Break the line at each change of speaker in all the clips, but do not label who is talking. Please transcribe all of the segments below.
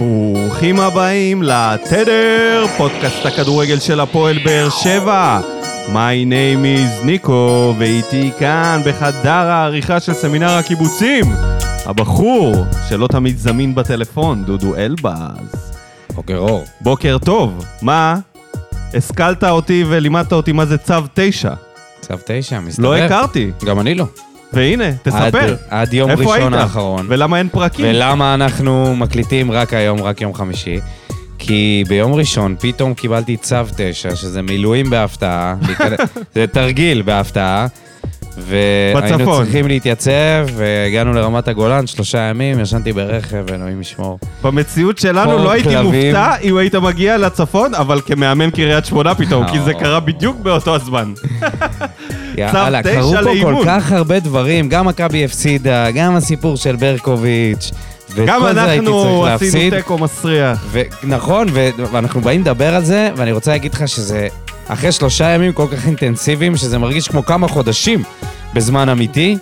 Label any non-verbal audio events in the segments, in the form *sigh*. ברוכים הבאים לתדר, פודקאסט הכדורגל של הפועל באר שבע. My name is ניקו, ואיתי כאן בחדר העריכה של סמינר הקיבוצים, הבחור שלא תמיד זמין בטלפון, דודו אלבז.
בוקר אוקיי, אור.
בוקר טוב, מה? השכלת אותי ולימדת אותי מה זה צו תשע.
צו תשע, מסתבר.
לא כן. הכרתי.
גם אני לא.
והנה, תספר.
עד- עד יום
איפה
ראשון
היית?
האחרון.
ולמה אין פרקים?
ולמה אנחנו מקליטים רק היום, רק יום חמישי? כי ביום ראשון פתאום קיבלתי צו תשע, שזה מילואים בהפתעה, *laughs* להיכנס- זה תרגיל בהפתעה. והיינו
בצפון.
צריכים להתייצב, והגענו לרמת הגולן, שלושה ימים, ישנתי ברכב, אלוהים ישמור.
במציאות שלנו
כמו
לא הייתי
כלבים.
מופתע אם היית מגיע לצפון, אבל כמאמן קריית שמונה פתאום, כי זה
אה.
קרה בדיוק באותו הזמן.
יאללה,
תשע
קרו פה כל
לאימון.
כך הרבה דברים, גם מכבי הפסידה, גם הסיפור של ברקוביץ', ואת
גם
כל זה הייתי צריך
אנחנו עשינו
להפסיד.
תיקו מסריח.
ו- נכון, ו- ואנחנו באים לדבר על זה, ואני רוצה להגיד לך שזה אחרי שלושה ימים כל כך אינטנסיביים, שזה מרגיש כמו כמה חודשים בזמן אמיתי.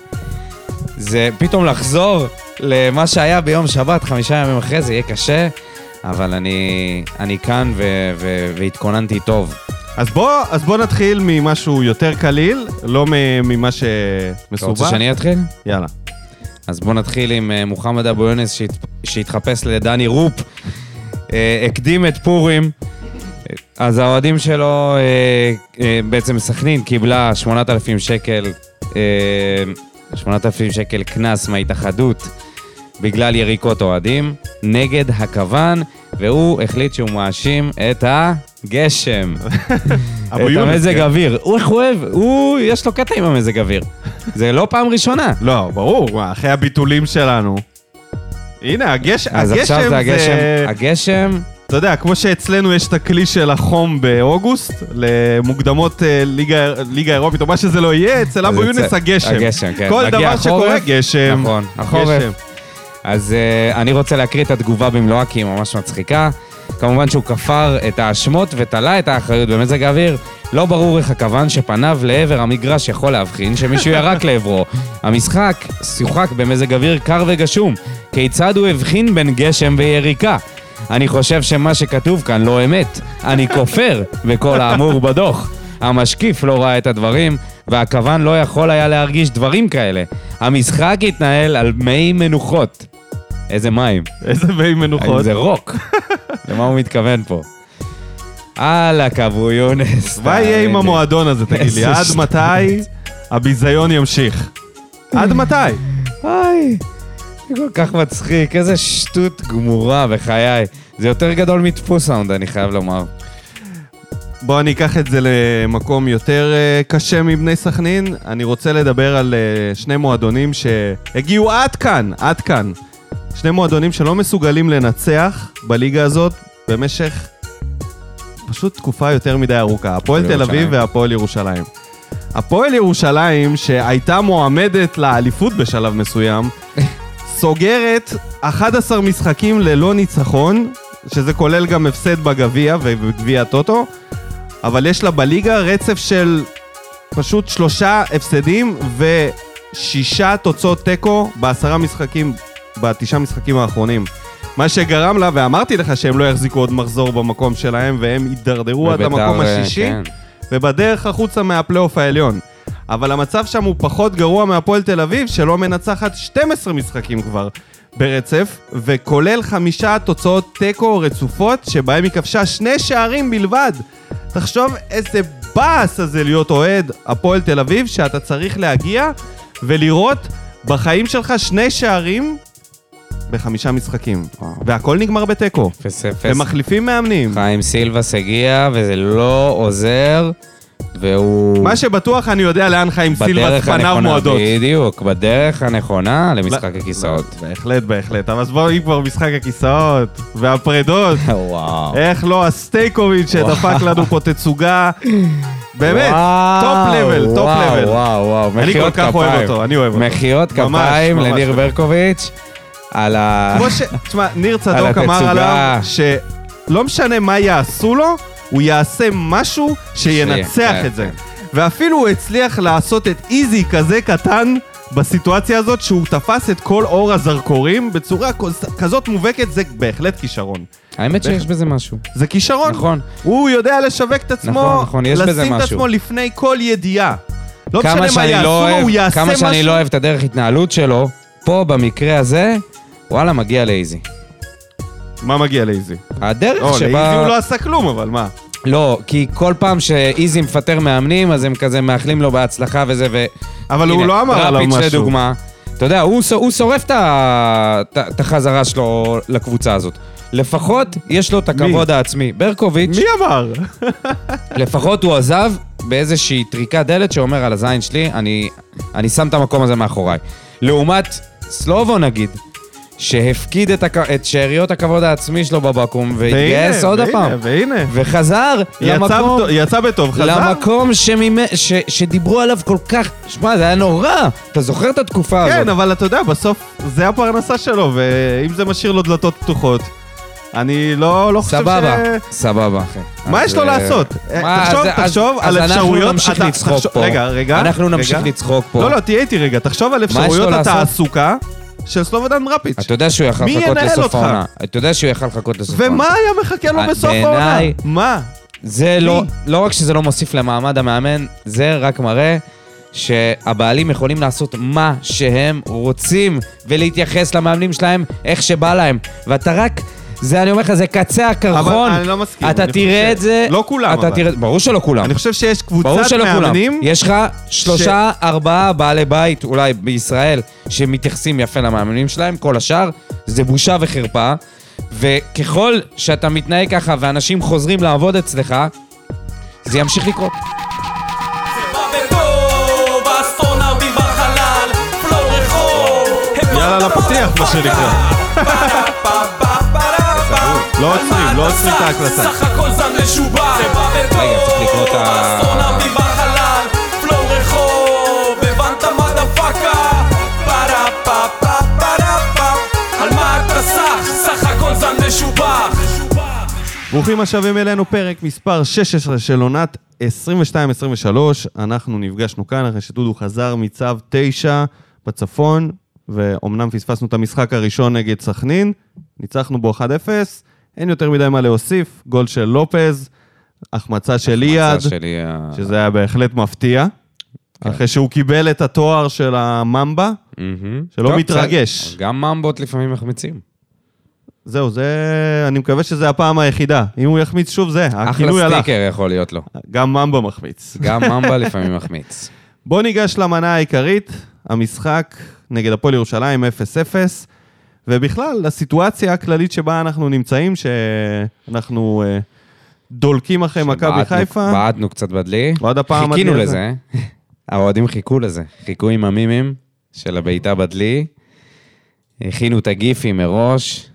זה פתאום לחזור למה שהיה ביום שבת, חמישה ימים אחרי זה יהיה קשה, אבל אני, אני כאן ו- ו- והתכוננתי טוב.
אז בוא, אז בוא נתחיל ממשהו יותר קליל, לא מ- ממה
אתה
שמסובך.
רוצה שאני אתחיל?
יאללה.
אז בואו נתחיל עם אה, מוחמד אבו יונס שהת... שהתחפש לדני רופ, אה, הקדים את פורים. אה, אז האוהדים שלו, אה, אה, בעצם סכנין קיבלה 8,000 שקל, אה, 8,000 שקל קנס מההתאחדות בגלל יריקות אוהדים נגד הכוון, והוא החליט שהוא מאשים את הגשם.
אבו
את
יונס,
המזג
כן.
אוויר. הוא איך הוא אוהב, הוא, יש לו קטע עם המזג אוויר. זה לא פעם ראשונה.
לא, ברור, מה, אחרי הביטולים שלנו. הנה, הגש,
אז
הגשם,
עכשיו זה הגשם,
זה...
הגשם,
אתה יודע, כמו שאצלנו יש את הכלי של החום באוגוסט, למוקדמות אה, ליגה, ליגה אירופית, או מה שזה לא יהיה, אצל
אז
אבו
אצל-
יונס הגשם.
הגשם, כן.
כל
מגיע
דבר
החורף,
שקורה, גשם.
נכון, החורף.
גשם.
אז אה, אני רוצה להקריא את התגובה במלואה, כי היא ממש מצחיקה. כמובן שהוא כפר את האשמות ותלה את האחריות במזג האוויר. לא ברור איך הכוון שפניו לעבר המגרש יכול להבחין שמישהו ירק לעברו. המשחק שוחק במזג אוויר קר וגשום. כיצד הוא הבחין בין גשם ויריקה? אני חושב שמה שכתוב כאן לא אמת. אני כופר בכל האמור בדוח. המשקיף לא ראה את הדברים, והכוון לא יכול היה להרגיש דברים כאלה. המשחק התנהל על מי מנוחות. איזה מים?
איזה מי
האם
מנוחות.
זה
*laughs*
רוק? למה הוא מתכוון פה? הלאה, כבו יונס.
מה יהיה עם המועדון הזה, תגיד לי?
לא איזה
עד
שטות.
מתי הביזיון ימשיך? עד מתי?
היי, זה כל כך מצחיק, איזה שטות גמורה בחיי. זה יותר גדול מדפוס סאונד, אני חייב לומר.
בואו אני אקח את זה למקום יותר אה, קשה מבני סכנין. אני רוצה לדבר על אה, שני מועדונים שהגיעו עד כאן, עד כאן. שני מועדונים שלא מסוגלים לנצח בליגה הזאת במשך פשוט תקופה יותר מדי ארוכה. הפועל תל אביב
ירושלים.
והפועל ירושלים. הפועל ירושלים, שהייתה מועמדת לאליפות בשלב מסוים, סוגרת 11 משחקים ללא ניצחון, שזה כולל גם הפסד בגביע ובגביע הטוטו, אבל יש לה בליגה רצף של פשוט שלושה הפסדים ושישה תוצאות תיקו בעשרה משחקים, בתשעה משחקים האחרונים. מה שגרם לה, ואמרתי לך שהם לא יחזיקו עוד מחזור במקום שלהם, והם יידרדרו עד
ובית"ר,
המקום
אה,
השישי.
כן.
ובדרך החוצה מהפלייאוף העליון. אבל המצב שם הוא פחות גרוע מהפועל תל אביב, שלא מנצחת 12 משחקים כבר ברצף, וכולל חמישה תוצאות תיקו רצופות, שבהם היא כבשה שני שערים בלבד. תחשוב איזה באס הזה להיות אוהד הפועל תל אביב, שאתה צריך להגיע ולראות בחיים שלך שני שערים בחמישה משחקים.
וואו.
והכל נגמר בתיקו.
אפס אפס.
הם מחליפים מאמנים.
חיים סילבס הגיע, וזה לא עוזר, והוא...
מה שבטוח אני יודע לאן חיים סילבס
בדרך
פניו
הנכונה,
מועדות.
בדיוק, בדרך הנכונה למשחק
לא,
הכיסאות.
לא, בהחלט, בהחלט. אבל אז בואו, אם כבר משחק הכיסאות והפרדות,
*laughs* וואו.
איך לא הסטייקוביץ' שדפק לנו פה תצוגה. באמת, טופ לבל, טופ
וואו,
לבל.
וואו, וואו,
אני כל
מחיאות
כך אוהב
כפיים.
אותו, אני אוהב אותו.
מחיאות
ממש,
כפיים
ממש.
לניר ברקוביץ' על ה...
כמו ש... תשמע, ניר
על
צדוק אמר
התצוגה.
עליו שלא משנה מה יעשו לו, הוא יעשה משהו שינצח
כן,
את זה.
כן.
ואפילו הוא הצליח לעשות את איזי כזה קטן בסיטואציה הזאת, שהוא תפס את כל אור הזרקורים בצורה כז- כזאת מובהקת, זה בהחלט כישרון.
האמת שיש בזה משהו.
זה כישרון.
נכון.
הוא יודע לשווק את עצמו,
נכון, נכון, יש בזה
לשים את
משהו.
עצמו לפני כל ידיעה. לא
כמה
משנה מה
שאני
יעשו,
לא
לו, הוא
אוהב-
יעשה
כמה
משהו.
שאני לא אוהב את הדרך התנהלות שלו, פה במקרה הזה, וואלה, מגיע לאיזי.
מה מגיע לאיזי?
הדרך
או, לאיזי
שבה...
הוא לא עשה כלום, אבל מה?
לא, כי כל פעם שאיזי מפטר מאמנים, אז הם כזה מאחלים לו בהצלחה וזה, ו...
אבל הוא
הנה,
לא אמר עליו משהו.
דראפיץ' לדוגמה, אתה יודע, הוא, ש- הוא שורף את ה- את ה- את החזרה שלו לקבוצה הזאת. לפחות יש לו את הכבוד העצמי. ברקוביץ',
מי אמר?
לפחות הוא עזב באיזושהי טריקת דלת שאומר על הזין שלי, אני, אני שם את המקום הזה מאחוריי. לעומת סלובו נגיד, שהפקיד את, הכ... את שאריות הכבוד העצמי שלו בבקו"ם, והתגייס
והנה,
עוד
והנה,
הפעם,
והנה.
וחזר
יצא
למקום...
בטוב- יצא בטוב, חזר?
למקום שמימ... ש... שדיברו עליו כל כך, שמע, זה היה נורא. אתה זוכר את התקופה הזאת?
כן, אבל אתה יודע, בסוף זה הפרנסה שלו, ואם זה משאיר לו דלתות פתוחות, אני לא לא חושב ש...
סבבה, סבבה, אחי.
מה
אז,
יש לו
אה,
לעשות? אה,
מה,
תחשוב,
אז- אז-
תחשוב
אז
על אפשרויות...
אנחנו נמשיך
אתה-
לצחוק
תחשוב-
פה.
רגע, רגע.
אנחנו נמשיך
רגע.
לצחוק פה.
לא, לא, תהיה איתי רגע. תחשוב על
לו
אפשרויות
לעשות?
התעסוקה של סלובודן מרפיץ'.
אתה יודע שהוא יכל
מי
לחכות
ינהל
לסוף
אותך?
העונה. אתה יודע שהוא יכל לחכות לסוף העונה.
ומה היה מחכה לו
אה,
בסוף
בעיניי-
העונה? מה?
זה לא, לא רק שזה לא מוסיף למעמד המאמן, זה רק מראה שהבעלים יכולים לעשות מה שהם רוצים ולהתייחס למאמנים שלהם איך שבא להם. ואתה רק, זה אני אומר לך, זה קצה הקרחון.
אבל אני לא מסכים,
אתה
אני
תראה
חושב-
את זה.
לא כולם,
אתה
אבל.
תראה, ברור שלא כולם.
אני חושב שיש
ברור
קבוצת
שלא כולם.
מאמנים...
יש לך שלושה, ארבעה בעלי בית, אולי בישראל, שמתייחסים יפה למאמנים שלהם, כל השאר, זה בושה וחרפה. וככל שאתה מתנהג ככה ואנשים חוזרים לעבוד אצלך, זה ימשיך לקרות.
בטוב, אסטרונאוטים בחלל, פלואו רחוב.
יאללה, לפתיח, מה שנקרא. לא עוצרים, לא עוצרים את ההקלטה.
סך הכל זן משובח. זה בא בטוב,
רגע, צריך לקרוא את ה-
אסטרונאוטים בחלל, פלואו רחוב. הבנת מה דפקה? פרה פה פה פרה פה. על מה אתה סך? סך הכל זן משובח.
ברוכים השבים אלינו, פרק מספר 16 של עונת 22-23. אנחנו נפגשנו כאן אחרי שדודו חזר מצו 9 בצפון, ואומנם פספסנו את המשחק הראשון נגד סכנין, ניצחנו בו 1-0, אין יותר מדי מה להוסיף, גול של לופז, החמצה של כן. איאד,
ההצעה שלי, אה,
שזה היה בהחלט מפתיע, אחרי שהוא קיבל את התואר של הממבה,
מהמם.
שלא
טוב,
מתרגש.
בסדר. גם ממבות לפעמים מחמיצים.
זהו, זה... אני מקווה שזה הפעם היחידה. אם הוא יחמיץ שוב, זה, הכינוי
אחלה
הלך.
סטיקר יכול להיות לו.
גם ממבה מחמיץ.
גם ממבה לפעמים מחמיץ.
בואו ניגש למנה העיקרית, המשחק נגד הפועל ירושלים 0-0, ובכלל, לסיטואציה הכללית שבה אנחנו נמצאים, שאנחנו אה, דולקים אחרי מכבי
בעטנו-
חיפה.
בעטנו קצת בדלי.
ועוד הפעם
חיכינו
הדלי
לזה. *laughs* האוהדים חיכו לזה. חיכו עם המימים של הבעיטה בדלי. הכינו את הגיפים מראש.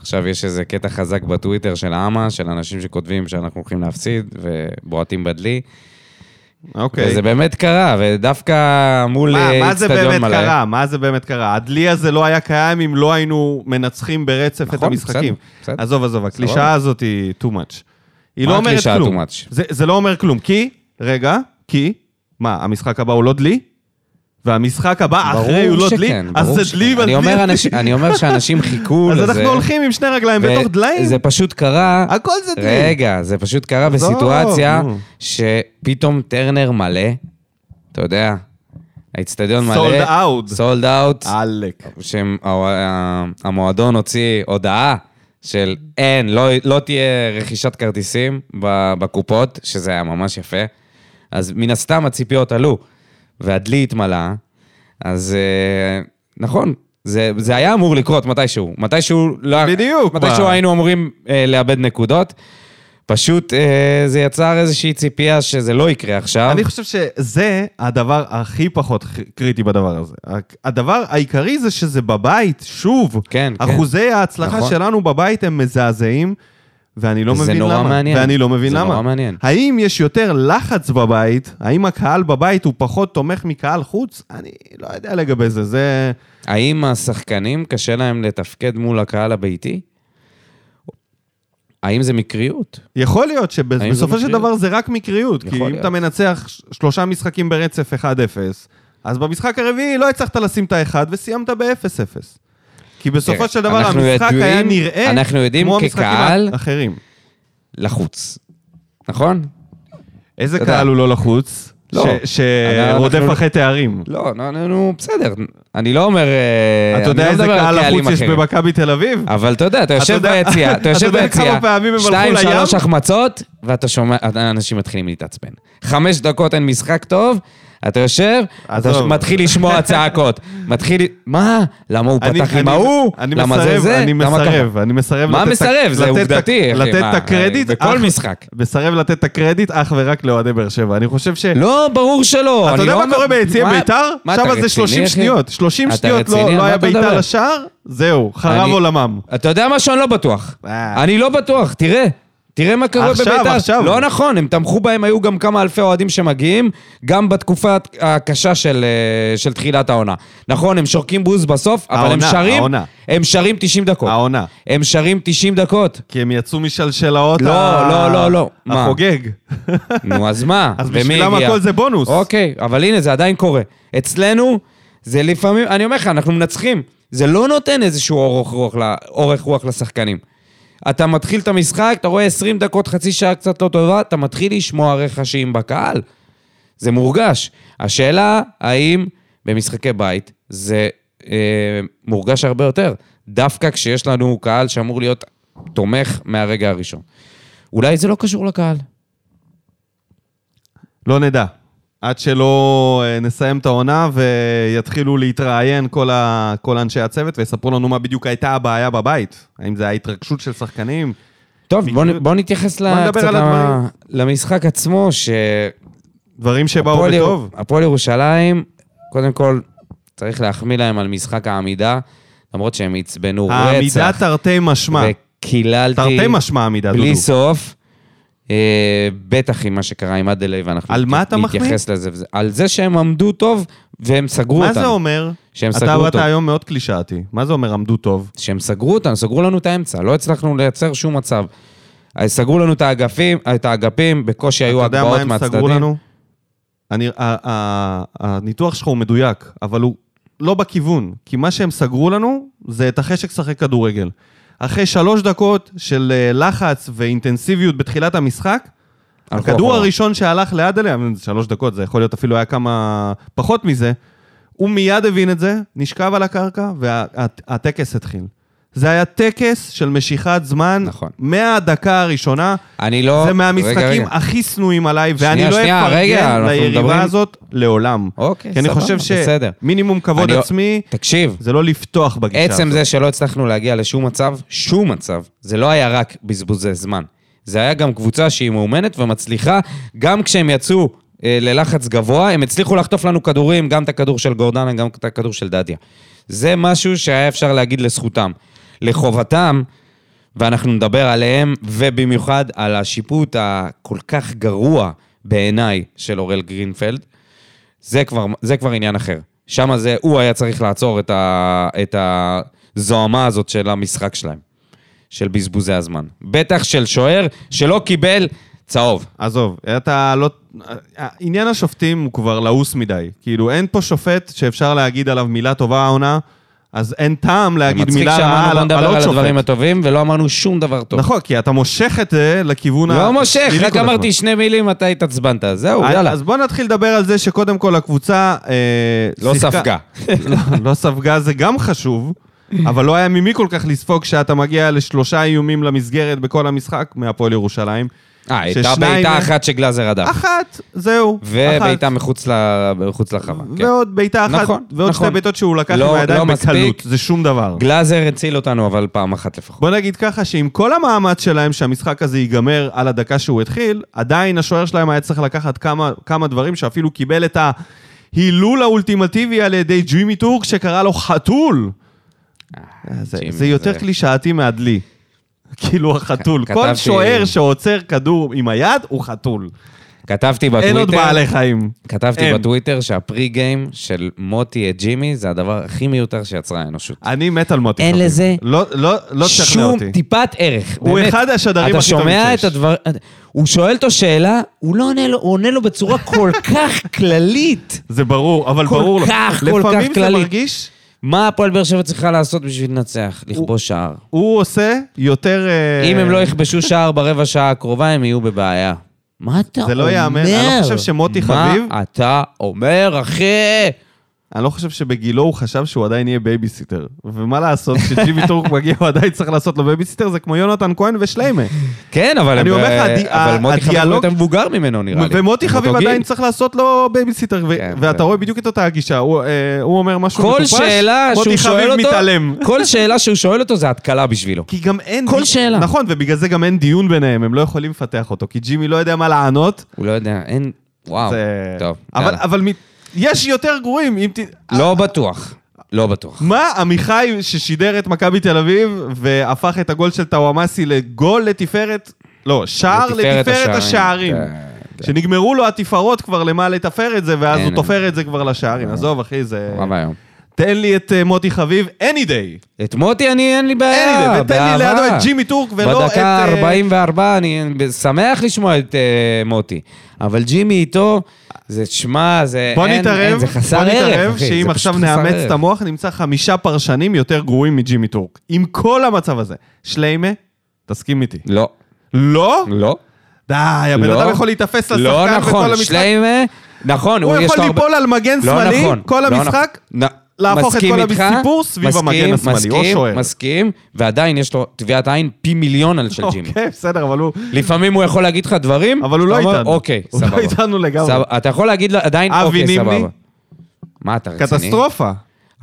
עכשיו יש איזה קטע חזק בטוויטר של אמה, של אנשים שכותבים שאנחנו הולכים להפסיד ובועטים בדלי.
אוקיי.
וזה באמת קרה, ודווקא מול
מה,
אה,
מה זה
אצטדיון
באמת
מלא.
קרה? מה זה באמת קרה? הדלי הזה לא היה קיים אם לא היינו מנצחים ברצף את
נכון,
המשחקים.
בסדר, בסדר.
עזוב, עזוב, הקלישאה
סבבה.
הזאת היא too much. היא
מה
לא אומרת
הקלישאה
כלום.
too much?
זה- זה לא אומר כלום, כי, רגע, כי, מה, המשחק הבא הוא לא דלי? והמשחק הבא
ברור
אחרי הוא לא דלי?
שכן,
אז
ברור
זה
שכן.
דלי
אני
ודלי.
אומר אנש- אני אומר שאנשים
*laughs*
חיכו
אז
*laughs* לזה.
אנחנו הולכים עם שני רגליים בתוך דליים.
זה פשוט קרה.
הכל זה דלי.
רגע, זה פשוט קרה
עזוב,
בסיטואציה
נו.
שפתאום טרנר מלא, אתה יודע, האיצטדיון מלא.
Sold out.
סולד אאוט.
עלק.
אה, המועדון הוציא הודעה של אין, לא, לא תהיה רכישת כרטיסים ב- בקופות, שזה היה ממש יפה. אז מן הסתם הציפיות עלו, והדלי התמלא, אז אה, נכון, זה, זה היה אמור לקרות מתישהו. מתישהו לא...
בדיוק,
מתישהו
מה?
היינו אמורים אה, לאבד נקודות. פשוט אה, זה יצר איזושהי ציפייה שזה לא יקרה עכשיו.
אני חושב שזה הדבר הכי פחות ח- קריטי בדבר הזה. הק- הדבר העיקרי זה שזה בבית, שוב.
כן, כן.
אחוזי ההצלחה
נכון.
שלנו בבית הם מזעזעים, ואני לא
זה
מבין
נורא
למה.
מעניין.
ואני לא מבין
זה
למה.
נורא מעניין.
האם יש יותר לחץ בבית? האם הקהל בבית הוא פחות תומך מקהל חוץ? אני לא יודע לגבי זה, זה...
האם השחקנים קשה להם לתפקד מול הקהל הביתי? האם זה מקריות?
יכול להיות
האם
שבסופו של
זה מקריות?
דבר זה רק מקריות, כי
יכול
אם
להיות.
אתה מנצח ש- שלושה משחקים ברצף 1-0, אז במשחק הרביעי לא הצלחת לשים את האחד וסיימת ב-0-0. כי בסופו
תראה,
של דבר
אנחנו
המשחק
יודעים-
היה נראה
אנחנו יודעים
כמו המשחקים
כקהל-
האחרים.
לחוץ. נכון?
איזה
אתה יודע.
קהל הוא לא לחוץ?
לא.
ש- שרודף
אנחנו-
אחרי תארים.
לא, נו, נו, נו, בסדר. אני לא אומר... אה,
אתה
אני
יודע
לא
איזה
מדבר על
קהל
קהלים
לחוץ יש
אחרים.
במכבי תל אביב?
אבל אתה יודע, אתה יושב
יודע-
ביציע,
*laughs*
אתה
אתה
יושב
יודע
ביציע,
כמה פעמים הם הלכו
שתיים,
לים?
שלוש החמצות, ואתה שומע, אנשים מתחילים להתעצבן. חמש דקות אין משחק טוב, אתה יושב, אתה
עזוב.
מתחיל לשמוע צעקות. מתחיל, מה? למה הוא
אני-
פתח עם
אני-
ההוא?
אני
למה זה
מסרב,
זה?
אני
למה ככה?"
מסרב, אני מסרב
מה
לתת את ה-
מסרב? זה
לתת את ה-
עובדתי, אחי,
לתת את
מה,
הקרדיט.
בכל
אך-
משחק.
מסרב לתת את הקרדיט אך ורק לאוהדי באר שבע. אני חושב ש...
לא, ברור שלא.
אתה
אני
יודע
לא
מה
אומר-
קורה ביציע
מה-
ביתר?
מה, אתה
שם
רציני,
זה 30
אחי?
שניות. 30
אתה
שניות
רציני? על
לא לא
מה
היה
אתה
בעיטה
מדבר?
לשער, זהו, חרב
אני-
עולמם.
אתה יודע מה שאני לא בטוח.
אה.
אני לא בטוח, תראה. תראה מה קורה
עכשיו,
בביתר.
עכשיו.
לא נכון, הם תמכו בהם, היו גם כמה אלפי אוהדים שמגיעים, גם בתקופה הקשה של, אה, של תחילת העונה. נכון, הם שורקים בוז בסוף, אבל
העונה,
הם שרים,
העונה.
הם שרים 90 דקות.
העונה.
הם שרים 90 דקות.
כי הם יצאו משלשלאות
לא,
ה-
לא, לא, לא. מה?
החוגג.
נו, אז מה?
*laughs* אז
ומי
בשבילם
הגיע?
הכל זה בונוס.
אוקיי, אבל הנה, זה עדיין קורה. אצלנו, זה לפעמים, אני אומר לך, אנחנו מנצחים. זה לא נותן איזשהו אורך רוח, ל- אורך רוח לשחקנים. אתה מתחיל את המשחק, אתה רואה 20 דקות, חצי שעה קצת לא טובה, אתה מתחיל לשמוע רכשים בקהל. זה מורגש. השאלה, האם במשחקי בית זה אה, מורגש הרבה יותר, דווקא כשיש לנו קהל שאמור להיות תומך מהרגע הראשון. אולי זה לא קשור לקהל.
לא נדע. עד שלא אה, נסיים את העונה ויתחילו להתראיין כל, ה, כל אנשי הצוות ויספרו לנו מה בדיוק הייתה הבעיה בבית. האם זה ההתרגשות של שחקנים?
טוב, בוא, נ- בוא נתייחס
בוא
ל...
נדבר
קצת
על הדברים.
ל... למשחק עצמו, ש...
דברים שבאו
הפועל-
בטוב?
הפועל ירושלים, קודם כל, צריך להחמיא להם על משחק העמידה, למרות שהם עצבנו
העמידה
רצח.
תרתי משמע.
וקיללתי...
תרתי משמע עמידה, דודו.
בלי סוף. אה, בטח עם מה שקרה עם אדלי, ואנחנו
על מה אתה מחמיא?
נתייחס לזה. וזה- על זה שהם עמדו טוב והם סגרו
מה
אותנו.
זה אומר?
שהם
אתה
סגרו
באת
אותו.
היום מאוד קלישאתי. מה זה אומר עמדו טוב?
שהם סגרו אותנו, סגרו לנו את האמצע, לא הצלחנו לייצר שום מצב. אז סגרו לנו את האגפים, את האגפים, בקושי היו
אתה יודע
הגבהות
מה
מהצדדים.
הם סגרו לנו? אני, ה- ה- הניתוח שלך הוא מדויק, אבל הוא לא בכיוון. כי מה שהם סגרו לנו זה את החשק לשחק כדורגל. אחרי שלוש דקות של אה, לחץ ואינטנסיביות בתחילת המשחק,
הלכו
הכדור
אחורה.
הראשון שהלך לאדלי, אבל זה שלוש דקות, זה יכול להיות אפילו היה כמה פחות מזה, הוא מיד הבין את זה, נשכב על הקרקע, והטקס התחיל. זה היה טקס של משיכת זמן,
נכון.
מהדקה הראשונה.
אני לא...
זה
רגע,
מהמשחקים
רגע.
הכי שנואים עליי, ואני
שנייה,
לא
שנייה, רגע,
אפרגן
אנחנו מדברים-
ליריבה הזאת לעולם.
אוקיי,
כי אני
סבבה,
חושב
בסדר.
שמינימום כבוד
אני-
עצמי,
תקשיב,
זה לא לפתוח בגישה הזאת.
עצם זה שלא הצלחנו להגיע לשום מצב, שום מצב, זה לא היה רק בזבוזי זמן. זה היה גם קבוצה שהיא מאומנת ומצליחה, גם כשהם יצאו אה, ללחץ גבוה, הם הצליחו לחטוף לנו כדורים, גם את הכדור של גורדנה, גם את הכדור של דדיה. זה משהו שהיה אפשר להגיד לזכותם. לחובתם, ואנחנו נדבר עליהם, ובמיוחד על השיפוט הכל כך גרוע בעיניי של אורל גרינפלד, זה כבר, זה כבר עניין אחר. שם זה, הוא היה צריך לעצור את, ה, את הזוהמה הזאת של המשחק שלהם, של בזבוזי הזמן. בטח של שוער שלא קיבל צהוב.
עזוב, אתה לא... עניין השופטים הוא כבר לעוס מדי. כאילו, אין פה שופט שאפשר להגיד עליו מילה טובה העונה, אז אין טעם להגיד מילה רעה על
בוא
על
נדבר על
עוד שופט.
הדברים הטובים, ולא אמרנו שום דבר טוב.
נכון, אה, כי אתה מושך את זה לכיוון
לא
השלילי
מושך,
כל
רק
הזמן.
אמרתי שני מילים, אתה התעצבנת, זהו,
אז-
יאללה.
אה, אז בוא נתחיל לדבר על זה שקודם כל הקבוצה... אה,
לא
שיחקה-
ספגה.
לא, לא ספגה זה גם חשוב, אבל לא היה ממי כל כך לספוג כשאתה מגיע לשלושה איומים למסגרת בכל המשחק מהפועל ירושלים.
אה, הייתה
ששניים
בעיטה
מהם-
אחת שגלאזר הדף.
אחת, זהו.
ובעיטה
אחת.
מחוץ ל- מחוץ לחווה. כן.
ועוד בעיטה אחת,
נכון,
ועוד
נכון.
שתי בעיטות שהוא לקח
לא-
מהידיים
לא מספיק.
בקלות, זה שום דבר.
גלאזר הציל אותנו, אבל פעם אחת לפחות.
בוא נגיד ככה, שעם כל המאמץ שלהם שהמשחק הזה ייגמר על הדקה שהוא התחיל, עדיין השוער שלהם היה צריך לקחת כמה, כמה דברים, שאפילו קיבל את ההילול האולטימטיבי על ידי ג'ימי טורק, שקרא לו חתול. זה,
אה, ג'ימי,
זה יותר
זה-
קלישאתי מהדלי. כאילו החתול.
כ-
כל
כתבתי-
שוער שעוצר כדור עם היד הוא חתול.
כתבתי
אין עוד
בטוויטר,
בעלי חיים.
כתבתי
אין.
בטוויטר שהפרי גיים של מוטי את ג'ימי זה הדבר הכי מיותר שיצרה האנושות.
אני מת על מוטי.
אין
חביב.
לזה
לא, לא, לא תשכנע אותי.
שום טיפת ערך.
הוא
באמת.
אחד השדרים הכי
אתה
טובים
שומע
שיש.
את הדבר... הוא שואל אותו שאלה, הוא לא עונה לו, הוא עונה לו
*laughs*
בצורה כל כך כללית.
זה ברור, אבל
כל
ברור לו.
כך, כל כך
לפעמים זה
כללי.
מרגיש
מה הפועל באר שבע צריכה לעשות בשביל לנצח? לכבוש שער.
הוא עושה יותר... אה,
אם הם לא יכבשו שער ברבע שעה הקרובה, הם יהיו בבעיה. מה אתה אומר?
זה לא ייאמן. אני לא חושב שמוטי חביב...
מה אתה אומר, אחי?
אני לא חושב שבגילו הוא חשב שהוא עדיין יהיה בייביסיטר. ומה לעשות, כשג'ימי
*laughs*
טורק מגיע הוא עדיין צריך לעשות לו בייביסיטר, זה כמו יונתן כהן ושליימה.
כן, אבל
אני
הם-
אומר לך, הדי-
אבל מוטי חביב הוא
הדיאלוג-
יותר מבוגר ממנו, נראה לי.
ומוטי
הם
חביב
אותו גיל.
עדיין צריך לעשות לו בייביסיטר, ו-
כן,
ואתה
כן.
רואה בדיוק את אותה הגישה, הוא אה, הוא אומר משהו
כל
מטופש,
שאלה שהוא
מוטי חביב
שואל אותו,
מתעלם.
*laughs* כל שאלה שהוא שואל אותו זה התקלה בשבילו.
כי גם אין...
כל שאלה.
נכון, ובגלל זה גם אין דיון ביניהם, הם לא יכולים לפתח אותו, כי ג'ימי לא יודע מה לענות.
הוא לא יודע, אין... וואו.
זה-
אה, טוב,
אבל,
יאללה.
אבל מ... יש יותר גרועים, אם ת...
לא בטוח. לא בטוח.
מה עמיחי ששידר את מכבי תל אביב והפך את הגול של טוואמאסי לגול לתפארת, לא, שער
לתפארת
לתפארת השערים.
כן, כן.
שנגמרו לו התפארות כבר למה לתפאר את זה, ואז
אין, אה.
הוא
אין.
תופר את זה כבר לשערים. עזוב, אחי, זה...
נורא ואיום.
תן לי את אה, מוטי חביב, any day.
את מוטי אני, אין לי
any
בעיה,
day, ותן לי לידו
באהבה.
את ג'ימי טורק ולא את...
בדקה
אה,
44, אני שמח לשמוע את אה, מוטי. אבל ג'ימי איתו, זה, שמע, זה...
בוא
אין- אין,
נתערב,
זה חסר
בוא
ערך,
נתערב
אחי, זה
שאם
פשוט
עכשיו
חסר
נאמץ
ערך.
את המוח, נמצא חמישה פרשנים יותר גרועים מג'ימי טורק. עם כל המצב הזה. שליימה, תסכים איתי.
לא,
לא?
לא.
די, הבן
לא.
אדם יכול להיתפס לשחקן
לא
בכל
נכון,
המשחק.
שליימה, נכון,
הוא
יש
יכול
לו הרבה-
ליפול על מגן
לא
שמאלי
נכון,
כל
לא
המשחק.
נכון. נ-
להפוך את
מסכים
כל
איתך,
הסיפור סביב
מסכים,
המגן השמאלי, או
מסכים,
שוער.
מסכים, ועדיין יש לו טביעת עין פי מיליון על של ג'ימי.
אוקיי, בסדר, אבל הוא...
לפעמים הוא יכול להגיד לך דברים,
אבל הוא לא
אתה אומר,
איתנו.
אוקיי,
הוא לא
סבבה.
איתנו לגמרי.
סבבה, אתה יכול להגיד לו עדיין,
אבי
אוקיי,
נימני?
סבבה. מה, אתה רציני? אה,
קטסטרופה.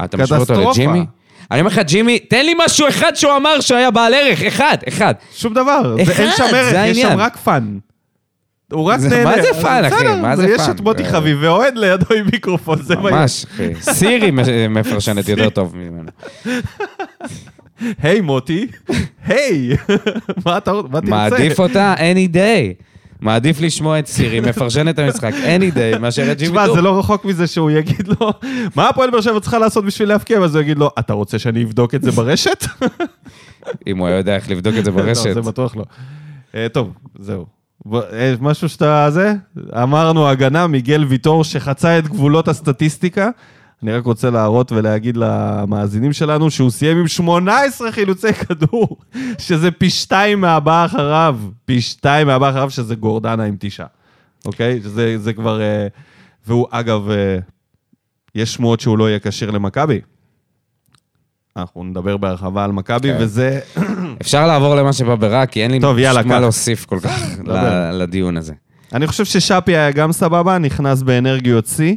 אתה משווה אותו
קטסטרופה.
לג'ימי? אני אומר לך, ג'ימי, תן לי משהו אחד שהוא אמר שהיה בעל ערך, אחד, אחד.
שום דבר. זה-
אחד,
אין שם
זה
ערך, יש שם
העניין.
רק פאן. הוא רק
זה-
נהנה.
מה זה פאן, אחי?
בסדר,
מה זה
יש
פאן?
את מוטי
זה-
חביב ואוהד לידו עם מיקרופון, זה *laughs* מה יש.
ממש, אחי. סירי מפרשנת יותר טוב ממנו.
היי מוטי, היי, *laughs* מה אתה רוצה? מה תרצה?
מעדיף אותה any day. מעדיף לשמוע את סירי מפרשן את המשחק any day מאשר את ג'ימי
תשמע,
טור.
זה לא רחוק מזה שהוא יגיד לו, מה הפועל באר שבע צריכה לעשות בשביל להפקיע? ואז הוא יגיד לו, אתה רוצה שאני אבדוק את זה ברשת?
אם הוא היה יודע איך לבדוק את זה ברשת.
לא, זה בטוח לא. אה, טוב, זהו. בוא, אה, משהו שאתה... זה? אמרנו הגנה מיגל ויטור שחצה את גבולות הסטטיסטיקה. אני רק רוצה להראות ולהגיד למאזינים שלנו שהוא סיים עם 18 חילוצי כדור, שזה פי שתיים מהבא אחריו. פי שתיים מהבא אחריו, שזה גורדנה עם תשעה. אוקיי? שזה זה כבר... אה, והוא, אגב, אה, יש שמועות שהוא לא יהיה כשיר למכבי. אנחנו נדבר בהרחבה על מכבי,
כן.
וזה
אפשר לעבור למה שבא ברע, כי אין לי
טוב, יאללה,
פשוט מה
קח. לא
להוסיף כל כך ל-
דבר.
לדיון הזה.
אני חושב ששאפי היה גם סבבה, נכנס באנרגיות שיא.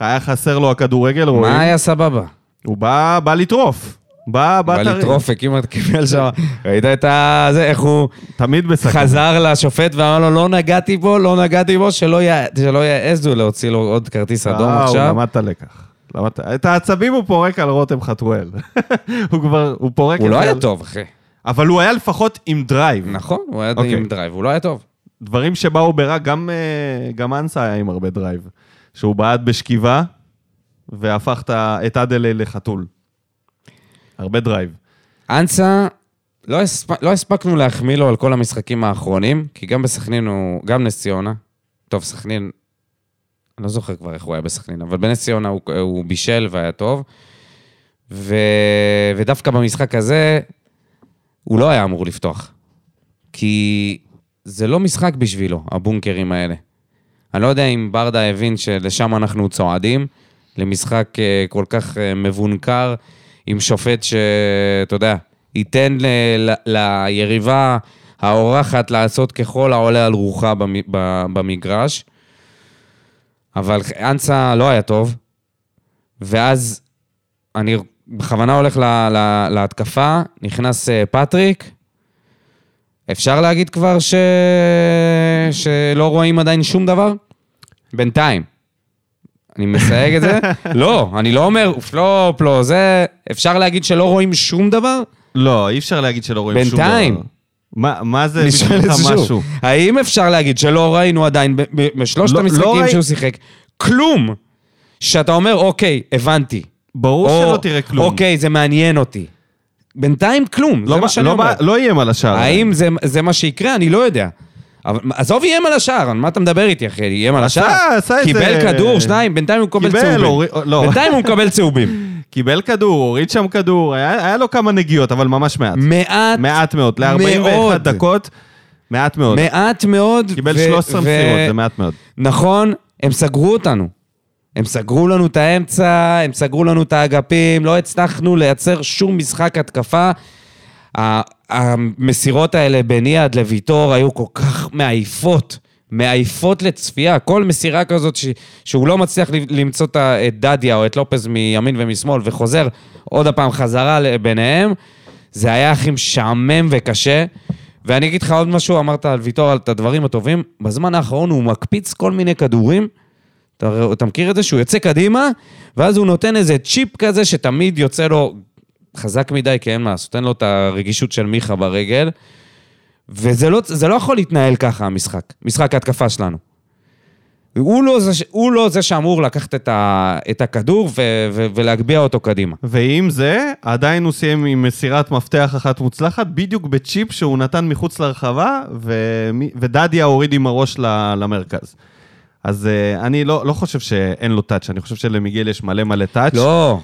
היה חסר לו הכדורגל, רואים.
מה היה סבבה?
הוא בא, בא לטרוף. בא, בא
בא
טרי.
לטרופק, כמעט קיבל שם. ראית את ה... זה, איך הוא
תמיד בסכנה.
חזר לשופט ואמר לו, לא נגעתי בו, לא נגעתי בו, שלא יע- שלא יעזו להוציא לו עוד כרטיס אדום
אה,
עכשיו.
הוא למד את הלקח. למדת- את העצבים הוא פורק על רותם חתואל. *laughs* הוא כבר, הוא פורק
הוא
את
לא
זה
היה
על-
טוב, אחי.
אבל הוא היה לפחות עם דרייב.
נכון, הוא היה
אוקיי.
עם דרייב, הוא לא היה טוב.
דברים שבאו ברע, גם, אה, גם אנסה היה עם הרבה דרייב. שהוא בעט בשכיבה, והפך את ה- את אדלה לחתול. הרבה דרייב.
אנסה, לא, הספ... לא הספקנו להחמיא לו על כל המשחקים האחרונים, כי גם בסכנין הוא, גם נס ציונה, טוב, סכנין, אני לא זוכר כבר איך הוא היה בסכנין, אבל בנס ציונה הוא, הוא בישל והיה טוב, ו... ודווקא במשחק הזה, הוא לא היה אמור לפתוח. כי זה לא משחק בשבילו, הבונקרים האלה. אני לא יודע אם ברדה הבין שלשם אנחנו צועדים, למשחק אה, כל כך אה, מבונקר, עם שופט שאתה יודע, ייתן אה, ל- ל- ליריבה האורחת לעשות ככל העולה על רוחה במ- ב- במגרש. אבל אנסה לא היה טוב, ואז אני בכוונה הולך ל- ל- להתקפה, נכנס אה, פטריק, אפשר להגיד כבר ש... שלא רואים עדיין שום דבר? בינתיים. אני מסייג
*laughs*
את זה? לא, אני לא אומר פלופ, לא זה... אפשר להגיד שלא רואים שום דבר?
לא, אי אפשר להגיד שלא רואים שום דבר.
בינתיים.
מה, מה זה
אני שואל את
בשבילך
זה
משהו?
שוב. האם אפשר להגיד שלא ראינו עדיין ב- ב- בשלושת
לא- לא
המשחקים
ראי-
שהוא שיחק כלום? שאתה אומר, אוקיי, הבנתי.
ברור
או,
שלא תראה כלום.
אוקיי, זה מעניין אותי. בינתיים כלום,
לא,
זה
מה-
מה שאני
לא
אומר.
מה- לא איים על השער.
האם זה, זה מה שיקרה? אני לא יודע. אבל עזוב, איים על השער, על מה אתה מדבר איתי, אחי? איים על
עשה,
השער?
עשה איזה-
קיבל כדור, שניים, בינתיים הוא מקבל
קיבל,
צהובים.
הוריד- לא.
בינתיים הוא מקבל
*laughs*
צהובים.
קיבל כדור, הוריד שם כדור, היה, היה לו כמה נגיעות, אבל ממש מעט.
מעט,
מעט מאוד, ל-41
מאוד.
דקות, מעט מאוד.
מעט מאוד.
קיבל
ו-
13
ו-
מסירות, זה מעט מאוד.
נכון, הם סגרו אותנו. הם סגרו לנו את האמצע, הם סגרו לנו את האגפים, לא הצלחנו לייצר שום משחק התקפה. ה- המסירות האלה בין יעד לוויטור היו כל כך מעייפות, מעייפות לצפייה. כל מסירה כזאת ש... שהוא לא מצליח ל- למצוא את ה- את דדיה או את לופז מימין ומשמאל וחוזר עוד הפעם חזרה ל- ביניהם, זה היה הכי משעמם וקשה. ואני אגיד לך עוד משהו, אמרת על ויטור, על את הדברים הטובים. בזמן האחרון הוא מקפיץ כל מיני כדורים. אתה, אתה מכיר את זה? שהוא יוצא קדימה, ואז הוא נותן איזה צ'יפ כזה שתמיד יוצא לו חזק מדי, כי אין מה לעשות, אין לו את הרגישות של מיכה ברגל. וזה לא, זה לא יכול להתנהל ככה, המשחק, משחק ההתקפה שלנו. הוא לא זה, ש- הוא לא זה שאמור לקחת את, ה, את הכדור ו, ו, ולהגביה אותו קדימה.
ועם זה, עדיין הוא סיים עם מסירת מפתח אחת מוצלחת, בדיוק בצ'יפ שהוא נתן מחוץ לרחבה, ומי- ודדיה הוריד עם הראש ל- למרכז. אז אה, אני לא, לא חושב שאין לו טאץ', אני חושב שלמיגל יש מלא מלא טאץ'.
לא.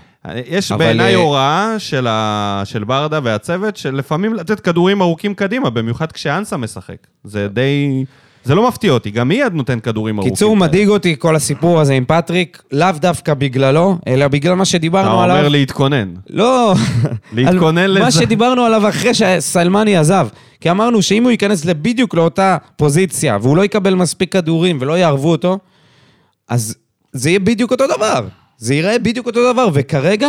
יש
אבל,
בעיניי
אה,
הוראה של, ה... של ברדה והצוות, של לפעמים לתת כדורים ארוכים קדימה, במיוחד כשאנסה משחק. זה די... זה לא מפתיע אותי, גם מיד נותן כדורים ארוכים.
קיצור, מדאיג אותי כל הסיפור הזה עם פטריק, לאו דווקא בגללו, אלא בגלל מה
אתה
שדיברנו עליו.
אומר להתכונן.
לא.
להתכונן
על
לזה.
מה שדיברנו עליו אחרי שסלמני עזב. כי אמרנו שאם הוא ייכנס בדיוק לאותה פוזיציה, והוא לא יקבל מספיק כדורים ולא יערבו אותו, אז זה יהיה בדיוק אותו דבר. זה ייראה בדיוק אותו דבר, וכרגע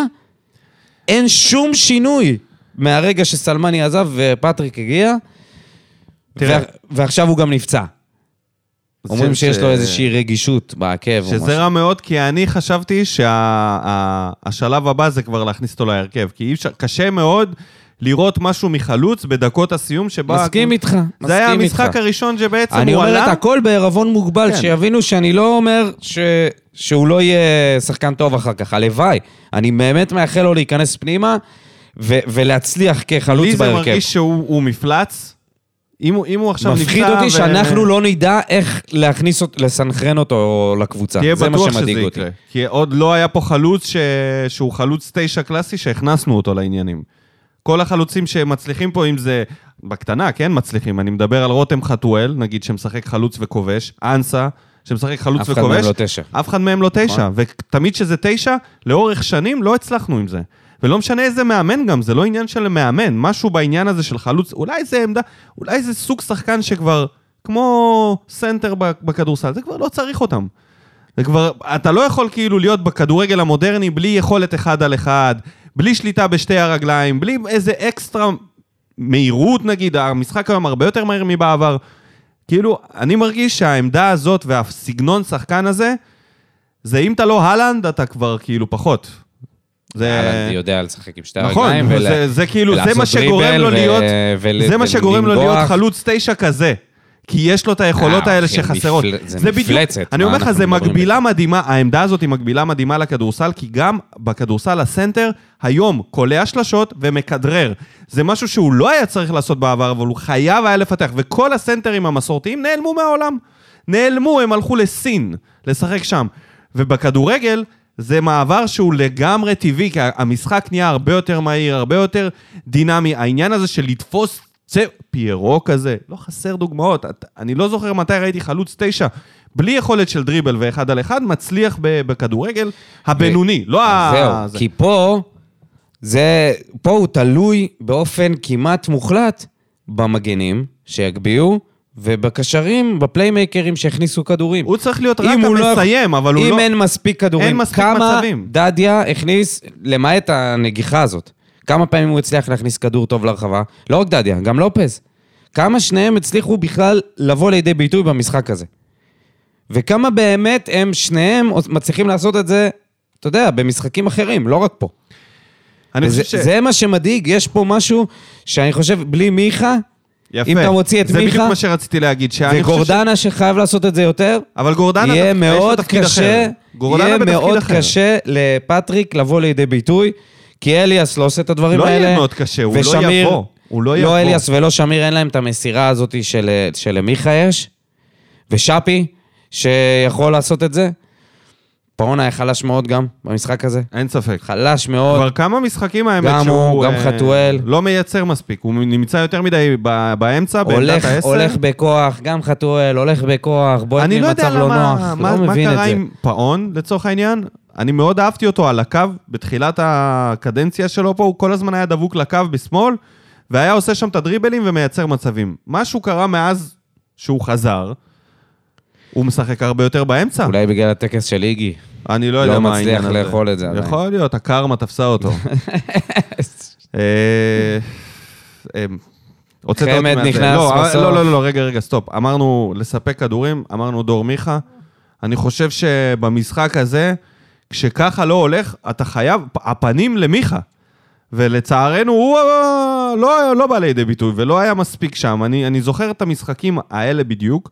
אין שום שינוי מהרגע שסלמני עזב ופטריק הגיע,
תראה.
ו- ועכשיו הוא גם נפצע. אומרים
ש-
שיש
ש-
לו איזושהי רגישות בעקב או משהו.
שזה רע מאוד, כי אני חשבתי שהשלב הבא זה כבר להכניס אותו להרכב, כי אי אפשר, קשה מאוד לראות משהו מחלוץ בדקות הסיום שבה...
מסכים איתך,
זה היה
מסכים איתך.
המשחק הראשון שבעצם
אני
הוא
אומר את
עלה,
הכל בעירבון מוגבל,
כן.
שיבינו שאני לא אומר ש... שהוא לא יהיה שחקן טוב אחר כך, הלוואי. אני באמת מאחל לו להיכנס פנימה ו... ולהצליח
לי
כחלוץ
זה
בהרכב.
מרגיש שהוא הוא מפלץ. אם הוא- אם הוא עכשיו נפצע...
מפחיד אותי שאנחנו לא נדע איך להכניס אותו, לסנכרן אותו לקבוצה.
תהיה
זה מה
בטוח שזה
שמדאיג אותי.
יקרה. כי עוד לא היה פה חלוץ ש... שהוא חלוץ תשע קלאסי שהכנסנו אותו לעניינים. כל החלוצים שמצליחים פה, אם זה... בקטנה, כן מצליחים. אני מדבר על רותם חתואל, נגיד, שמשחק חלוץ וכובש, אנסה, שמשחק חלוץ
אף אחד
וכובש.
מהם לא תשע.
אף אחד מהם לא תשע. ותמיד שזה תשע, לאורך שנים לא הצלחנו עם זה. ולא משנה איזה מאמן גם, זה לא עניין של מאמן. משהו בעניין הזה של חלוץ, אולי זה עמדה, אולי זה סוג שחקן שכבר, כמו סנטר ב- בכדורסל, זה כבר לא צריך אותם. זה כבר, אתה לא יכול כאילו להיות בכדורגל המודרני בלי יכולת אחד על אחד, בלי שליטה בשתי הרגליים, בלי איזה אקסטרה מהירות נגיד, המשחק היום הרבה יותר מהיר מבעבר. כאילו, אני מרגיש שהעמדה הזאת והסגנון שחקן הזה, זה אם אתה לא הלנד, אתה כבר כאילו פחות.
אהלן,
זה...
יודע לשחק עם שתי
אה, נכון,
הרגליים. ול-
זה, זה כאילו, זה מה
ולעשות
שגורם
דריבל
לו
ו-
להיות,
ול-
זה מה שגורם לו להיות
ולנגוח.
חלוץ תשע כזה. כי יש לו את היכולות
אה,
האלה
אחי,
שחסרות.
מפל- זה
בדיוק-
מפלצת,
אני
מה
אומר לך,
אנחנו
זה
מדברים
מקבילה מדהימה, העמדה הזאת היא מקבילה מדהימה לכדורסל, כי גם בכדורסל הסנטר, היום קולע שלשות ומכדרר. זה משהו שהוא לא היה צריך לעשות בעבר, אבל הוא חייב היה לפתח. וכל הסנטרים המסורתיים נעלמו מהעולם. נעלמו, הם הלכו לסין, לשחק שם. ובכדורגל... זה מעבר שהוא לגמרי טבעי, כי המשחק נהיה הרבה יותר מהיר, הרבה יותר דינמי. העניין הזה של לתפוס צא, פיירו כזה, לא חסר דוגמאות. את, אני לא זוכר מתי ראיתי חלוץ תשע, בלי יכולת של דריבל ואחד על אחד, מצליח ב, בכדורגל הבינוני, לא ה...
זהו,
זה.
כי פה, זה, פה הוא תלוי באופן כמעט מוחלט במגנים שיגביהו, ובקשרים, בפליימייקרים שהכניסו כדורים.
הוא צריך להיות רק
אם הוא לא-
המסיים, אבל הוא
אם
לא...
אין מספיק כדורים,
אין מספיק
כמה
מצבים.
דדיה הכניס, למעט הנגיחה הזאת, כמה פעמים הוא הצליח להכניס כדור טוב לרחבה? לא רק דדיה, גם לופז. כמה שניהם הצליחו בכלל לבוא לידי ביטוי במשחק הזה. וכמה באמת הם שניהם מצליחים לעשות את זה, אתה יודע, במשחקים אחרים, לא רק פה.
אני
וזה,
חושב
ש...
ש...
זה מה שמדאיג, יש פה משהו שאני חושב, בלי מיכה
יפה.
אם אתה מוציא את
זה
מיכה-
בדיוק מה שרציתי להגיד, שאני כן, חושב ש...
וגורדנה ש... שחייב לעשות את זה יותר,
אבל גורדנה,
יהיה
דווקא יש לו
מאוד
תפקיד
קשה,
אחר. גורדנה
יהיה
בתפקיד
מאוד
אחר.
קשה לפטריק לבוא לידי ביטוי, כי אליאס לא עושה את הדברים
לא
האלה.
יהיה מאוד קשה, הוא לא
ושמיר-
יבוא. הוא לא יבוא.
לא אליאס ולא שמיר, אין להם את המסירה הזאת של, שלמיכה יש, ושאפי, שיכול לעשות את זה. פאונה היה חלש מאוד גם במשחק הזה.
אין ספק.
חלש מאוד.
כבר כמה משחקים האמת
גם
שהוא...
הוא, גם
אה,
חתואל.
לא מייצר מספיק, הוא נמצא יותר מדי ב- באמצע, בעמדת
הולך,
העשר.
הולך בכוח, גם חתואל, הולך בכוח, בועט
אני לא יודע
ממצב לא נוח,
למה... מה
לא
מה
מבין את
קרה
זה.
עם פאון, לצורך העניין? אני מאוד אהבתי אותו על הקו, בתחילת הקדנציה שלו פה, הוא כל הזמן היה דבוק לקו בשמאל, והיה עושה שם את הדריבלים ומייצר מצבים. משהו קרה מאז שהוא חזר, הוא משחק הרבה יותר באמצע.
אולי בגלל הטקס של איגי.
אני לא
לא
יודע מה
מצליח
העניין הזה.
לאכול את זה עדיין.
יכול להיות, הקרמה תפסה
*laughs*
אותו. אה, אה, הוצאת אותי
חמד
מהזה.
נכנס
לא, אה,
בסוף.
לא, לא, לא, רגע, רגע, סטופ. אמרנו לספק כדורים, אמרנו דור מיכה. אני חושב שבמשחק הזה, כשככה לא הולך, אתה חייב, הפנים למיכה. ולצערנו, הוא אה, לא, לא בא לידי ביטוי ולא היה מספיק שם. אני, אני זוכר את המשחקים האלה בדיוק,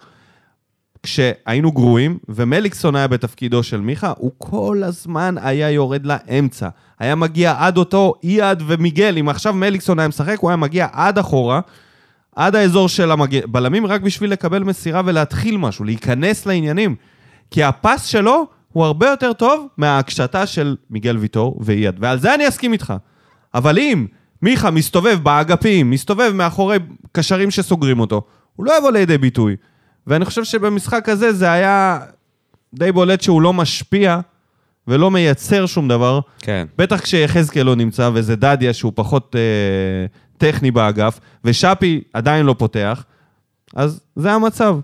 כשהיינו גרועים, ומליקסון היה בתפקידו של מיכה, הוא כל הזמן היה יורד לאמצע. היה מגיע עד אותו אייד ומיגל. אם עכשיו מליקסון היה משחק, הוא היה מגיע עד אחורה, עד האזור של הבלמים, רק בשביל לקבל מסירה ולהתחיל משהו, להיכנס לעניינים. כי הפס שלו הוא הרבה יותר טוב מההקשתה של מיגל ויטור ואייד. ועל זה אני אסכים איתך. אבל אם מיכה מסתובב באגפים, מסתובב מאחורי קשרים שסוגרים אותו, הוא לא יבוא לידי ביטוי. ואני חושב שבמשחק הזה זה היה די בולט שהוא לא משפיע ולא מייצר שום דבר.
כן.
בטח כשיחזקאל לא נמצא, וזה דדיה שהוא פחות אה, טכני באגף, ושאפי עדיין לא פותח, אז זה המצב.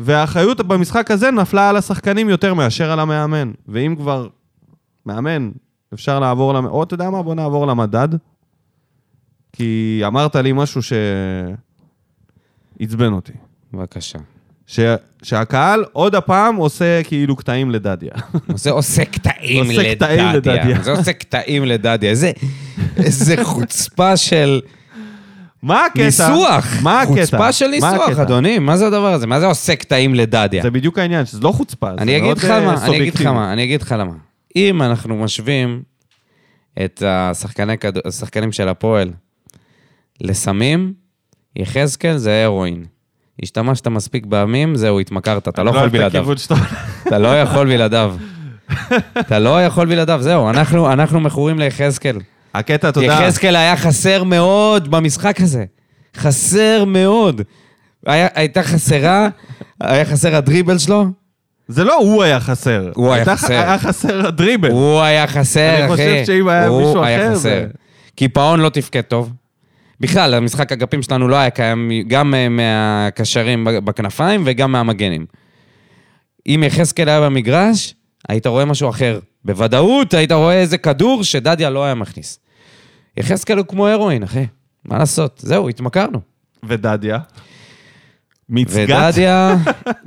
והאחריות במשחק הזה נפלה על השחקנים יותר מאשר על המאמן. ואם כבר מאמן, אפשר לעבור למ... או, אתה יודע מה? בוא נעבור למדד. כי אמרת לי משהו שעצבן אותי.
בבקשה.
ש... שהקהל עוד הפעם עושה כאילו קטעים לדדיה.
זה עושה קטעים
עושה קטעים
לדדיה.
לדדיה.
זה עושה קטעים לדדיה. איזה- איזה חוצפה של...
מה הקטע?
ניסוח!
מה הקטע?
חוצפה של
מה
ניסוח,
הקטע?
אדוני. מה זה הדבר הזה? מה זה עושה קטעים לדדיה?
זה בדיוק העניין, שזה לא חוצפה, זה
אני אגיד
מאוד
לך
אה,
מה, אני אגיד לך
סובייקטיבי.
מה, אני אגיד לך למה. אם אנחנו משווים את השחקני כדו- השחקנים של הפועל לסמים, יחזקאל זה הרואין. השתמשת מספיק פעמים, זהו, התמכרת, אתה לא יכול
אוהב את
בלעדיו.
הכיוון שאתה-
אתה לא יכול בלעדיו. אתה לא יכול בלעדיו, זהו, אנחנו, אנחנו מכורים ליחזקאל.
הקטע,
*laughs*
אתה יודע,
יחזקאל היה חסר מאוד במשחק הזה. חסר מאוד. היה, הייתה חסרה, היה חסר הדריבל שלו,
זה לא הוא היה חסר.
הוא היה
הייתה-
חסר.
היה חסר הדריבל.
הוא היה חסר, אחי.
אני חושב שאם היה
הוא
מישהו
היה
אחר,
חסר.
זה-
כי פאון לא תפקד טוב. בכלל, המשחק אגפים שלנו לא היה קיים גם אה, מהקשרים בכנפיים וגם מהמגנים. אם יחזקאל היה במגרש, היית רואה משהו אחר. בוודאות היית רואה איזה כדור שדדיה לא היה מכניס. יחזקאל הוא כמו הרואין, אחי. מה לעשות? זהו, התמכרנו.
ודדיה. מצגת.
ודדיה,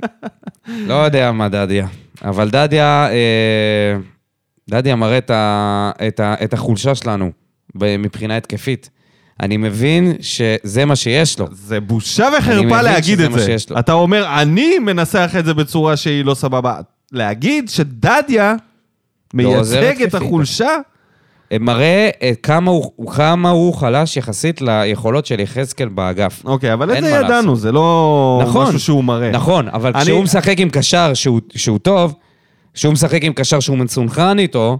*laughs* לא יודע מה דדיה, אבל דדיה, אה, דדיה מראה את, ה, את, ה, את החולשה שלנו ב- מבחינה התקפית. אני מבין שזה מה שיש לו.
זה בושה וחרפה
מבין
להגיד
שזה
את
מה
זה.
שיש לו.
אתה אומר, אני מנסח את זה בצורה שהיא לא סבבה. להגיד שדדיה
עוזר
מייצג
התקפית.
את החולשה?
אה, מראה אה, כמה הוא, כמה הוא חלש יחסית ליכולות של יחזקאל באגף.
אוקיי, אבל את
אין
זה
מה
ידענו, זה לא
נכון.
משהו שהוא מראה.
נכון, אבל
אני-
כשהוא משחק עם קשר שהוא, שהוא טוב, כשהוא משחק עם קשר שהוא מסונכרן איתו,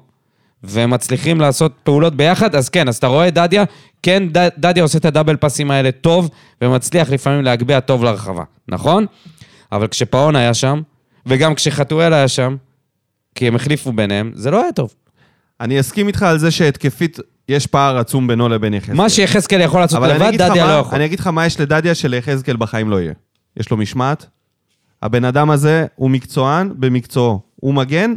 ומצליחים לעשות פעולות ביחד, אז כן, אז אתה רואה דדיה, כן, ד, דדיה עושה את הדאבל פאסים האלה טוב, ומצליח לפעמים להגביה טוב לרחבה, נכון? אבל כשפאון היה שם, וגם כשחתואל היה שם, כי הם החליפו ביניהם, זה לא היה טוב.
אני אסכים איתך על זה שהתקפית, יש פער עצום בינו לבין יחזקאל.
מה שיחזקאל יכול לעשות
אבל אני
לבד,
אגיד לך
דדיה
מה-
לא יכול.
אני אגיד לך מה יש לדדיה שליחזקאל בחיים לא יהיה. יש לו משמעת. הבן אדם הזה הוא מקצוען במקצועו. הוא מגן,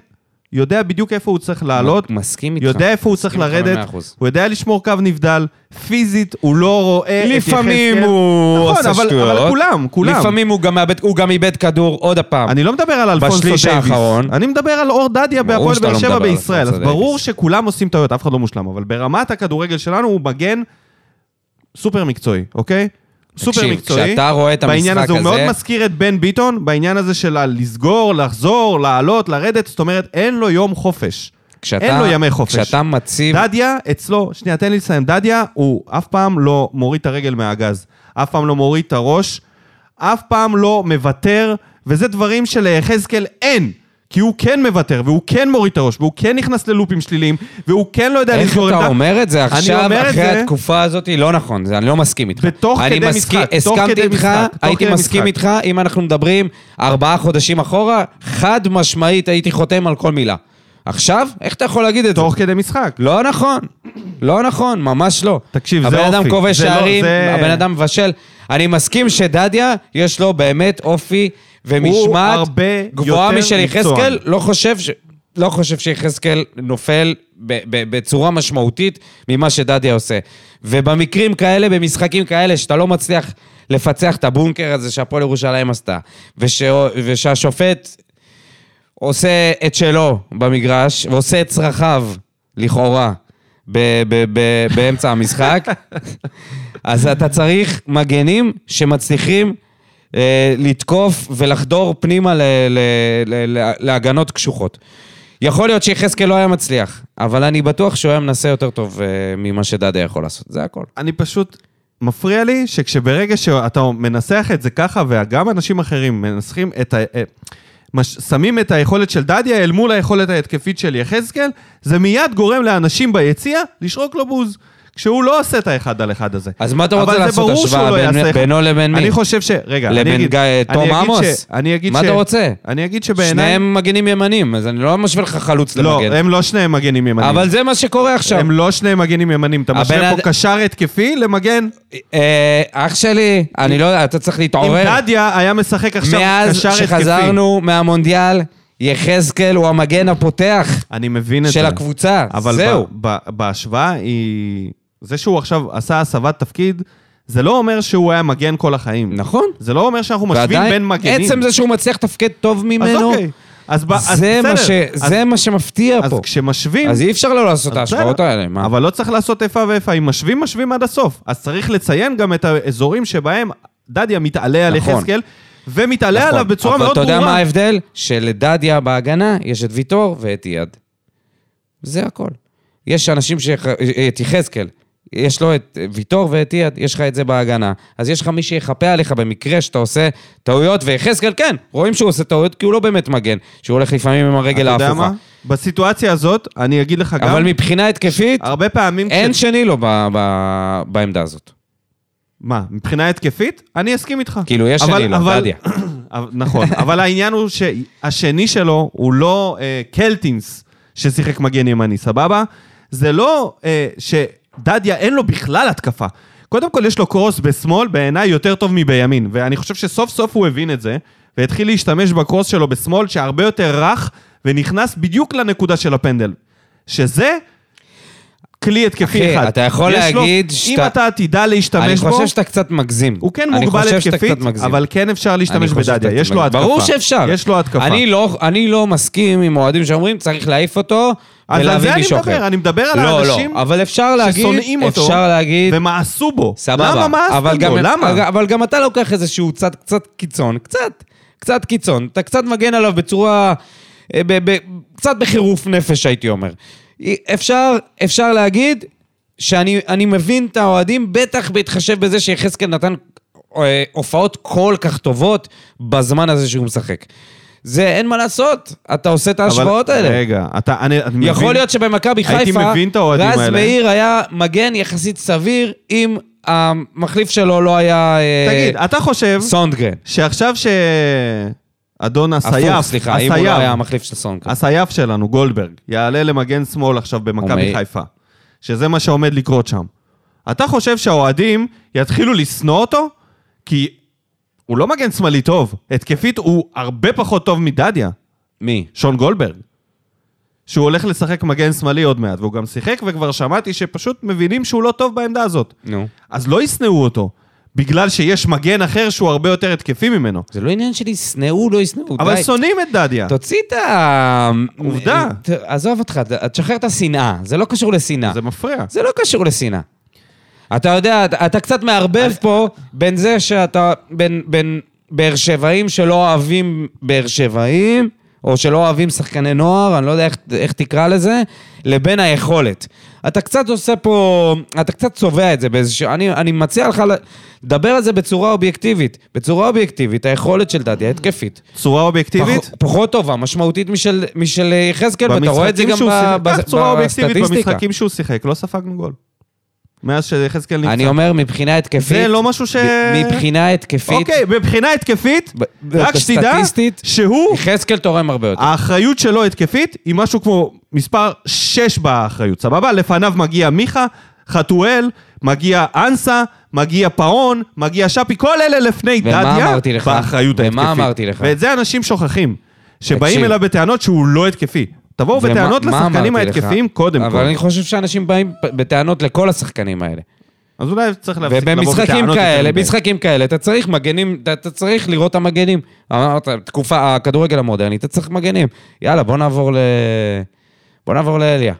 יודע בדיוק איפה הוא צריך לעלות,
מסכים איתך.
יודע איפה הוא צריך
מסכים איתך
לרדת,
במאה אחוז.
הוא יודע לשמור קו נבדל, פיזית הוא לא רואה את יחזקאל.
לפעמים הוא
נכון,
עושה
אבל-
שטויות.
אבל כולם, כולם.
לפעמים הוא גם מאבד- הוא גם איבד כדור עוד הפעם.
אני לא מדבר על אלפונסו
בשליש
דייוויס.
האחרון.
אני מדבר על אור דדיה
ברור
בהפועל
שאתה
באר
לא
שבע
מדבר על
בישראל. אז
אלפונסו
ברור
דייוויס.
שכולם עושים טעויות, אף אחד לא מושלם, אבל ברמת הכדורגל שלנו הוא מגן סופר מקצועי, אוקיי? סופר
תקשיב,
מקצועי.
כשאתה רואה את
בעניין
המשחק
הזה, הוא
הזה-
מאוד מזכיר את בן ביטון, בעניין הזה של לסגור, לחזור, לעלות, לרדת, זאת אומרת, אין לו יום חופש.
כשאתה-
אין לו ימי חופש.
כשאתה מציב...
דדיה, אצלו, שנייה, תן לי לסיים. דדיה, הוא אף פעם לא מוריד את הרגל מהגז. אף פעם לא מוריד את הראש. אף פעם לא מוותר, וזה דברים שליחזקאל אין. כי הוא כן מוותר, והוא כן מוריד את הראש, והוא כן נכנס ללופים שליליים, והוא כן לא יודע
איך
לסגור
אתה אומר את זה עכשיו,
אומר את
אחרי
זה-
התקופה הזאת? לא נכון, זה- אני לא מסכים איתך.
ותוך
אני
כדי
מסכים-
משחק, תוך
הסכמתי
כדי
איתך,
משחק, תוך
הייתי
כדי
מסכים
משחק.
איתך, אם אנחנו מדברים ארבעה חודשים אחורה, חד משמעית הייתי חותם על כל מילה. עכשיו, איך אתה יכול להגיד את זה?
תוך כדי משחק.
לא נכון, לא נכון, ממש לא.
תקשיב, זה
הבן אדם
אופי.
כובש
זה לא-
שערים,
זה-
הבן אדם מבשל. אני מסכים שדדיה, יש לו באמת אופי
הוא
ומשמעת
הרבה
גבוהה
יותר
משל יחזקאל,
מקצוען.
לא חושב ש... לא חושב שיחזקאל נופל ב- ב- בצורה משמעותית ממה שדדיה עושה. ובמקרים כאלה, במשחקים כאלה, שאתה לא מצליח לפצח את הבונקר הזה שהפועל ירושלים עשתה, וש... ושהשופט עושה את שלו במגרש, ועושה את צרכיו, לכאורה, ב- ב- ב- באמצע המשחק, אז אתה צריך מגנים שמצליחים אה, לתקוף ולחדור פנימה ל- ל- ל- ל- להגנות קשוחות. יכול להיות שיחזקאל לא היה מצליח, אבל אני בטוח שהוא היה מנסה יותר טוב אה, ממה שדדה יכול לעשות, זה הכל.
אני פשוט... מפריע לי שכשברגע שאתה מנסח את זה ככה, וגם אנשים אחרים מנסחים את ה... אה, מש... שמים את היכולת של דדיה אל מול היכולת ההתקפית של יחזקאל, זה מיד גורם לאנשים ביציע לשרוק לו בוז. כשהוא לא עושה את האחד על אחד הזה.
אז מה אתה
אבל
רוצה
זה
לעשות
ברור
השוואה
שהוא לא
בין-
יעשה-
בינו לבין מי?
אני חושב ש... רגע, אני
לבין
אגיד...
גיא-
אני
תום
אגיד ש-
עמוס?
אני אגיד
מה
ש...
אתה רוצה?
אני אגיד שבעיניי...
שניהם מגנים ימנים, אז אני לא משווה לך חלוץ
לא,
למגן.
הם לא שניהם מגנים ימנים.
אבל זה מה שקורה עכשיו.
הם לא שניהם מגנים ימנים. אתה משווה
הבן
פה
אד-
קשר התקפי למגן?
אה, אח שלי, אני לא יודע, אתה צריך
אם
להתעורר.
דדיה היה משחק עכשיו
מאז
קשר התקפי.
שחזרנו מהמונדיאל, יחזקאל הוא המגן הפותח
אני מבין את זה.
של הקבוצה.
אבל
זהו.
ב- ב- בהשוואה היא... זה שהוא עכשיו עשה הסבת תפקיד, זה לא אומר שהוא היה מגן כל החיים.
נכון.
זה לא אומר שאנחנו משווים
ועדיין,
בין מגנים.
עצם זה שהוא מצליח לתפקד טוב
אז
ממנו,
אוקיי. אז ב- אז
זה מה
בסדר.
ש-
אז-
זה מה שמפתיע
אז
פה.
כשמשווים...
אז אי אפשר לא לעשות
אז
את ההשוואות
בסדר.
האלה. מה?
אבל לא צריך לעשות איפה ואיפה. אם משווים, משווים עד הסוף. אז צריך לציין גם את האזורים שבהם דדיה מתעלה על
נכון.
יחזקאל, ומתעלה
נכון.
עליו בצורה מאוד
אבל אתה
ברורה.
יודע מה ההבדל? שלדדיה בהגנה יש את ויטור ואת אייד. זה הכל. יש אנשים ש... את יחזקאל. יש לו את ויטור ואת אייד, יש לך את זה בהגנה. אז יש לך מי שיחפה עליך במקרה שאתה עושה טעויות, ויחזקאל, כן, רואים שהוא עושה טעויות כי הוא לא באמת מגן, שהוא הולך לפעמים עם הרגל
אתה יודע
ההפוכה.
מה? בסיטואציה הזאת, אני אגיד לך
אבל
גם,
מבחינה התקפית,
הרבה פעמים...
אין
כש-
שני לו ב- ב- בעמדה הזאת.
מה, מבחינה התקפית? אני אסכים איתך.
כאילו, יש
אבל-
שני לו,
אבל-
דדיה.
*clears throat* אבל- נכון, אבל העניין הוא שהשני שלו הוא לא אה, קלטינס ששיחק מגן ימני, סבבה? זה לא אה, שדדיה אין לו בכלל התקפה. קודם כל יש לו קרוס בשמאל, בעיניי יותר טוב מבימין, ואני חושב שסוף סוף הוא הבין את זה, והתחיל להשתמש בקרוס שלו בשמאל, שהרבה יותר רך, ונכנס בדיוק לנקודה של הפנדל. שזה... כלי התקפי
אחי,
אחד.
אתה יכול
יש לו-
להגיד
אם
שאתה-
אתה תדע להשתמש בו...
אני חושב שאתה קצת מגזים.
הוא כן
אני
מוגבל
חושב שאתה
התקפית,
קצת מגזים.
אבל כן אפשר
אני
להשתמש
חושב
בדדיה,
שאתה
יש לו
צודק.
התקפה.
ברור שאפשר.
יש לו התקפה.
אני לא, אני לא מסכים עם אוהדים שאומרים, צריך להעיף אותו
אז על
ולהביא
זה אני
מישהו אחר.
מדבר, אני מדבר על
לא,
האנשים
לא, אבל אפשר להגיד,
ששונאים אותו,
אפשר להגיד,
ומאסו בו.
סבבה.
למה מאסו
אבל גם-
בו? למה?
אבל גם אתה לוקח איזשהו צד קצת קיצון, קצת, קצת קיצון. אתה קצת מגן עליו בצורה, אה, ב- ב- קצת בחירוף נפש, הייתי אומר. אי- אפשר, אפשר להגיד שאני אני מבין את האוהדים, בטח בהתחשב בזה שיחזקאל נתן אה, הופעות כל כך טובות בזמן הזה שהוא משחק. זה אין מה לעשות, אתה עושה את ההשוואות
אבל-
האלה.
רגע, אתה... אני אני מבין...
יכול להיות שבמכבי חיפה,
הייתי מבין את האוהדים
רז
האלה.
מאיר היה מגן יחסית סביר אם המחליף שלו לא היה... אה,
תגיד, אתה חושב
סונדגרן.
שעכשיו ש... אדון
הפוך,
הסייף,
סליחה, אם הוא לא היה
הסייף,
המחליף של סונדגרן.
הסייף שלנו, גולדברג, יעלה למגן שמאל עכשיו במכבי
אומר-
חיפה, שזה מה שעומד לקרות שם. אתה חושב שהאוהדים יתחילו לשנוא אותו? כי הוא לא מגן שמאלי טוב. התקפית הוא הרבה פחות טוב מדדיה,
מי?
שון גולדברג. שהוא הולך לשחק מגן שמאלי עוד מעט, והוא גם שיחק וכבר שמעתי שפשוט מבינים שהוא לא טוב בעמדה הזאת.
נו.
אז לא ישנאו אותו, בגלל שיש מגן אחר שהוא הרבה יותר התקפי ממנו.
זה לא עניין של ישנאו, לא ישנאו,
אבל
די.
שונאים את דדיה.
תוציא את ה...
עובדה.
ת- עזוב אותך, ת- תשחרר את השנאה, זה לא קשור לשנאה.
זה מפריע.
זה לא קשור לשנאה. אתה יודע, אתה, אתה קצת מערבב פה בין זה שאתה, בין, בין באר שבעים שלא אוהבים באר שבעים, או שלא אוהבים שחקני נוער, אני לא יודע איך, איך תקרא לזה, לבין היכולת. אתה קצת עושה פה, אתה קצת צובע את זה באיזשהו... אני, אני מציע לך לדבר על זה בצורה אובייקטיבית. בצורה אובייקטיבית, היכולת של דדי ההתקפית.
צורה אובייקטיבית?
פח, פחות טובה, משמעותית משל, משל יחזקאל, ואתה רואה את זה
במשחקים
גם
שהוא שיחק,
ב-
קח
ב-
צורה אובייקטיבית
בסטטיסטיקה.
במשחקים שהוא שיחק, לא ספגנו גול. מאז שיחזקאל נמצא.
אני אומר, מבחינה התקפית...
זה לא משהו ש-
ב- מבחינה התקפית...
אוקיי, מבחינה התקפית,
ב-
רק שתדע
סטטיסטית,
שהוא,
יחזקאל תורם הרבה
אה,
יותר.
האחריות שלו התקפית היא משהו כמו מספר 6 באחריות, סבבה? לפניו מגיע מיכה, חתואל, מגיע אנסה, מגיע פאון, מגיע שפי, כל אלה לפני
ומה
דדיה,
אמרתי לך?
באחריות
ומה
ההתקפית.
אמרתי לך?
ואת זה אנשים שוכחים, שבאים
תקשיב.
אליו בטענות שהוא לא התקפי. תבואו
ומה-
בטענות
מה
לשחקנים
אמרתי לך?
ההתקפיים קודם
אבל
כל.
אני חושב שאנשים באים פ- בטענות לכל השחקנים האלה.
אז אולי צריך להפסיק לבוא בטענות.
ובמשחקים
יותר
כאלה,
מדי.
משחקים כאלה, אתה צריך מגנים, אתה- אתה צריך לראות את המגנים. אמרת, תקופה, הכדורגל המודרני, אתה צריך מגנים. יאללה, בוא נעבור ל... בוא נעבור לאליה.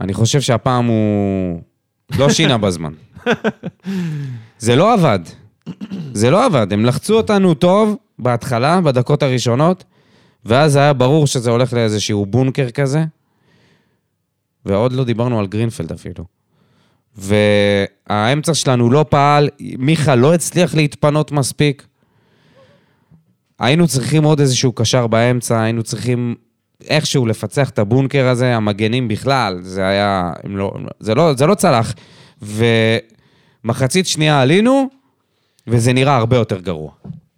אני חושב שהפעם הוא
*laughs*
לא שינה בזמן. זה לא עבד. זה לא עבד. הם לחצו אותנו טוב בהתחלה, בדקות הראשונות, ואז היה ברור שזה הולך לאיזשהו בונקר כזה, ועוד לא דיברנו על גרינפלד אפילו. והאמצע שלנו לא פעל, מיכה לא הצליח להתפנות מספיק. היינו צריכים עוד איזשהו קשר באמצע, היינו צריכים איכשהו לפצח את הבונקר הזה, המגנים בכלל, זה היה, הם לא, הם לא- זה, לא, זה לא צלח. ומחצית שנייה עלינו, וזה נראה הרבה יותר גרוע.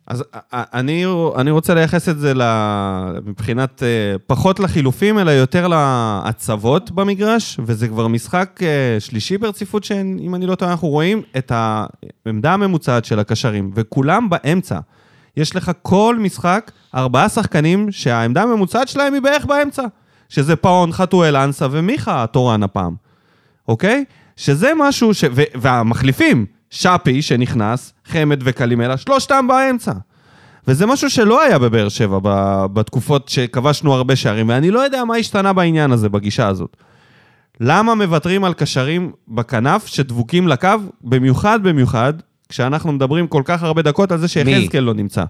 אז א- א- אני, אני רוצה לייחס את זה ל, מבחינת, אה, פחות לחילופים, אלא יותר להצבות במגרש, וזה כבר משחק אה, שלישי ברציפות, שאם אני לא טועה, אנחנו רואים את העמדה הממוצעת של הקשרים, וכולם באמצע. יש לך כל משחק ארבעה שחקנים שהעמדה הממוצעת שלהם היא בערך באמצע, שזה פאון, חתואל, אנסה ומיכה התורן הפעם. אוקיי? שזה משהו ש... ו... והמחליפים, שפי שנכנס, חמד וקלימלה, שלושתם באמצע. וזה משהו שלא היה בבאר שבע ב... בתקופות שכבשנו הרבה שערים, ואני לא יודע מה השתנה בעניין הזה, בגישה הזאת. למה מוותרים על קשרים בכנף שדבוקים לקו, במיוחד במיוחד, כשאנחנו מדברים כל כך הרבה דקות על זה שיחזקאל לא נמצא.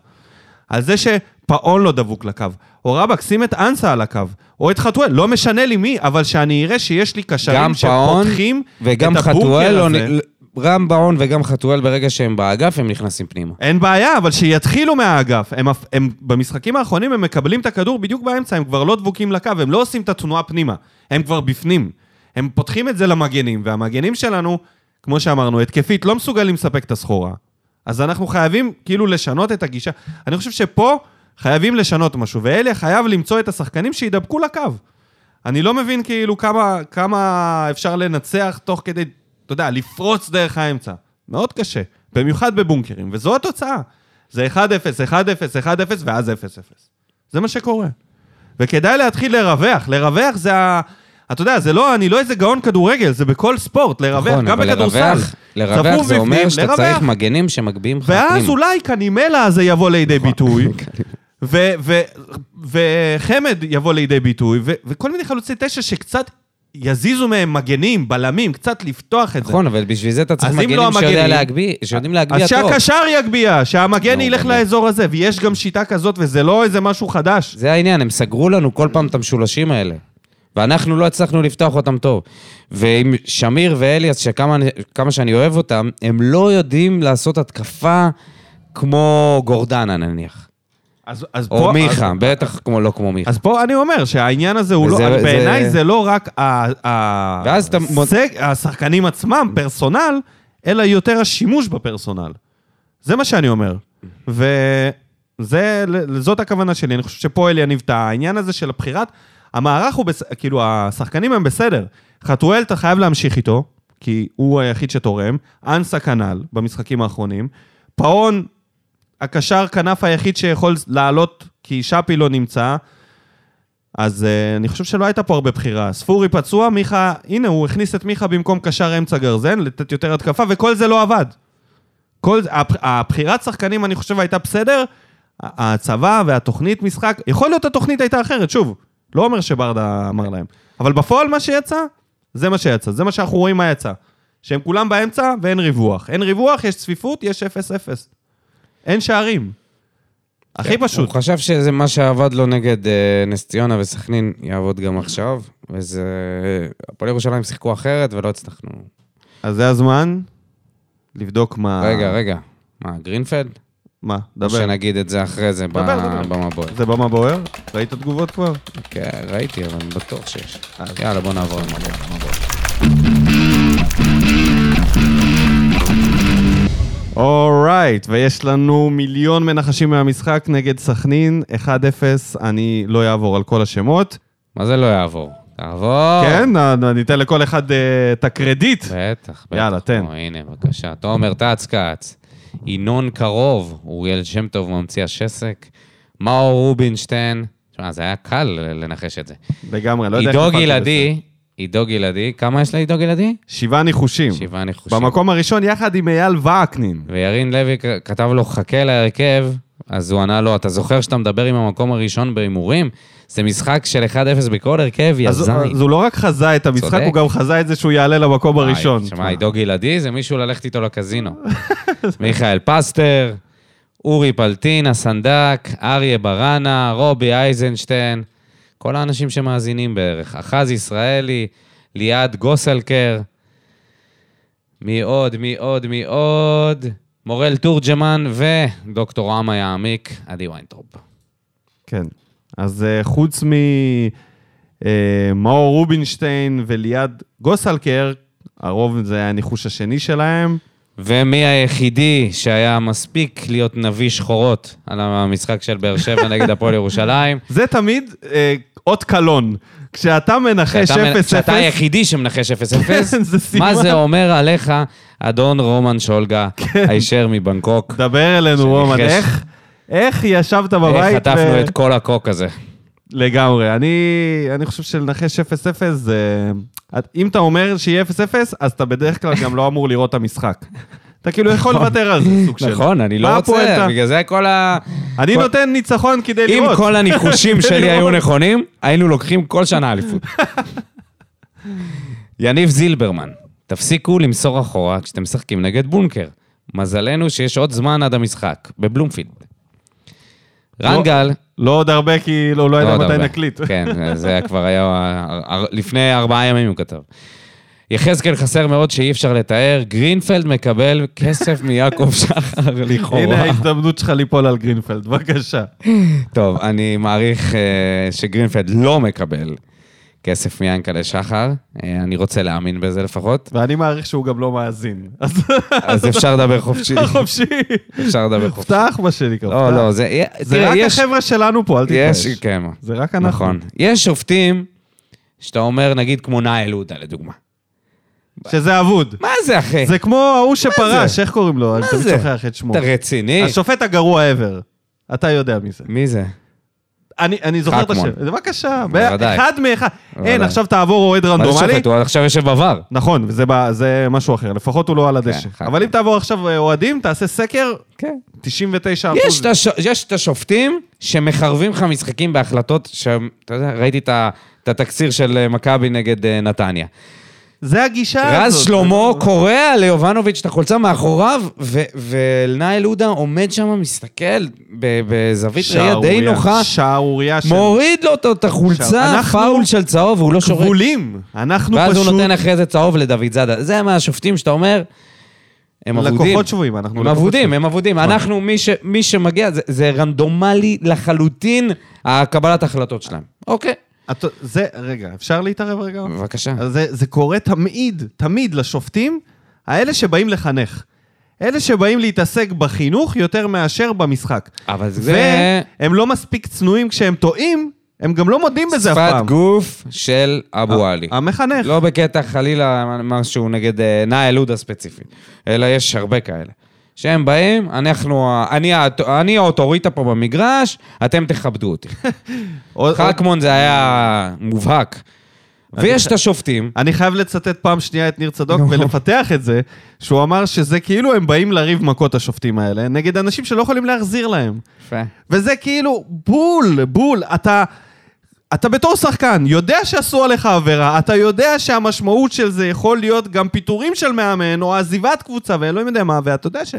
על זה שפאון לא דבוק לקו, או רבאק, שים את אנסה על הקו, או את חתואל, לא משנה לי מי, אבל שאני אראה שיש לי
גם
קשרים
פאון
שפותחים
וגם
את
חתואל,
הבונקר
לא,
הזה.
רם באון וגם חתואל ברגע שהם באגף, הם נכנסים פנימה.
אין בעיה, אבל שיתחילו מהאגף. הם, אף- הם, במשחקים האחרונים הם מקבלים את הכדור בדיוק באמצע, הם כבר לא דבוקים לקו, הם לא עושים את התנועה פנימה, הם כבר בפנים. הם פותחים את זה למגנים, והמגנים שלנו, כמו שאמרנו, התקפית, לא מסוגלים לספק את הסחורה. אז אנחנו חייבים כאילו לשנות את הגישה. אני חושב שפה חייבים לשנות משהו, ואלה חייב למצוא את השחקנים שידבקו לקו. אני לא מבין כאילו כמה, כמה אפשר לנצח תוך כדי, אתה יודע, לפרוץ דרך האמצע. מאוד קשה, במיוחד בבונקרים, וזו התוצאה. זה 1-0, 1-0, 1-0, ואז 0-0. זה מה שקורה. וכדאי להתחיל לרווח, לרווח זה ה... אתה יודע, זה לא, אני לא איזה גאון כדורגל, זה בכל ספורט, לרווח,
נכון,
גם
אבל
בכדורסל.
לרווח- לרווח
צפוף
זה
בפנים,
אומר שאתה
לרווח.
צריך מגנים שמגביהים לך פנימה.
ואז לא- אולי קנימלה הזה יבוא לידי
נכון. *laughs*
ביטוי, ו- ו- וחמד יבוא לידי ביטוי, ו- וכל מיני חלוצי תשע שקצת יזיזו מהם מגנים, בלמים, קצת לפתוח את זה.
נכון, אבל בשביל זה אתה צריך
אז אם
מגנים
לא
שיודע
המגנים-
להגביה, שיודעים להגביה
אז
טוב.
שהקשר יגביה, שהמגן
נו,
ילך
באמת.
לאזור הזה, ויש גם שיטה כזאת, וזה לא איזה משהו חדש.
זה העניין, הם סגרו לנו כל פעם את המשולשים האלה. ואנחנו לא הצלחנו לפתוח אותם טוב. ועם שמיר ואליאס, שכמה אני- כמה שאני אוהב אותם, הם לא יודעים לעשות התקפה כמו גורדנה נניח.
אז, אז פה...
או מיכה,
אז,
בטח כמו- לא כמו מיכה.
אז פה אני אומר שהעניין הזה הוא
וזה-
לא...
זה-
בעיניי זה לא רק ה- ה-
ואז אתה מוצ-
סג- השחקנים עצמם, פרסונל, אלא יותר השימוש בפרסונל. זה מה שאני אומר. וזאת הכוונה שלי, אני חושב שפה אלי יניב את העניין הזה של הבחירת, המערך הוא, בס... כאילו, השחקנים הם בסדר. חתואל, אתה חייב להמשיך איתו, כי הוא היחיד שתורם. אנסה כנ"ל, במשחקים האחרונים. פאון, הקשר כנף היחיד שיכול לעלות, כי שפי לא נמצא. אז uh, אני חושב שלא הייתה פה הרבה בחירה. ספורי פצוע, מיכה, הנה, הוא הכניס את מיכה במקום קשר אמצע גרזן, לתת יותר התקפה, וכל זה לא עבד. כל, הבח- הבחירת שחקנים, אני חושב, הייתה בסדר. ה- ההצבה והתוכנית משחק, יכול להיות התוכנית הייתה אחרת, שוב, לא אומר שברדה אמר להם. אבל בפועל מה שיצא, זה מה שיצא, זה מה שאנחנו רואים מה יצא. שהם כולם באמצע ואין ריווח. אין ריווח, יש צפיפות, יש 0-0. אין שערים. הכי פשוט.
כן, הוא חשב שזה מה שעבד לו נגד אה, נס ציונה וסכנין יעבוד גם עכשיו, וזה... הפועל ירושלים שיחקו אחרת ולא הצלחנו.
אז זה הזמן לבדוק מה...
רגע, רגע. מה, גרינפלד?
מה?
או
אה. דבר.
שנגיד את זה אחרי זה ב-
דבר, דבר.
במבוי.
זה במה בוער? ראית תגובות כבר?
כן, ראיתי, אבל אני בטוח שיש.
אז-
יאללה, בוא נעבור למבוי.
אורייט, ויש לנו מיליון מנחשים מהמשחק נגד סכנין, 1-0, אני לא אעבור על כל השמות.
מה זה לא יעבור? תעבור.
כן, אני אתן לכל אחד אה, את הקרדיט.
בטח, בטח.
יאללה, תן.
או, הנה, בבקשה. תומר טץ כץ, ינון קרוב, אוריאל שם טוב ממציא השסק, מאור רובינשטיין, תשמע, זה היה קל לנחש את זה.
לגמרי, לא יודע
עידו
הפעלתי
גלעדי, עידו גלעדי, כמה יש לעידו גלעדי?
לזה. שבעה ניחושים.
שבעה ניחושים.
כן. במקום הראשון יחד עם אייל וקנין.
וירין לוי כ- כתב לו, חכה להרכב, אז הוא ענה לו, אתה זוכר שאתה מדבר עם המקום הראשון בהימורים? זה משחק של 1-0 בכל הרכב, יא
אז
זין.
אז הוא לא רק חזה את המשחק,
צודק.
הוא גם חזה את זה שהוא יעלה למקום
וואי,
הראשון.
שמע, עידו גלעדי זה מישהו ללכת איתו לקזינו. מיכאל פסטר, אורי פלטין, הסנדק, אריה ברנה, רובי אייזנשטיין, כל האנשים שמאזינים בערך. אחז ישראלי, ליעד גוסלקר, מי עוד, מי עוד, מי עוד? מורל תורג'מן ודוקטור עמה יעמיק, עדי ויינטרופ.
כן. אז אה, חוץ ממאור רובינשטיין וליעד גוסלקר, הרוב זה היה הניחוש השני שלהם.
ומי היחידי שהיה מספיק להיות נביא שחורות על המשחק של באר שבע נגד הפועל ירושלים?
זה תמיד אה, אות קלון. כשאתה מנחש 0-0,
כשאתה מנ- כשאתה היחידי שמנחש 0-0,
כן, זה סימן.
מה זה אומר עליך, אדון רומן שולגה,
כן.
הישר מבנקוק?
דבר אלינו, רומן,
שניחש.
איך, איך ישבת
איך
בבית?
חטפנו את כל הקוק הזה?
לגמרי. אני, אני חושב שלנחש 0-0, זה... את- אם אתה אומר שיהיה 0-0, אז אתה בדרך כלל גם לא אמור לראות את המשחק. אתה כאילו יכול לוותר על זה, סוג של...
נכון, אני
מה
לא רוצה,
הפואנטה?
בגלל זה כל ה...
אני
כל-
נותן ניצחון כדי
אם
לראות. *laughs*
כל הניחושים שלי היו
לראות.
נכונים, היינו לוקחים כל
*laughs*
שנה אליפות. יניב זילברמן, תפסיקו למסור אחורה כשאתם משחקים נגד בונקר. מזלנו שיש עוד זמן עד המשחק, בבלומפילד.
לא-
רנגל,
לא עוד הרבה, כי לא, לא
לא
יודע
עוד
מתי
הרבה.
נקליט.
*laughs* כן, זה היה כבר היה... הר- הר- לפני ארבעה ימים הוא כתב. יחזקאל חסר מאוד שאי אפשר לתאר, גרינפלד מקבל כסף מיעקב *laughs* שחר
הנה
לכאורה.
ההזדמנות שלך ליפול על גרינפלד, בבקשה.
טוב, אני מעריך אה, שגרינפלד לא מקבל כסף מיענקלה שחר, אה, אני רוצה להאמין בזה לפחות,
*laughs* ואני מעריך שהוא גם לא מאזין. אז
אז אפשר לדבר חופשי.
*laughs* חופשי. *laughs*
אפשר לדבר חופשי.
פתח, מה שנקרא.
לא,
פתח.
לא, זה...
זה
תראה,
רק
יש-
החבר'ה שלנו פה, אל
יש,
תתפעש.
כן.
זה רק אנחנו.
נכון. יש שופטים שאתה אומר, נגיד כמו נאיל עודה לדוגמה.
שזה אבוד.
מה זה, אחי?
זה כמו ההוא שפרש,
אה. זה?
איך קוראים לו? אני
מה
תמיד
זה?
שוכח את שמו.
אתה רציני?
השופט לא, הגרוע ever. אתה יודע מי זה.
מי זה?
אני אני זוכר את
חכמון.
השם. בבקשה,
בוודאי.
אחד מאחד. אין,
בוודאי.
עכשיו תעבור אוהד
מה זה
רנדומלי.
שופט? הוא עכשיו יושב בוואר.
נכון, וזה ב- זה משהו אחר, לפחות הוא לא על הדשא.
כן, חכמון.
אבל אם תעבור עכשיו אה, אוהדים, תעשה סקר,
כן.
99
יש
אחוז.
את הש- יש את השופטים שמחרבים לך משחקים בהחלטות שהם, אתה יודע, ראיתי את ה- את התקציר של אה, מכבי נגד אה, נתניה.
זה הגישה הזאת. אה,
רז שלמה קורע ליובנוביץ' את החולצה מאחוריו, ו- ונאיל עודה עומד שם, מסתכל ב- בזווית ראייה די
שערורייה,
נוחה,
שערורייה של
מוריד לו את- את החולצה,
אנחנו
פאול של צהוב, והוא לא שורק.
גבולים. אנחנו
ואז הוא
פשוט
נותן אחרי זה צהוב לדוד זאדה. זה מהשופטים שאתה אומר, הם אבודים.
לקוחות שבויים. אנחנו לא
הם
לקוחות
אבודים,
שבויים.
הם אבודים. אנחנו, מי ש- מי שמגיע, זה- זה רנדומלי לחלוטין, הקבלת ההחלטות שלהם. אוקיי.
את- זה, רגע, אפשר להתערב רגע?
בבקשה.
אז זה, זה קורה תמיד, תמיד לשופטים, האלה שבאים לחנך. אלה שבאים להתעסק בחינוך יותר מאשר במשחק.
אבל זה
והם לא מספיק צנועים כשהם טועים, הם גם לא מודים בזה אף
שפת
פעם. אה,
גוף של אבו עלי.
המחנך.
לא בקטע חלילה משהו נגד אה, נאי לודה ספציפית, אלא יש הרבה כאלה. שהם באים, אנחנו, ה- אני, האט- אני האוטוריטה פה במגרש, אתם
*laughs*
תכבדו אותי.
אוקיי. עוד- עוד-
חכמון זה היה מובהק.
אוקיי.
ויש את השופטים,
אני חייב לצטט פעם שנייה את ניר צדוק ולפתח את זה, שהוא אמר שזה כאילו הם באים לריב מכות השופטים האלה, נגד אנשים שלא יכולים להחזיר להם.
יפה.
וזה כאילו בול, בול. אתה, אתה בתור שחקן יודע שעשו עליך עבירה, אתה יודע שהמשמעות של זה יכול להיות גם פיטורים של מאמן, או עזיבת קבוצה, ואלוהים יודע מה, ואתה יודע ש...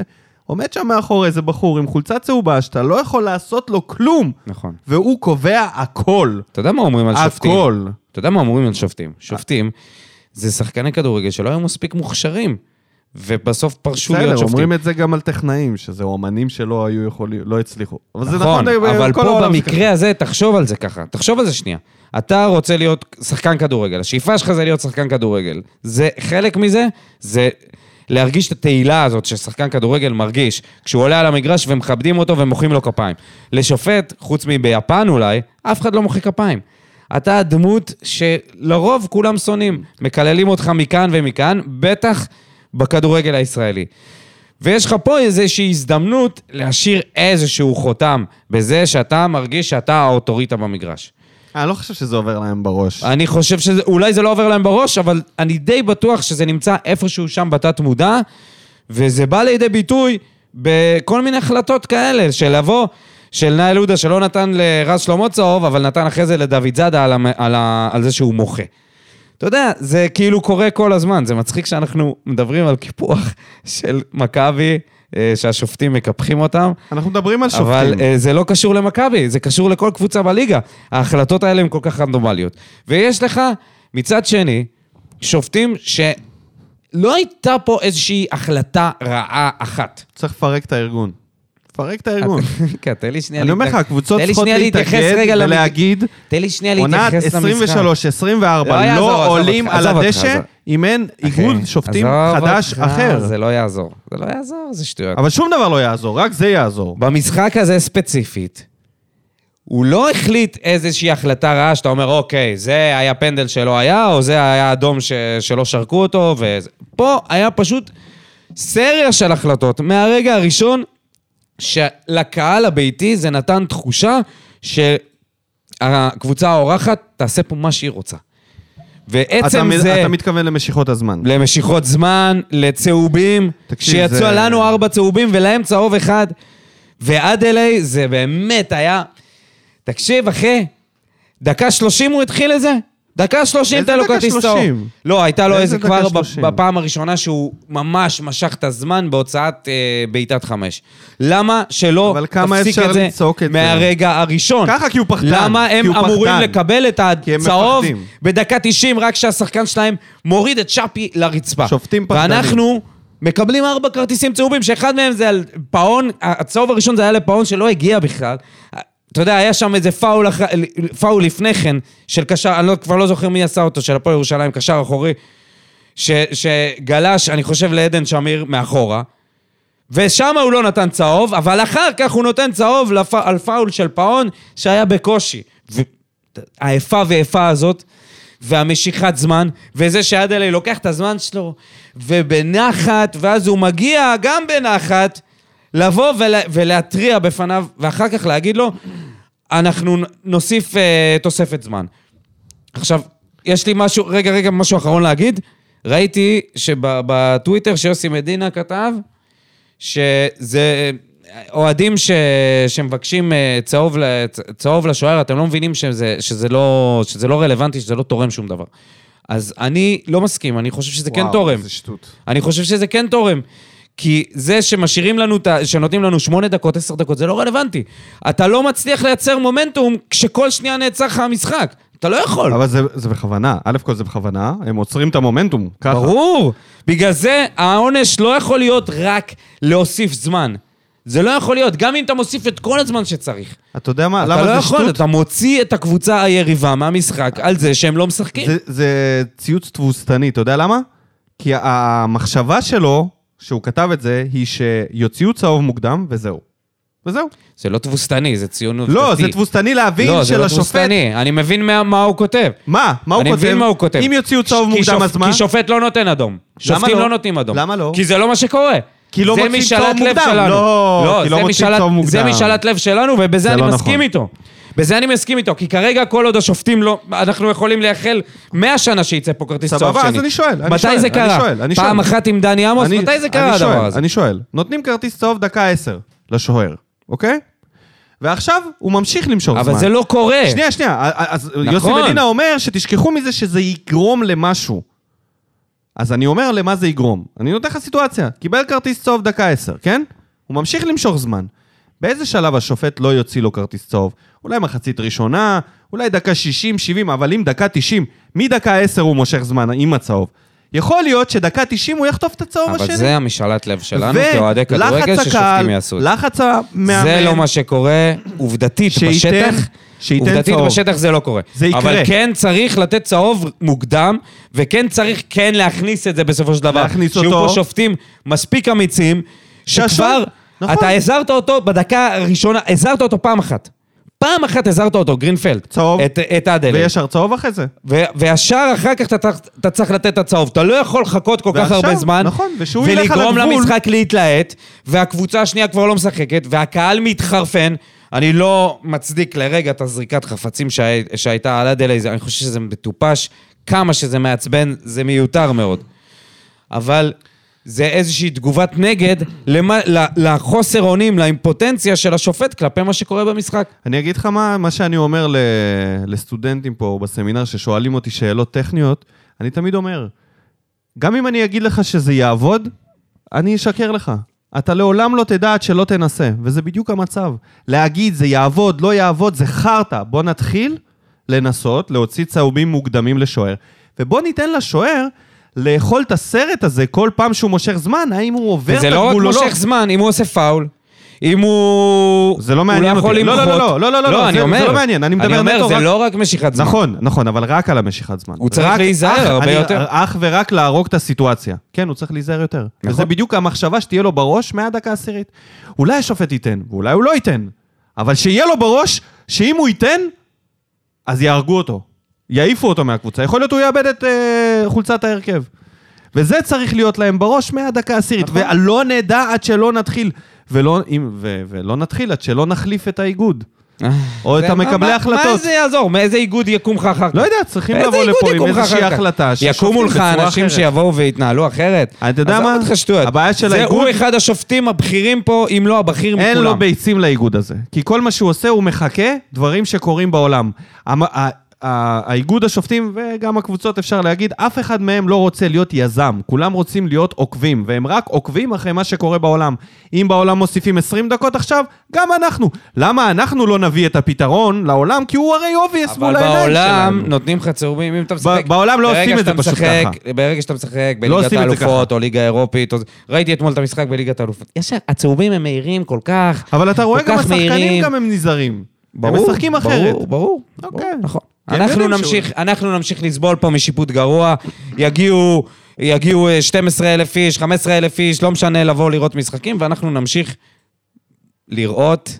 עומד שם מאחורי איזה בחור עם חולצה צהובה שאתה לא יכול לעשות לו כלום,
נכון.
והוא קובע הכל.
אתה יודע מה אומרים על שופטים?
אה, הכל.
אתה יודע מה אומרים על שופטים? שופטים זה שחקני כדורגל שלא היו מספיק מוכשרים, ובסוף פרשו להיות
בסדר,
שופטים.
אומרים את זה גם על טכנאים, שזה אומנים שלא היו יכולים, לא הצליחו. אבל זה
נכון,
נכון,
אבל
בכל
פה
העולם זה ככה.
במקרה הזה, תחשוב על זה ככה. תחשוב על זה שנייה. אתה רוצה להיות שחקן כדורגל, השאיפה שלך זה להיות שחקן כדורגל. זה, חלק מזה, זה להרגיש את התהילה הזאת ששחקן כדורגל מרגיש, כשהוא עולה על המגרש ומכבדים אותו ומוחאים לו כפיים. לשופט, חוץ מביפן אולי, אף אחד לא מוחא כפיים. אתה הדמות שלרוב כולם שונאים, מקללים אותך מכאן ומכאן, בטח בכדורגל הישראלי. ויש לך פה איזושהי הזדמנות להשאיר איזשהו חותם בזה שאתה מרגיש שאתה האוטוריטה במגרש.
אני לא חושב שזה עובר להם בראש.
אני חושב שאולי זה לא עובר להם בראש, אבל אני די בטוח שזה נמצא איפשהו שם בתת מודע, וזה בא לידי ביטוי בכל מיני החלטות כאלה, של לבוא, של נאל עודה שלא נתן לרז שלמה צהוב, אבל נתן אחרי זה לדוד זאדה על, המ... על, ה... על זה שהוא מוחה. אתה יודע, זה כאילו קורה כל הזמן. זה מצחיק שאנחנו מדברים על קיפוח של מכבי, אה, שהשופטים מקפחים אותם,
אנחנו מדברים על שופטים.
אבל uh, זה לא קשור למכבי, זה קשור לכל קבוצה בליגה. ההחלטות האלה הן כל כך רנדומליות. ויש לך, מצד שני, שופטים שלא הייתה פה איזושהי החלטה רעה אחת.
צריך לפרק את הארגון. לפרק את הארגון.
*laughs* כן, תן לי שנייה
אני אומר לך,
להתאג-
הקבוצות
תן לי
צריכות
שנייה להתייחס
להתאגד
רגע למק-
ולהגיד,
תן לי שנייה
עונת
להתייחס למשחק.
23-24,
לא יעזור,
לא
עזוב
עולים
אותך,
על
עזוב אותך,
הדשא
עזוב.
אם אין
אחי,
איגוד שופטים
עזוב
חדש
אותך,
אחר.
זה לא יעזור. זה לא יעזור, זה שטויות.
אבל שום דבר לא יעזור, רק זה יעזור.
במשחק הזה ספציפית, הוא לא החליט איזושהי החלטה רעה שאתה אומר, אוקיי, זה היה פנדל שלא היה, או זה היה אדום ש... שלא שרקו אותו, וזה... פה היה פשוט סריה של החלטות. מהרגע הראשון, שלקהל הביתי זה נתן תחושה שהקבוצה האורחת תעשה פה מה שהיא רוצה. ועצם
אתה-
זה... כן,
אתה מתכוון למשיכות הזמן.
למשיכות זמן, לצהובים,
תקשיב,
שיצאו
זה-
זה... לנו ארבע צהובים ולהם צהוב אחד. ועד אליי זה באמת היה... תקשיב, אחי, דקה שלושים הוא התחיל את זה? דקה שלושים
איזה
אתה לו
דקה
כרטיס צהוב.
30?
לא, הייתה לו
איזה
איזה
דקה
כבר ב-
30?
בפעם הראשונה שהוא ממש משך את הזמן בהוצאת אה, בעיטת חמש. למה שלא
אבל כמה
תפסיק
אפשר
את זה
לצעוק את זה?
מהרגע הראשון?
ככה, כי הוא פחדן,
למה
כי
הם
הוא
אמורים
פחדן.
לקבל את
כי הם
הצהוב
מפחדים.
בדקה 90, רק כשהשחקן שלהם מוריד את שפי לרצפה.
שופטים פחדנים.
ואנחנו מקבלים ארבע כרטיסים צהובים, שאחד מהם זה על פאון, הצהוב הראשון זה היה לפאון שלא הגיע בכלל. אתה יודע, היה שם איזה פאול, אח... פאול לפני כן, של קשר, אני לא, כבר לא זוכר מי עשה אותו, של הפועל ירושלים, קשר אחורי, ש... שגלש, אני חושב, לעדן שמיר מאחורה. ושם הוא לא נתן צהוב, אבל אחר כך הוא נותן צהוב לפ... על פאול של פאון שהיה בקושי. והאיפה ואיפה הזאת, והמשיכת זמן, וזה שעד אלי לוקח את הזמן שלו, ובנחת, ואז הוא מגיע גם בנחת, לבוא ולה... ולהתריע בפניו, ואחר כך להגיד לו, אנחנו נ- נוסיף אה, תוספת זמן. עכשיו, יש לי משהו, רגע, רגע, משהו אחרון להגיד. ראיתי שבטוויטר שיוסי מדינה כתב, שזה אה, אוהדים ש, שמבקשים אה, צהוב, ל- צ- צהוב לשוער, אתם לא מבינים שזה, שזה, לא, שזה לא רלוונטי, שזה לא תורם שום דבר. אז אני לא מסכים, אני חושב שזה כן
וואו,
תורם.
איזה שטות.
אני חושב שזה כן תורם. כי זה שמשאירים לנו, את ה- שנותנים לנו שמונה דקות, עשר דקות, זה לא רלוונטי. אתה לא מצליח לייצר מומנטום כשכל שנייה נעצר לך המשחק. אתה לא יכול.
אבל זה זה בכוונה, א' כל זה בכוונה, הם עוצרים את המומנטום, ככה.
ברור. בגלל זה העונש לא יכול להיות רק להוסיף זמן. זה לא יכול להיות, גם אם אתה מוסיף את כל הזמן שצריך.
אתה יודע מה,
אתה
למה
לא
זה
יכול,
שטות?
אתה מוציא את הקבוצה היריבה מהמשחק על זה שהם לא משחקים.
זה- זה ציוץ תבוסתני, אתה יודע למה? כי ה- המחשבה שלו, שהוא כתב את זה, היא שיוציאו צהוב מוקדם, וזהו. וזהו.
זה לא תבוסתני, זה ציונות
לא,
דתית.
זה תבוסתני להבין
לא, זה לא
שלשופט...
תבוסתני, אני מבין מה- מה הוא כותב.
מה? מה הוא כותב?
אני מבין מה הוא כותב.
אם יוציאו צהוב
כי
מוקדם,
שופ-
אז מה?
כי שופט לא נותן אדום. שופטים
לא?
לא נותנים אדום.
למה לא?
כי זה לא מה שקורה.
כי לא
זה
מוציאים
משאלת
צהוב
לב
מוקדם.
שלנו.
לא, כי לא
זה
מוציאים
משאלת-
צהוב
זה
מוקדם.
משאלת לב שלנו,
זה
ובזה אני
לא נכון.
מסכים איתו. בזה אני מסכים איתו, כי כרגע כל עוד השופטים לא... אנחנו יכולים לייחל 100 שנה שיצא פה כרטיס צהוב
סבבה,
שני.
אז אני שואל, אני
מתי
שואל,
זה
אני
קרה?
שואל, אני
פעם
שואל.
אחת עם דני עמוס,
אני-
מתי זה
אני
קרה
שואל,
הדבר הזה?
אני שואל, נותנים כרטיס צהוב דקה עשר לשוער, אוקיי? ועכשיו הוא ממשיך למשוך זמן.
אבל זה לא קורה.
שנייה, שנייה, אז
נכון.
יוסי מדינה אומר שתשכחו מזה שזה יגרום למשהו. אז אני אומר למה זה יגרום. אני נותן לך סיטואציה, קיבל כרטיס צהוב דקה עשר, כן? הוא ממשיך למשוך זמן. באיזה שלב השופט לא יוציא לו כרטיס צהוב? אולי מחצית ראשונה, אולי דקה 60, 70, אבל אם דקה 90, מדקה 10 הוא מושך זמן עם הצהוב. יכול להיות שדקה 90 הוא יחטוף את הצהוב השני.
אבל זה המשאלת לב שלנו כאוהדי כדורגל
ולחץ הקהל,
ששופטים יעשו את זה.
לחץ המאמן.
זה לא מה שקורה עובדתית
שייתן-
בשטח.
שייתן
עובדתית
צהוב.
בשטח זה לא קורה.
זה יקרה.
אבל כן צריך לתת צהוב מוקדם, וכן צריך כן להכניס את זה בסופו של דבר.
להכניס
שיהיו
אותו.
פה שופטים מספיק אמיצים, שכבר...
שהשופט- נכון.
אתה הזהרת אותו בדקה הראשונה, הזהרת אותו פעם אחת. פעם אחת הזהרת אותו, גרינפלד.
צהוב.
את, את אדלי.
וישר צהוב אחרי זה.
ו- וישר אחר כך אתה, צריך- אתה צריך לתת את הצהוב. אתה לא יכול לחכות כל כך
ועכשיו,
הרבה זמן,
נכון, ושהוא ילך על
ולגרום
הגבול.
למשחק להתלהט, והקבוצה השנייה כבר לא משחקת, והקהל מתחרפן. אני לא מצדיק לרגע את הזריקת חפצים שהי, שהייתה על הדלי, זה- אני חושב שזה מטופש. כמה שזה מעצבן, זה מיותר מאוד. אבל זה איזושהי תגובת נגד למה, ל- לחוסר אונים, לאימפוטנציה של השופט כלפי מה שקורה במשחק.
אני אגיד לך מה, מה שאני אומר ל, לסטודנטים פה בסמינר ששואלים אותי שאלות טכניות, אני תמיד אומר, גם אם אני אגיד לך שזה יעבוד, אני אשקר לך. אתה לעולם לא תדע עד שלא תנסה, וזה בדיוק המצב. להגיד זה יעבוד, לא יעבוד, זה חרטא. בוא נתחיל לנסות להוציא צהובים מוקדמים לשוער, ובוא ניתן לשוער לאכול את הסרט הזה כל פעם שהוא מושך זמן, האם הוא עובר את
וזה
הגבול
לא
או לא.
רק מושך זמן, אם הוא עושה פאול, אם הוא...
זה לא מעניין
הוא יכול
אותי. לא,
למחות.
לא, לא, לא, לא, לא,
לא,
זה-
אני
זה
אומר.
לא מעניין, אני מדבר
אני אומר,
נטו
זה
רק-
לא רק משיכת זמן.
נכון, נכון, אבל רק על המשיכת זמן.
הוא צריך
רק-
להיזהר
אך-
הרבה
אני-
יותר.
אך ורק להרוג את הסיטואציה. כן, הוא צריך להיזהר יותר.
נכון.
וזה בדיוק המחשבה שתהיה לו בראש מהדקה העשירית. אולי השופט ייתן, ואולי הוא לא ייתן, אבל שיהיה לו בראש שאם הוא ייתן, אז יהרגו אותו. יעיפו אותו מהקבוצה. יכול להיות הוא יאבד את אה, חולצת ההרכב. וזה צריך להיות להם בראש מהדקה העשירית.
נכון.
ולא נדע עד שלא נתחיל. ולא, אם, ו, ולא נתחיל עד שלא נחליף את האיגוד. או את
אה, זה-
המקבלי
מה-
ההחלטות.
מה זה יעזור? מאיזה איגוד יקום לך אחר כך?
לא יודע, צריכים
באיזה
לבוא
איגוד
לפה עם
יקום לך
איזושהי
אחר כך?
החלטה.
יקומו
ששופטים
לך
בצורה
אנשים
אחרת.
שיבואו ויתנהלו אחרת.
אתה יודע מה?
עזוב אותך שטויות.
הבעיה של
זה
האיגוד-
הוא אחד השופטים הבכירים פה, אם לא הבכיר מכולם.
אין לו ביצים לאיגוד הזה. כי כל מה שהוא עושה, הוא מחכה דברים שקורים בעולם. המ- ה- ה- האיגוד השופטים, וגם הקבוצות, אפשר להגיד, אף אחד מהם לא רוצה להיות יזם. כולם רוצים להיות עוקבים, והם רק עוקבים אחרי מה שקורה בעולם. אם בעולם מוסיפים 20 דקות עכשיו, גם אנחנו. למה אנחנו לא נביא את הפתרון לעולם? כי הוא הרי obvious
אבל
מול העיניים שלנו.
בעולם נותנים לך צהובים אם אתה משחק.
בעולם לא
ברגע
עושים את זה
שאתה
פשוט
משחק-
ככה.
ברגע שאתה משחק
לא
בליגת
עושים את זה
האלופות או ליגה אירופית, או זה- ראיתי אתמול את המשחק בליגת האלופות. ישר, הצהובים הם מהירים כל כך.
אבל אתה רואה
כל
גם
כך מהירים.
השחקנים, גם הם נזהרים.
ברור,
הם משחקים
ברור,
אחרת.
ברור,
אוקיי.
ברור, נכון.
כי הם
אנחנו
יודעים
נמשיך, אנחנו נמשיך לסבול פה משיפוט גרוע, יגיעו, יגיעו 12 אלף איש, 15 אלף איש, לא משנה לבוא לראות משחקים, ואנחנו נמשיך לראות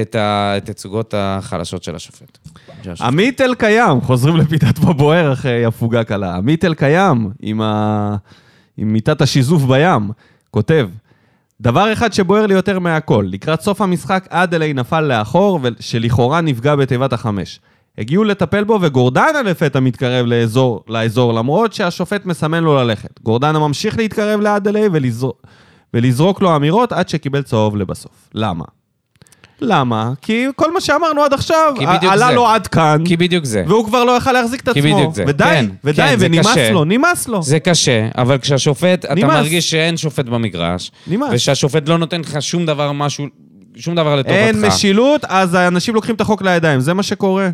את התצוגות החלשות של השופט.
עמית אלקיים, חוזרים לפיתת בבוער אחרי הפוגה קלה. עמית אלקיים, עם, ה... עם מיטת השיזוף בים, כותב, דבר אחד שבוער לי יותר מהכל, לקראת סוף המשחק אדלי נפל לאחור, ו- שלכאורה נפגע בתיבת החמש. הגיעו לטפל בו וגורדנה לפתע מתקרב לאזור, לאזור למרות שהשופט מסמן לו ללכת. גורדנה ממשיך להתקרב לאדלי ולזר... ולזרוק לו אמירות עד שקיבל צהוב לבסוף. למה? למה? כי כל מה שאמרנו עד עכשיו,
כי
ע-
בדיוק
עלה
זה.
לו עד כאן.
כי בדיוק זה.
והוא כבר לא יכל להחזיק את
כי
עצמו.
בדיוק זה.
ודי,
כן,
ודי,
כן, זה
ונמאס
קשה.
לו, נמאס לו.
זה קשה, אבל כשהשופט, אתה
נמאס.
מרגיש שאין שופט במגרש,
נמאס.
ושהשופט לא נותן לך שום דבר, משהו, שום דבר לטובתך.
אין משילות, אז האנשים לוקחים את החוק לידיים, זה מה שקורה.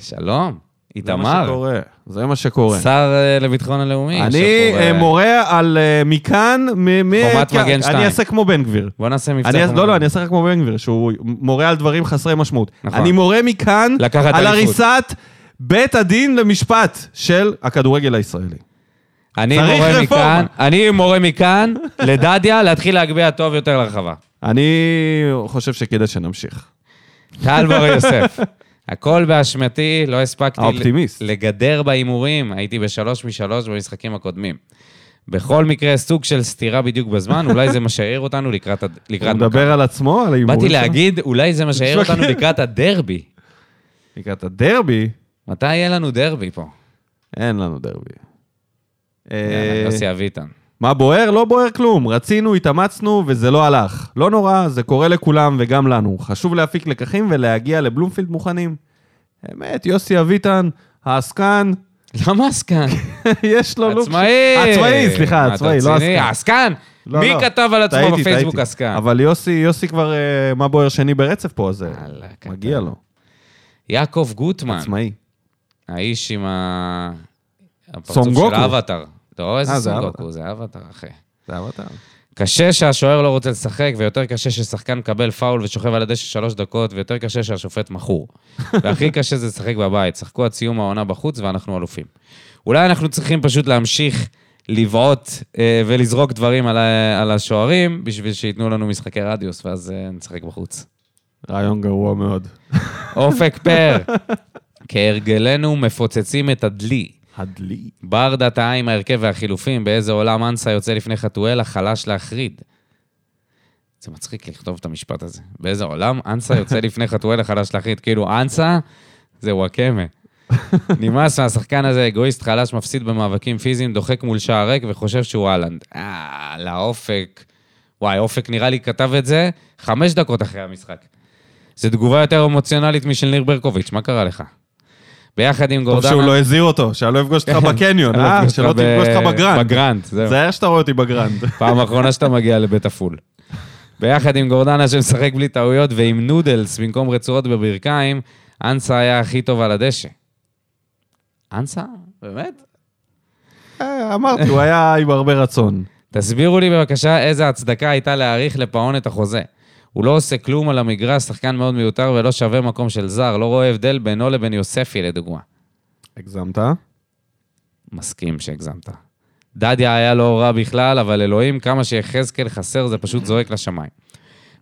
שלום,
זה מה
איתמר,
שקורה. זה מה שקורה.
שר אה, לביטחון הלאומי.
אני
יושב פה ב-
אה, מורה על אה, מכאן, מ- מ...
חומת
כן,
מגן שתיים.
אני אעשה כמו בן גביר.
בוא נעשה מבצע.
אני אעשה-
חומת
לא, לא,
מגן.
אני אעשה רק כמו בן גביר, שהוא מורה על דברים חסרי משמעות.
נכון.
אני מורה מכאן
לקחת
על
אליפות.
הריסת בית הדין למשפט של הכדורגל הישראלי.
אני
צריך
מורה
רפורמה.
מכאן, אני מורה מכאן לדדיה להתחיל להגביה טוב יותר לרחבה.
אני חושב שכדאי שנמשיך.
טל בר יוסף. הכל באשמתי, לא הספקתי
האופטימיסט.
ל- לגדר בהימורים, הייתי בשלוש משלוש במשחקים הקודמים. בכל מקרה, סוג של סתירה בדיוק בזמן, אולי זה מה שהעיר אותנו לקראת... הד-
הוא
לקראת מכבי.
מדבר על עצמו, על ההימורים
באתי
שלו?
להגיד, אולי זה מה שהעיר
*laughs*
אותנו לקראת הדרבי.
לקראת הדרבי,
מתי יהיה לנו דרבי פה?
אין לנו דרבי. אה,
יאללה, לא יוסי אביטן.
מה בוער? לא בוער כלום. רצינו, התאמצנו, וזה לא הלך. לא נורא, זה קורה לכולם וגם לנו. חשוב להפיק לקחים ולהגיע לבלומפילד מוכנים. אמת, יוסי אביטן, העסקן, *laughs*
למה עסקן?
יש לו לוק...
עצמאי!
לא, עצמאי, סליחה,
מה, אתה
עצמאי, לא
רציני?
עסקן.
עסקן?
לא,
מי
לא.
כתב על עצמו
טעיתי,
בפייסבוק
טעיתי.
עסקן?
אבל יוסי, יוסי כבר אה, מה בוער שני ברצף פה, אז אה,
יאללה, קטן.
מגיע לו.
יעקב גוטמן,
עצמאי.
האיש עם ה... הפרצוף
סונגוקו.
של אבטאר. אתה רואה איזה
אה, זה
סונגוקו, זה אבטאר, אחי.
זה אבטר.
קשה שהשוער לא רוצה לשחק, ויותר קשה ששחקן מקבל פאול ושוכב על הדשא שלוש דקות, ויותר קשה
*laughs*
שהשופט מכור. והכי קשה זה לשחק בבית. שחקו עד סיום העונה בחוץ ואנחנו אלופים. אולי אנחנו צריכים פשוט להמשיך לבעוט אה, ולזרוק דברים על, ה- על השוערים, בשביל שייתנו לנו משחקי רדיוס, ואז אה, נשחק בחוץ.
רעיון גרוע מאוד.
אופק
*laughs*
פר, כהרגלנו מפוצצים את הדלי.
הדלי.
ברדה טעה עם ההרכב והחילופים, באיזה עולם אנסה יוצא לפני חתואלה, חלש להחריד. זה מצחיק לכתוב את המשפט הזה. באיזה עולם אנסה יוצא לפני חתואלה, חלש להחריד. כאילו, אנסה
*laughs*
זה וואקמה. נמאס מהשחקן הזה, אגואיסט חלש, מפסיד במאבקים פיזיים, דוחק מול שער ריק וחושב שהוא אהלנד. אה, לאופק. וואי, אופק נראה לי כתב את זה חמש דקות אחרי המשחק. זו תגובה יותר אמוציונלית משל ניר ברקוביץ', מה קרה לך? ביחד עם גורדנה...
טוב שהוא לא הזהיר אותו, שלא יפגוש אותך
כן.
בקניון, אה? שלא
ב-
תפגוש אותך בגרנד.
בגרנד, זהו.
זה היה שאתה רואה אותי
*laughs*
בגרנד.
פעם אחרונה שאתה מגיע לבית עפול. ביחד עם גורדנה שמשחק בלי טעויות ועם נודלס במקום רצועות בברכיים, אנסה היה הכי טוב על הדשא. אנסה? באמת?
אה, אמרתי, הוא היה עם הרבה רצון.
תסבירו לי בבקשה איזה הצדקה הייתה להאריך לפעון את החוזה. הוא לא עושה כלום על המגרש, שחקן מאוד מיותר ולא שווה מקום של זר, לא רואה הבדל בינו לבין יוספי לדוגמה.
הגזמת?
מסכים שהגזמת. דדיה היה לא רע בכלל, אבל אלוהים, כמה שיחזקאל חסר, זה פשוט זועק לשמיים.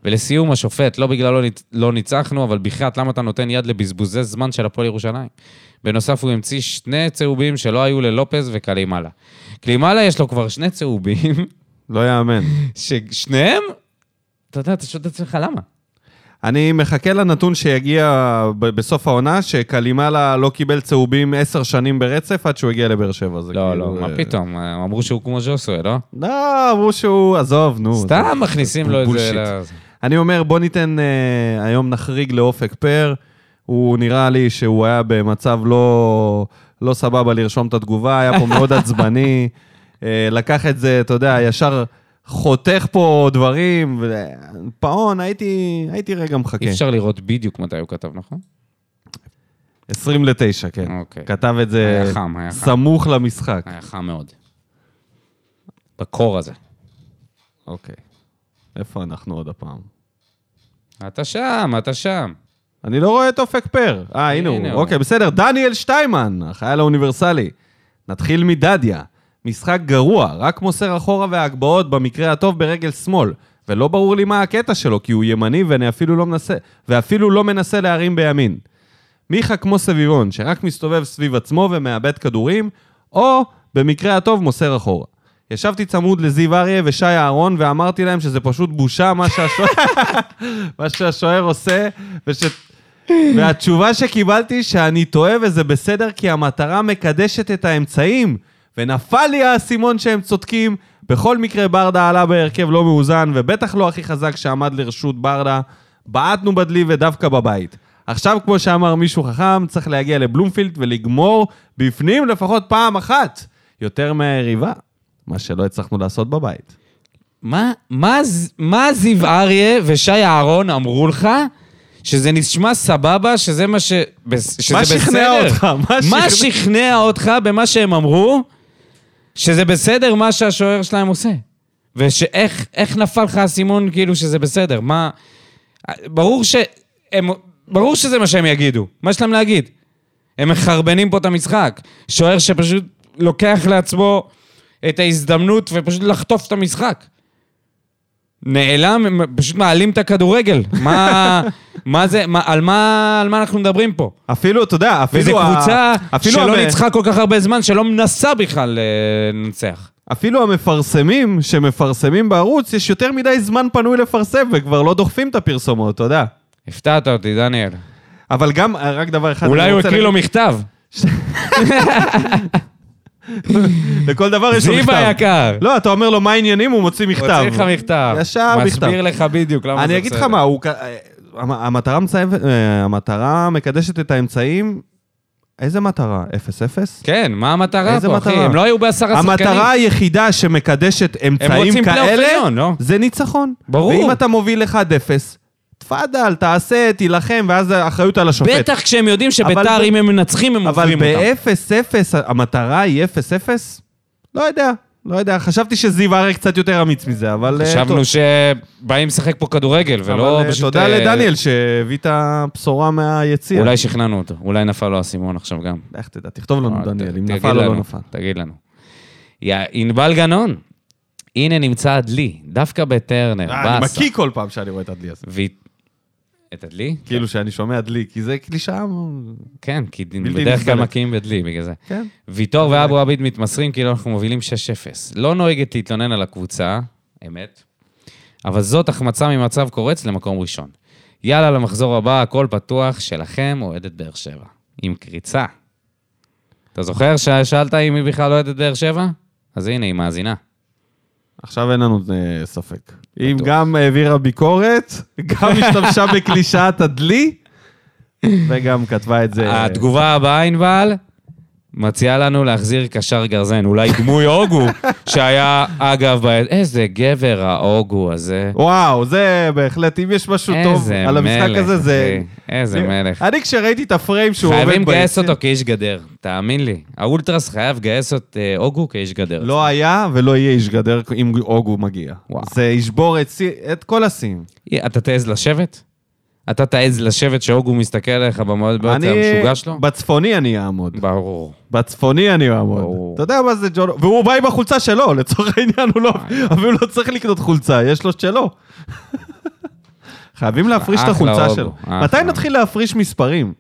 ולסיום, השופט, לא בגללו ניצ- לא ניצחנו, אבל בחייאת, למה אתה נותן יד לבזבוזי זמן של הפועל ירושלים? בנוסף, הוא המציא שני צהובים שלא היו ללופז וקלימאלה. קלימאלה יש לו כבר שני צהובים, *laughs*
לא יאמן.
ששניהם, אתה יודע, אתה שואל את עצמך למה.
אני מחכה לנתון שיגיע ב- בסוף העונה, שקלימאלה לא קיבל צהובים עשר שנים ברצף עד שהוא הגיע לבאר שבע. זה
לא,
כאילו,
לא, מה
אה,
פתאום, הם אמרו שהוא כמו ז'וסווה, לא?
לא, אמרו שהוא... עזוב, נו. זה-
סתם מכניסים לו את זה.
בולשיט. אוקיי.
ל-
אני אומר, בוא ניתן, אה, היום נחריג לאופק פר. הוא נראה לי שהוא היה במצב לא, לא סבבה לרשום את התגובה, היה פה
*laughs*
מאוד עצבני. אה, לקח את זה, אתה יודע, ישר חותך פה דברים. ו- פאון, הייתי, הייתי רגע מחכה.
אי אפשר לראות בדיוק מתי הוא כתב, נכון?
20 ל-9, כן.
אוקיי.
כתב את זה
היה חם, היה חם.
סמוך למשחק.
היה חם מאוד. בקור הזה.
אוקיי. איפה אנחנו עוד הפעם?
אתה שם, אתה שם.
אני לא רואה את אופק פר. אה, הנה הוא.
הנה הוא.
אוקיי, בסדר. דניאל שטיימן, החייל האוניברסלי. נתחיל מדדיה. משחק גרוע, רק מוסר אחורה וההגבהות, במקרה הטוב ברגל שמאל. ולא ברור לי מה הקטע שלו, כי הוא ימני ואני אפילו לא מנסה, ואפילו לא מנסה להרים בימין. מיכה כמו סביבון, שרק מסתובב סביב עצמו ומאבד כדורים, או במקרה הטוב מוסר אחורה. ישבתי צמוד לזיו אריה ושי אהרון ואמרתי להם שזה פשוט בושה מה שהשוער, *laughs* מה שהשוער עושה, וש... והתשובה שקיבלתי שאני טועה וזה בסדר כי המטרה מקדשת את האמצעים, ונפל לי האסימון שהם צודקים. בכל מקרה ברדה עלה בהרכב לא מאוזן, ובטח לא הכי חזק שעמד לרשות ברדה. בעטנו בדלי ודווקא בבית. עכשיו, כמו שאמר מישהו חכם, צריך להגיע לבלומפילד ולגמור בפנים לפחות פעם אחת יותר מהיריבה, מה שלא הצלחנו לעשות בבית.
מה, מה, ז- מה זיו אריה ושי אהרון אמרו לך? שזה נשמע סבבה, שזה מה ש... בס- שזה
מה שכנע
בסדר?
אותך? מה שכנע-
מה שכנע אותך במה שהם אמרו? שזה בסדר מה שהשוער שלהם עושה. ושאיך איך נפל לך האסימון כאילו שזה בסדר? מה... ברור שהם... ברור שזה מה שהם יגידו. מה יש להם להגיד? הם מחרבנים פה את המשחק. שוער שפשוט לוקח לעצמו את ההזדמנות ופשוט לחטוף את המשחק. נעלם, הם פשוט מעלים את הכדורגל. מה, מה זה, מה, על, מה, על מה אנחנו מדברים פה?
אפילו, אתה יודע, אפילו...
וזו
ה-
קבוצה
אפילו
שלא
המ-
ניצחה כל כך הרבה זמן, שלא מנסה בכלל אה, לנצח.
אפילו המפרסמים שמפרסמים בערוץ, יש יותר מדי זמן פנוי לפרסם, וכבר לא דוחפים את הפרסומות, אתה יודע.
הפתעת אותי, דניאל.
אבל גם, אה, רק דבר אחד...
אולי
אני
הוא כאילו
רוצה
הקריא לו מכתב.
להגיד, לכל דבר יש לו מכתב.
זיו היקר.
לא, אתה אומר לו מה העניינים, הוא מוציא מכתב.
הוציא לך מכתב.
ישר מכתב.
מסביר לך בדיוק למה זה
אני אגיד לך
בסדר.
מה, הוא כ- אה, המ- המטרה מצייבת- אה, המטרה מקדשת את האמצעים, איזה מטרה? 0-0?
כן, מה המטרה
איזה
פה, אחי?
מטרה?
הם לא היו בעשרה שחקנים.
המטרה היחידה שמקדשת אמצעים
רוצים פלייאוף
כאלה,
עליון, לא?
זה ניצחון.
ברור.
ואם אתה מוביל 1-0, תפאדל, תעשה, תילחם, ואז האחריות על השופט.
בטח כשהם יודעים שביתר,
אבל-
אם הם מנצחים, הם
אבל
עוברים אותם.
ב-0-0, המטרה היא 0-0? לא יודע, לא יודע. חשבתי שזיו אריה קצת יותר אמיץ מזה, אבל... אה, טוב.
חשבנו שבאים לשחק פה כדורגל, ולא
אבל, אה,
פשוט...
תודה
אה,
לדניאל שהביא את הבשורה מהיציע.
אולי שכנענו אותו, אולי נפל לו האסימון עכשיו גם.
איך תדע, תכתוב לנו,
אה,
דניאל,
ת-
אם
תגיד
נפל או
לנו,
לא נפל.
תגיד לנו. יא, ענבל גנון, הנה נמצא הדלי, דווקא בטרנר,
אה, אני
באסה. כן.
מקיא כל פעם שאני רואה את הדלי הזה.
והיא- את הדלי?
כאילו שאני שומע דלי, כי זה קלישאה... מאוד.
כן, כי דין-
בלתי
בדרך כלל
נסבלת.
מכים בדלי, בגלל זה.
כן.
ויטור ואבו עביד מתמסרים כאילו אנחנו מובילים 6-0. לא נוהגת להתלונן על הקבוצה, אמת, אבל זאת החמצה ממצב קורץ למקום ראשון. יאללה, למחזור הבא, הכל פתוח, שלכם, אוהדת באר שבע. עם קריצה. אתה זוכר ששאלת אם היא בכלל אוהדת באר שבע? אז הנה, היא מאזינה.
עכשיו אין לנו אה, ספק. אם גם העבירה ביקורת, גם השתמשה בקלישאת הדלי, וגם כתבה את זה.
התגובה הבאה, ענבל, מציעה לנו להחזיר קשר גרזן, אולי דמוי הוגו, שהיה, אגב, ב- איזה גבר ההוגו הזה.
וואו, זה בהחלט, אם יש משהו טוב
איזה
על המשחק
מלך,
הזה, זה...
אחי. איזה מלך.
אני כשראיתי את הפריים שהוא עובד
חייבים לגייס
ביציע,
אותו כאיש גדר, תאמין לי. האולטרס חייב לגייס את אה, אוגו כאיש גדר.
לא היה ולא יהיה איש גדר אם אוגו מגיע.
וואו.
זה ישבור את שיא- את כל השיאים.
אה, אתה תעז לשבת? אתה תעז לשבת שהוגו מסתכל עליך במועד בעצם המשוגע לא, שלו?
בצפוני אני אעמוד.
ברור.
בצפוני אני אעמוד.
ברור.
אתה יודע מה זה ג'ון... והוא בא עם החולצה שלו, *laughs* לצורך העניין הוא לא...
אה.
אפילו לא צריך לקנות חולצה, יש לו את
*laughs*
שלו. חייבים להפריש את
אחלה
החולצה
הוגו,
שלו.
אחלה.
מתי נתחיל להפריש מספרים?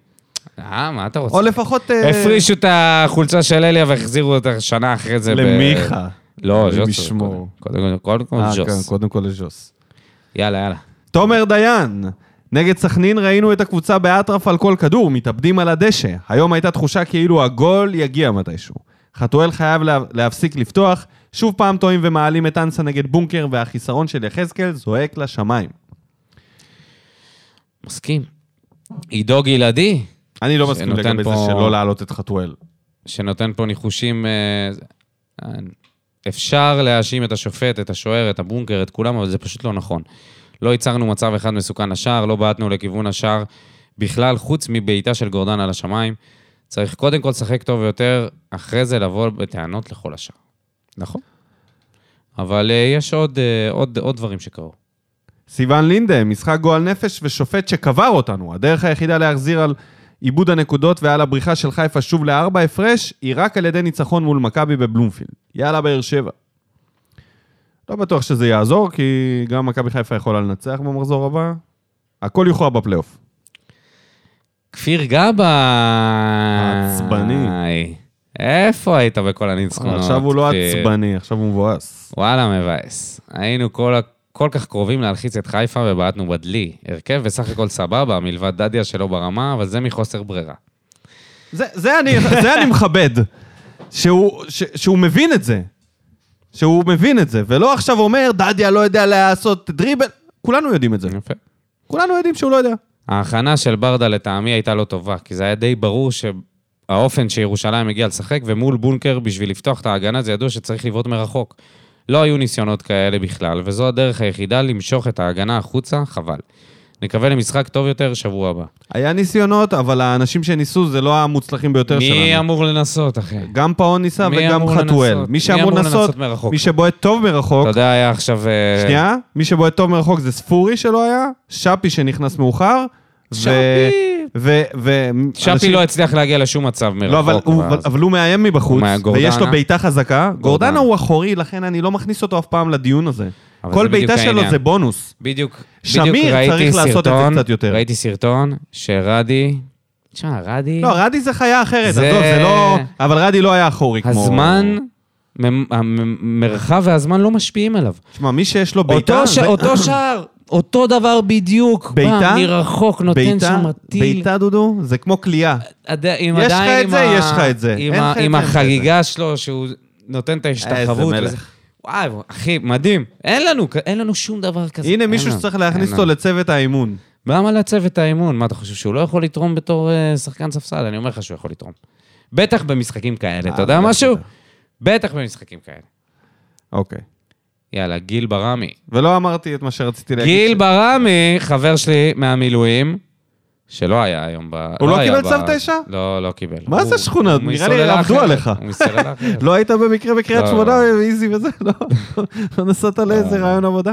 אה, מה אתה רוצה?
או לפחות... אה,
הפרישו את החולצה של אליה והחזירו אותה שנה אחרי זה. ב-
למיכה.
לא,
למי
ז'וס.
שמו.
קודם כל, קודם כל
אה, כן,
ז'וס.
קודם כל לז'וס.
יאללה, יאללה.
תומר דיין, נגד סכנין ראינו את הקבוצה באטרף על כל כדור, מתאבדים על הדשא. היום הייתה תחושה כאילו הגול יגיע מתישהו. חתואל חייב לה, להפסיק לפתוח, שוב פעם טועים ומעלים את אנסה נגד בונקר, והחיסרון של יחזקאל זועק לשמיים.
מסכים. עידו גלעדי,
אני לא מסכים
שנותן
לגבי
פה-
זה שלא להעלות את חתואל.
שנותן פה ניחושים... אה, אה, אפשר להאשים את השופט, את השוער, את הבונקר, את כולם, אבל זה פשוט לא נכון. לא ייצרנו מצב אחד מסוכן לשער, לא בעטנו לכיוון השער בכלל, חוץ מבעיטה של גורדן על השמיים. צריך קודם כל לשחק טוב יותר, אחרי זה לבוא בטענות לכל השאר. נכון. אבל אה, יש עוד, אה, עוד, עוד דברים שקרו.
סיון לינדה, משחק גועל נפש ושופט שקבר אותנו. הדרך היחידה להחזיר על עיבוד הנקודות ועל הבריחה של חיפה שוב לארבע הפרש, היא רק על ידי ניצחון מול מכבי בבלומפילד. יאללה, באר שבע. לא בטוח שזה יעזור, כי גם מכבי חיפה יכולה לנצח במחזור הבא. הכל יוכרע בפלייאוף.
כפיר גבאי.
עצבני.
איפה היית בכל הניצחונות?
עכשיו הוא לא
כפיר?
עצבני, עכשיו הוא מבואס.
וואלה, מבאס. היינו כל, כל כך קרובים להלחיץ את חיפה ובעטנו בדלי. הרכב בסך הכל סבבה, מלבד דדיה שלא ברמה, אבל זה מחוסר ברירה.
זה, זה, אני, זה אני מכבד, שהוא, ש, שהוא מבין את זה. שהוא מבין את זה, ולא עכשיו אומר, דדיה לא יודע לעשות דריבל. כולנו יודעים את זה.
יפה.
כולנו יודעים שהוא לא יודע.
ההכנה של ברדה לטעמי הייתה לא טובה, כי זה היה די ברור שהאופן שירושלים הגיעה לשחק, ומול בונקר בשביל לפתוח את ההגנה, זה ידוע שצריך לבעוט מרחוק. לא היו ניסיונות כאלה בכלל, וזו הדרך היחידה למשוך את ההגנה החוצה, חבל. נקווה למשחק טוב יותר שבוע הבא.
היה ניסיונות, אבל האנשים שניסו זה לא המוצלחים ביותר
מי
שלנו.
אמור לנסות, אחי?
גם פאון ניסה
מי
וגם
אמור
חתואל.
לנסות?
מי שאמור לנסות,
מרחוק?
מי שבועט טוב מרחוק,
אתה יודע, היה עכשיו... אה,
אוקיי. שנייה, מי שבועט טוב מרחוק זה ספורי שלא היה, שפי שנכנס מאוחר, ו-
שפי.
ו... ו...
שפי
אנשים-
לא הצליח להגיע לשום מצב מרחוק.
לא, אבל הוא-
ואז-
אבל הוא מאיים מבחוץ,
הוא מה- גורדנה?
ויש לו בעיטה חזקה. גורדנה
גורדנה.
הוא אחורי, לכן אני לא מכניס אותו אף פעם לדיון הזה.
אבל
כל
זה בדיוק
בעיטה שלו
העניין.
זה בונוס.
בדיוק,
שמיר
בדיוק
צריך
ראיתי
לעשות את זה
סרטון,
קצת יותר.
ראיתי סרטון שרדי... תשמע, רדי...
לא, רדי זה חיה אחרת,
זה-
עזוב, זה לא... אבל רדי לא היה אחורי כמו...
הזמן, מ- המ- המרחב והזמן לא משפיעים עליו.
תשמע, מי שיש לו בעיטה...
אותו ש-
זה-
אותו שער, אותו דבר בדיוק.
בעיטה?
בא מרחוק, נותן
בעיטה,
שם טיל.
בעיטה, דודו, זה כמו
אה,
כליאה.
עד- עם
יש לך
עדיין
את
עם
זה,
ה-
יש לך את זה.
עם
אין
ה-
לך את
עם
זה, אין לך את
החגיגה שלו, שהוא נותן את ההשתחוות.
מלך.
וזה- וואי, אחי, מדהים. אין לנו, כ- אין לנו שום דבר כזה.
הנה
אין
מישהו
לנו,
שצריך
אין
להכניס
לנו.
אותו לצוות האימון.
למה לעצב את האימון? מה אתה חושב, שהוא לא יכול לתרום בתור אה, שחקן ספסל? אני אומר לך שהוא יכול לתרום. בטח במשחקים כאלה, אתה יודע
אה, בטח,
משהו?
בטח.
בטח במשחקים כאלה.
אוקיי.
יאללה, גיל ברמי.
ולא אמרתי את מה שרציתי להגיד.
גיל
ש-
ברמי, חבר שלי מהמילואים, שלא היה היום ב...
הוא לא
היה
קיבל
ב-
צו תשע?
לא, לא קיבל.
מה
הוא-
זה שכונות?
הוא
נראה לי
מסוללה
עבדו
אחרת.
עליך.
הוא מסוללה
*laughs*
אחרת.
לא היית במקרה בקריית
לא,
שמונה,
לא.
איזי וזה, לא? לא נסעת לאיזה רעיון עבודה?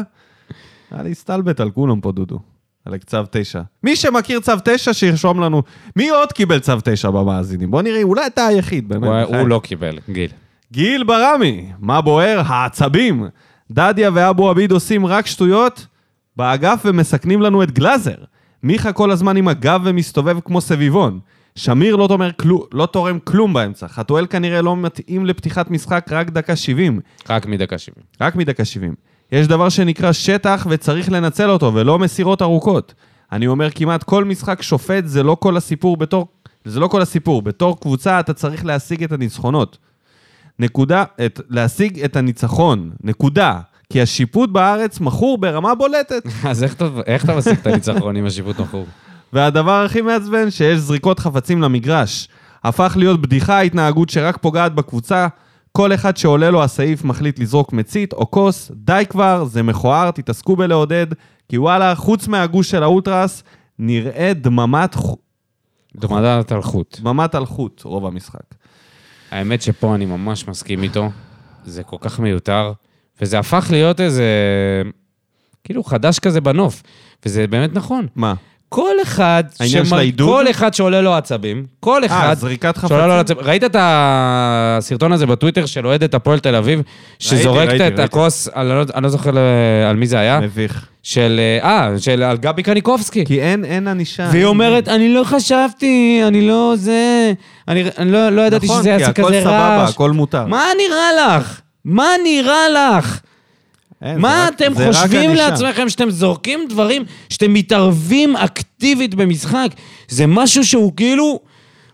היה לי הסתלבט על כולם פה, דודו. על צו תשע. מי שמכיר צו תשע, שירשום לנו. מי עוד קיבל צו תשע במאזינים? בוא נראה, אולי אתה היחיד, באמת.
הוא-
בחייך.
הוא לא קיבל, גיל.
גיל ברמי, מה בוער? העצבים. דדיה ואבו עביד עושים רק שטויות באגף ומסכנים לנו את גלאזר. מיכה כל הזמן עם הגב ומסתובב כמו סביבון. שמיר לא, תומר כלו, לא תורם כלום באמצע. חתואל כנראה לא מתאים לפתיחת משחק רק דקה 70.
רק מדקה 70.
רק מדקה 70. יש דבר שנקרא שטח וצריך לנצל אותו, ולא מסירות ארוכות. אני אומר כמעט כל משחק שופט זה לא כל הסיפור בתור... זה לא כל הסיפור. בתור קבוצה אתה צריך להשיג את הניצחונות. נקודה, את, להשיג את הניצחון, נקודה. כי השיפוט בארץ מכור ברמה בולטת.
*laughs* אז איך אתה- איך אתה משיג את הניצחון עם השיפוט מכור?
והדבר הכי מעצבן, שיש זריקות חפצים למגרש. הפך להיות בדיחה התנהגות שרק פוגעת בקבוצה. כל אחד שעולה לו הסעיף מחליט לזרוק מצית או כוס, די כבר, זה מכוער, תתעסקו בלעודד, כי וואלה, חוץ מהגוש של האולטרס, נראה דממת, ח-
דומדת על חוט.
דממת אלחוט רוב המשחק.
האמת שפה אני ממש מסכים איתו. זה כל כך מיותר, וזה הפך להיות איזה... כאילו חדש כזה בנוף, וזה באמת נכון.
מה?
כל אחד,
העניין של העידוד?
כל אחד שעולה לו עצבים, כל
אה,
אחד
זריקת חפצים?
שעולה לו עצבים. ראית את הסרטון הזה בטוויטר של אוהדת הפועל תל אביב, שזורקת
ראיתי,
את
ראיתי.
הכוס, על- אני לא- אני לא זוכר ל- על מי זה היה,
מביך.
של, אה, של על גבי קניקובסקי.
כי אין, אין ענישה.
והיא אומרת,
אה.
אני לא חשבתי, אני לא זה, אני אני לא לא ידעתי שזה יעשה כזה
נכון,
רעש.
כי הכל סבבה, הכל מותר.
מה נראה לך? מה נראה לך?
אין, זה
מה
רק-
אתם
זה רק
חושבים
ענישה.
לעצמכם שאתם זורקים דברים, שאתם מתערבים אקטיבית במשחק? זה משהו שהוא כאילו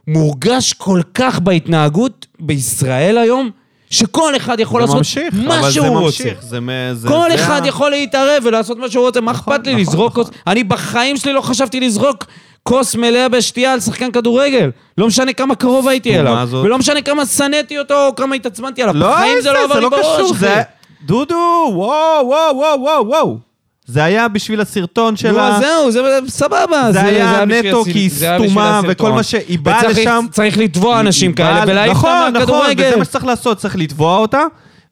מורגש כל כך בהתנהגות בישראל היום, שכל אחד יכול
זה
לעשות
ממשיך,
מה
אבל זה
שהוא רוצה.
ממשיך, זה מ- זה-
כל
זה
אחד
ה-
יכול להתערב ולעשות מה שהוא רוצה, מה
נכון,
אכפת לי
נכון,
לזרוק כוס? אני בחיים שלי לא חשבתי לזרוק כוס מלאה בשתייה על שחקן כדורגל. לא משנה כמה קרוב הייתי אליו,
הזאת.
ולא משנה כמה שנאתי אותו או כמה התעצבנתי עליו.
לא,
בחיים זה לא עבר לי בראש, אחי.
זה... דודו, וואו, וואו, וואו, וואו, וואו. זה היה בשביל הסרטון
נו,
שלה.
אז זהו, זה סבבה.
זה היה
בשביל
נטו
הסרט-
כי
זה היה בשביל
סתומה
הסרטון.
וכל מה שהיא באה
וצריך-
לשם-
צריך לתבוע אנשים כאלה
אבל-
ולהעיף
נכון,
אותם
נכון,
מהכדורגל.
וזה מה שצריך לעשות, צריך לתבוע אותה,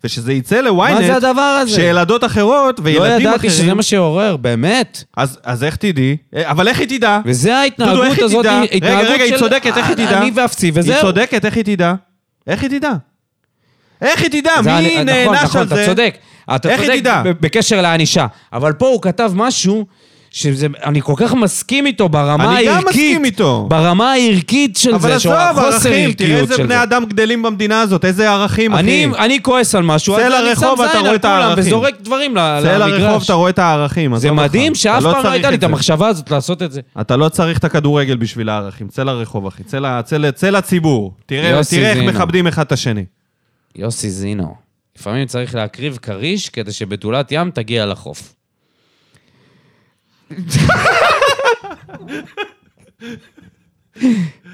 ושזה יצא
מה זה
לוויינט,
הדבר הזה?
שילדות אחרות
לא
וילדים
ידעתי שזה
אחרים...
מה שעורר, באמת.
אז- אז איך תדעי? אה, אבל איך היא תדע?
וזה
דודו, איך
ההתנהגות
היא
הזאת,
תדע?
היא
רגע,
התנהגות
רגע, היא
של
צודקת, איך היא תדע?
אני ואפסי,
היא
וזהו.
צודקת, איך היא תדע? איך היא תדע? איך היא תדע?
זה
מי
אני- נכון,
נענש
נכון,
על
אתה
זה?
צודק. אתה
איך היא
צודק
תדע?
ב- בקשר לענישה. אבל פה הוא כתב משהו שאני כל כך מסכים איתו
אני
ברמה הערכית.
גם מסכים איתו.
ברמה הערכית של
אבל
זה,
עזוב,
של החוסר
ערכים,
ערכיות של זה.
תראה איזה בני אדם גדלים במדינה הזאת, איזה ערכים,
אני,
אחי.
אני כועס על משהו,
צא
אז אני שם
לרחוב, אתה
זין
רואה
על
את
כולם
הערכים.
וזורק דברים ל-
צא לרחוב,
למגרש.
אתה רואה את הערכים.
זה
עזוב
מדהים
אותך.
שאף
אתה
פעם לא
צריך
הייתה לי את
זה.
המחשבה הזאת לעשות את זה.
אתה לא צריך את הכדורגל בשביל הערכים. צא לרחוב, אחי. צא ל- צא ל- צא לציבור. תראה
יוסי
תראה איך
זינו.
מכבדים אחד את השני.
יוסי זינו, לפעמים צריך להקריב כריש כדי שבתולת ים תגיע לחוף.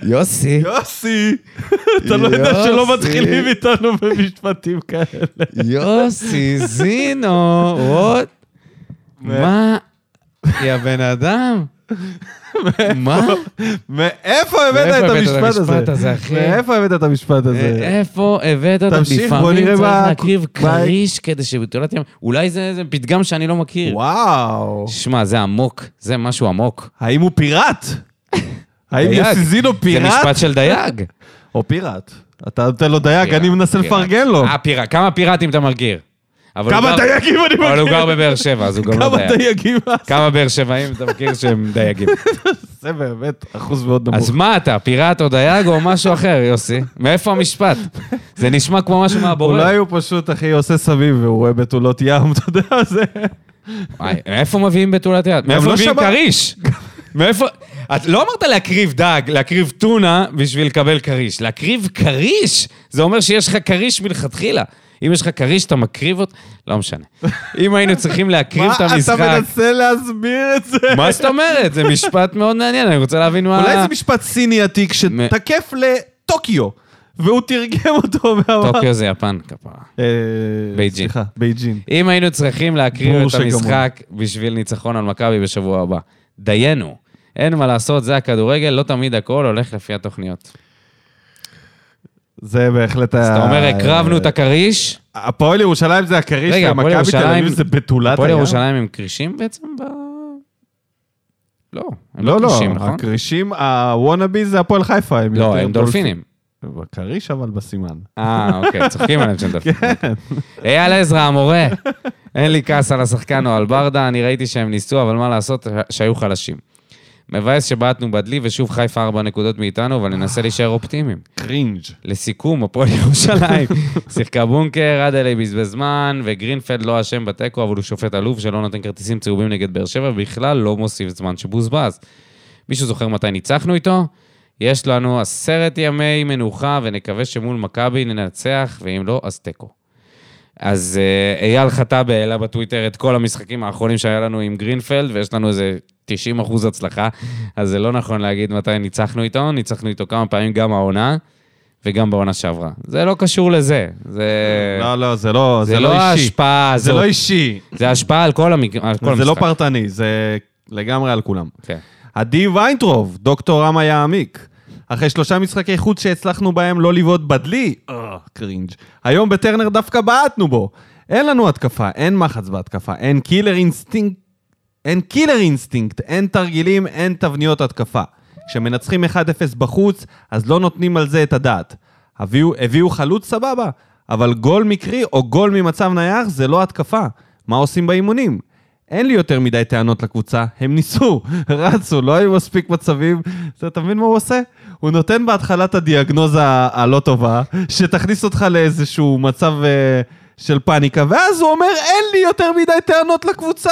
יוסי,
*laughs* יוסי!
אתה לא יודע שלא יוסי.
*laughs*
מתחילים
איתנו במשפטים כאלה.
יוסי זינו, וואט? מה? יא בן אדם?
*laughs*
מה?
מאיפה הבאת את
מאיפה הבאת את
המשפט
המשפט
הזה?
הזה, אחי? אה,
מאיפה הבאת את המשפט הזה?
איפה הבאת אותם?
תמשיך, בוא נראה
לפעמים צריך
מה-
להקריב
מה-
כריש כדי שבתולת ים... אולי זה איזה פתגם שאני לא מכיר.
וואו.
שמע, זה עמוק, זה משהו עמוק.
האם הוא
*laughs*
פיראט? האם
דייג.
יוסי זינו
זה
פיראט?
משפט של דייג.
או פיראט. אתה נותן לו דייג,
פיראט,
אני מנסה
פיראט.
לפרגן לו.
אה, פיראט. כמה פיראטים אתה מרגיע? אבל הוא
כמה
גר-
דייגים אני
אבל הוא גר
מכיר?
בבאר שבע, אז הוא גם לא
כמה
דייג.
דייגים?
כמה באר שבעים אתה מכיר שהם דייגים.
זה באמת אחוז מאוד נמוך.
אז מה אתה, פיראט או דייג או משהו אחר, יוסי? מאיפה המשפט? זה נשמע כמו משהו מהבורא.
אולי הוא פשוט, אחי, עושה סביב והוא רואה בתולות ים, *laughs* אתה יודע, זה...
וואי, מאיפה מביאים בתולת יד?
לא
מאיפה מביאים
שמע-
כריש? *laughs* מאיפה... את לא אמרת להקריב דג, להקריב טונה בשביל לקבל כריש. להקריב כריש? זה אומר שיש לך כריש מלכתחילה. אם יש לך כריש, אתה מקריב אותו, לא משנה. אם היינו צריכים להקריב
מה
את המשחק...
אתה מנסה להסביר את זה?
מה זאת אומרת? זה משפט מאוד מעניין, אני רוצה להבין מה...
אולי זה משפט סיני עתיק שתקף לטוקיו, והוא תרגם אותו *laughs* ואמר...
טוקיו זה יפן, כפרה.
אה,
בייג'ין.
סליחה, בייג'ין.
אם היינו צריכים להקריב
ברור
את
שגמור.
המשחק בשביל ניצחון על מכבי בשבוע הבא, דיינו. אין מה לעשות, זה הכדורגל, לא תמיד הכל הולך לפי התוכניות.
זה בהחלט היה...
אז אתה אומר, הקרבנו את הכריש?
הפועל ירושלים זה הכריש,
רגע, הפועל
והמכבי תל
ירושלים-
אביב זה בתולת
הפועל
הים.
ירושלים הם כרישים בעצם ב... לא, הם לא
לא, לא,
כרישים, נכון?
הכרישים, הוואנאבי זה הפועל חיפה.
לא,
יותר
הם דולפינים.
בכריש אבל בסימן.
אה, אוקיי, צוחקים עליהם שהם *laughs* דולפינים. אייל עזרא, המורה. אין לי כעס על השחקן או על ברדה, אני ראיתי שהם ניסו, אבל מה לעשות, שהיו חלשים. מבאס שבעטנו בדלי ושוב חיפה ארבע נקודות מאיתנו, אבל ננסה להישאר אופטימיים.
קרינג'.
לסיכום, הפועל ירושלים שיחקה בונקר, אדלי בזבז זמן, וגרינפלד לא אשם בתיקו, אבל הוא שופט עלוב שלא נותן כרטיסים צהובים נגד באר שבע, ובכלל לא מוסיף זמן שבוזבז. מישהו זוכר מתי ניצחנו איתו? יש לנו עשרת ימי מנוחה, ונקווה שמול מכבי ננצח, ואם לא, אז תיקו. אז אה, אייל חטאב העלה בטוויטר את כל המשחקים האחרונים שהיה לנו עם גרינפלד, ויש לנו איזה 90 אחוז הצלחה, אז זה לא נכון להגיד מתי ניצחנו איתו, ניצחנו איתו כמה פעמים גם העונה, וגם בעונה שעברה. זה לא קשור לזה, זה...
לא, לא, זה לא
אה, זה
זה
לא
לא אישי.
ההשפעה
זה לא
הזאת,
אישי.
זה השפעה על כל המג- על כל המשחק.
זה לא פרטני, זה לגמרי על כולם.
כן.
עדי ויינטרוב, דוקטור רמה יעמיק. אחרי שלושה משחקי חוץ שהצלחנו בהם לא לבעוט בדלי, אה, קרינג'. היום בטרנר דווקא בעטנו בו. אין לנו התקפה, אין מחץ בהתקפה, אין קילר אינסטינקט, אין קילר אינסטינקט, אין תרגילים, אין תבניות התקפה. כשמנצחים 1-0 בחוץ, אז לא נותנים על זה את הדעת. הביאו, הביאו חלוץ סבבה, אבל גול מקרי או גול ממצב נייח זה לא התקפה. מה עושים באימונים? אין לי יותר מדי טענות לקבוצה, הם ניסו, *laughs* רצו, לא היו מספיק מצבים. זה, אתה מבין מה הוא עושה? הוא נותן בהתחלה את הדיאגנוזה ה- הלא טובה, שתכניס אותך לאיזשהו מצב אה, של פאניקה, ואז הוא אומר, אין לי יותר מדי טענות לקבוצה.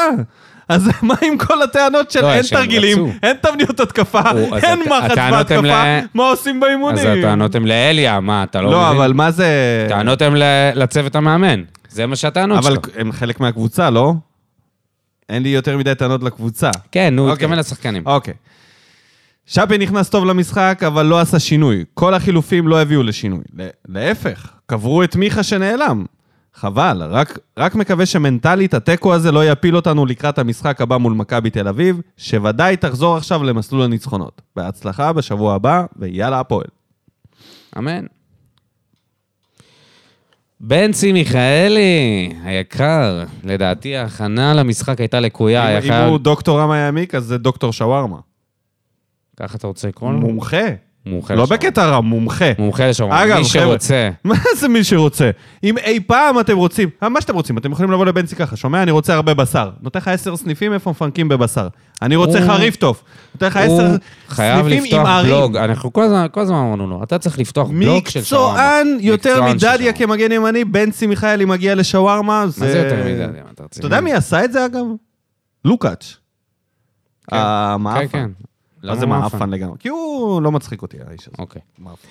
אז *laughs* מה עם כל הטענות של
לא,
אין
שהם
תרגילים,
רצו.
אין תבניות התקפה,
הוא- אז
אין
הט-
מחץ
הטענות הם
בהתקפה,
ל-
מה עושים
אז
באימונים?
הטענות הן לאליה, מה, אתה לא
לא,
מבין?
אבל מה זה...
טענות הן ל- לצוות המאמן. זה מה שהטענות
אבל
שלו.
הם חלק מהקבוצה, לא? אין לי יותר מדי טענות לקבוצה.
כן, נו, הוא
אוקיי.
התכוון לשחקנים.
אוקיי. שפי נכנס טוב למשחק, אבל לא עשה שינוי. כל החילופים לא הביאו לשינוי. ל- להפך, קברו את מיכה שנעלם. חבל, רק, רק מקווה שמנטלית התיקו הזה לא יפיל אותנו לקראת המשחק הבא מול מכבי תל אביב, שוודאי תחזור עכשיו למסלול הניצחונות. בהצלחה בשבוע הבא, ויאללה הפועל.
אמן. בנצי מיכאלי, היקר, לדעתי ההכנה למשחק הייתה לקויה, היה
אם, אם
חייב...
הוא דוקטור רמה יעמיק, אז זה דוקטור שווארמה.
ככה אתה רוצה לקרוא לו?
מומחה.
מומחה
לא
לשעון.
בקטע רע, מומחה.
מומחה לשעון,
אגב,
מי
חבר'ה,
שרוצה.
מה זה מי שרוצה? אם אי פעם אתם רוצים, אה, מה שאתם רוצים, אתם יכולים לבוא לבנצי ככה, שומע? אני רוצה הרבה בשר. נותן לך עשר סניפים, איפה מפנקים בבשר. אני רוצה
הוא-
חריף טוב. נותן לך
הוא
עשר
חייב
סניפים עם
לפתוח
ערים.
בלוג, אנחנו כל הזמן- כל הזמן אמרנו לו, אתה צריך לפתוח בלוג של שווארמה.
מקצוען יותר
מקצוען של
מדדיה
שווארמה.
כמגן ימני, בנצי מיכאלי מגיע לשווארמה, זה...
מה זה יותר מדדיה? מה,
אתה יודע מי עשה את זה אגב? לוקאץ'.
כן.
המאפן.
כן, כן.
מה זה
למה
מאפן לגמרי? כי הוא לא מצחיק אותי, האיש הזה.
אוקיי.
מאפן.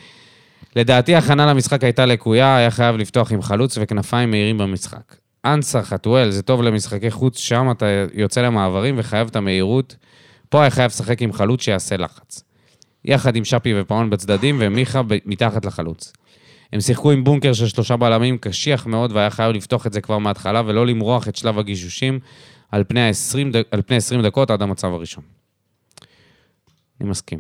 לדעתי ההכנה למשחק הייתה לקויה, היה חייב לפתוח עם חלוץ וכנפיים מהירים במשחק. אנסה, חתואל, זה טוב למשחקי חוץ, שם אתה יוצא למעברים וחייב את המהירות. פה היה חייב לשחק עם חלוץ שיעשה לחץ. יחד עם שפי ופאון בצדדים ומיכה ב- מתחת לחלוץ. הם שיחקו עם בונקר של שלושה בלמים קשיח מאוד והיה חייב לפתוח את זה כבר מההתחלה ולא למרוח את שלב הגישושים על פני, ה-20 דק- על פני 20 דקות עד המצב הראשון. אני מסכים.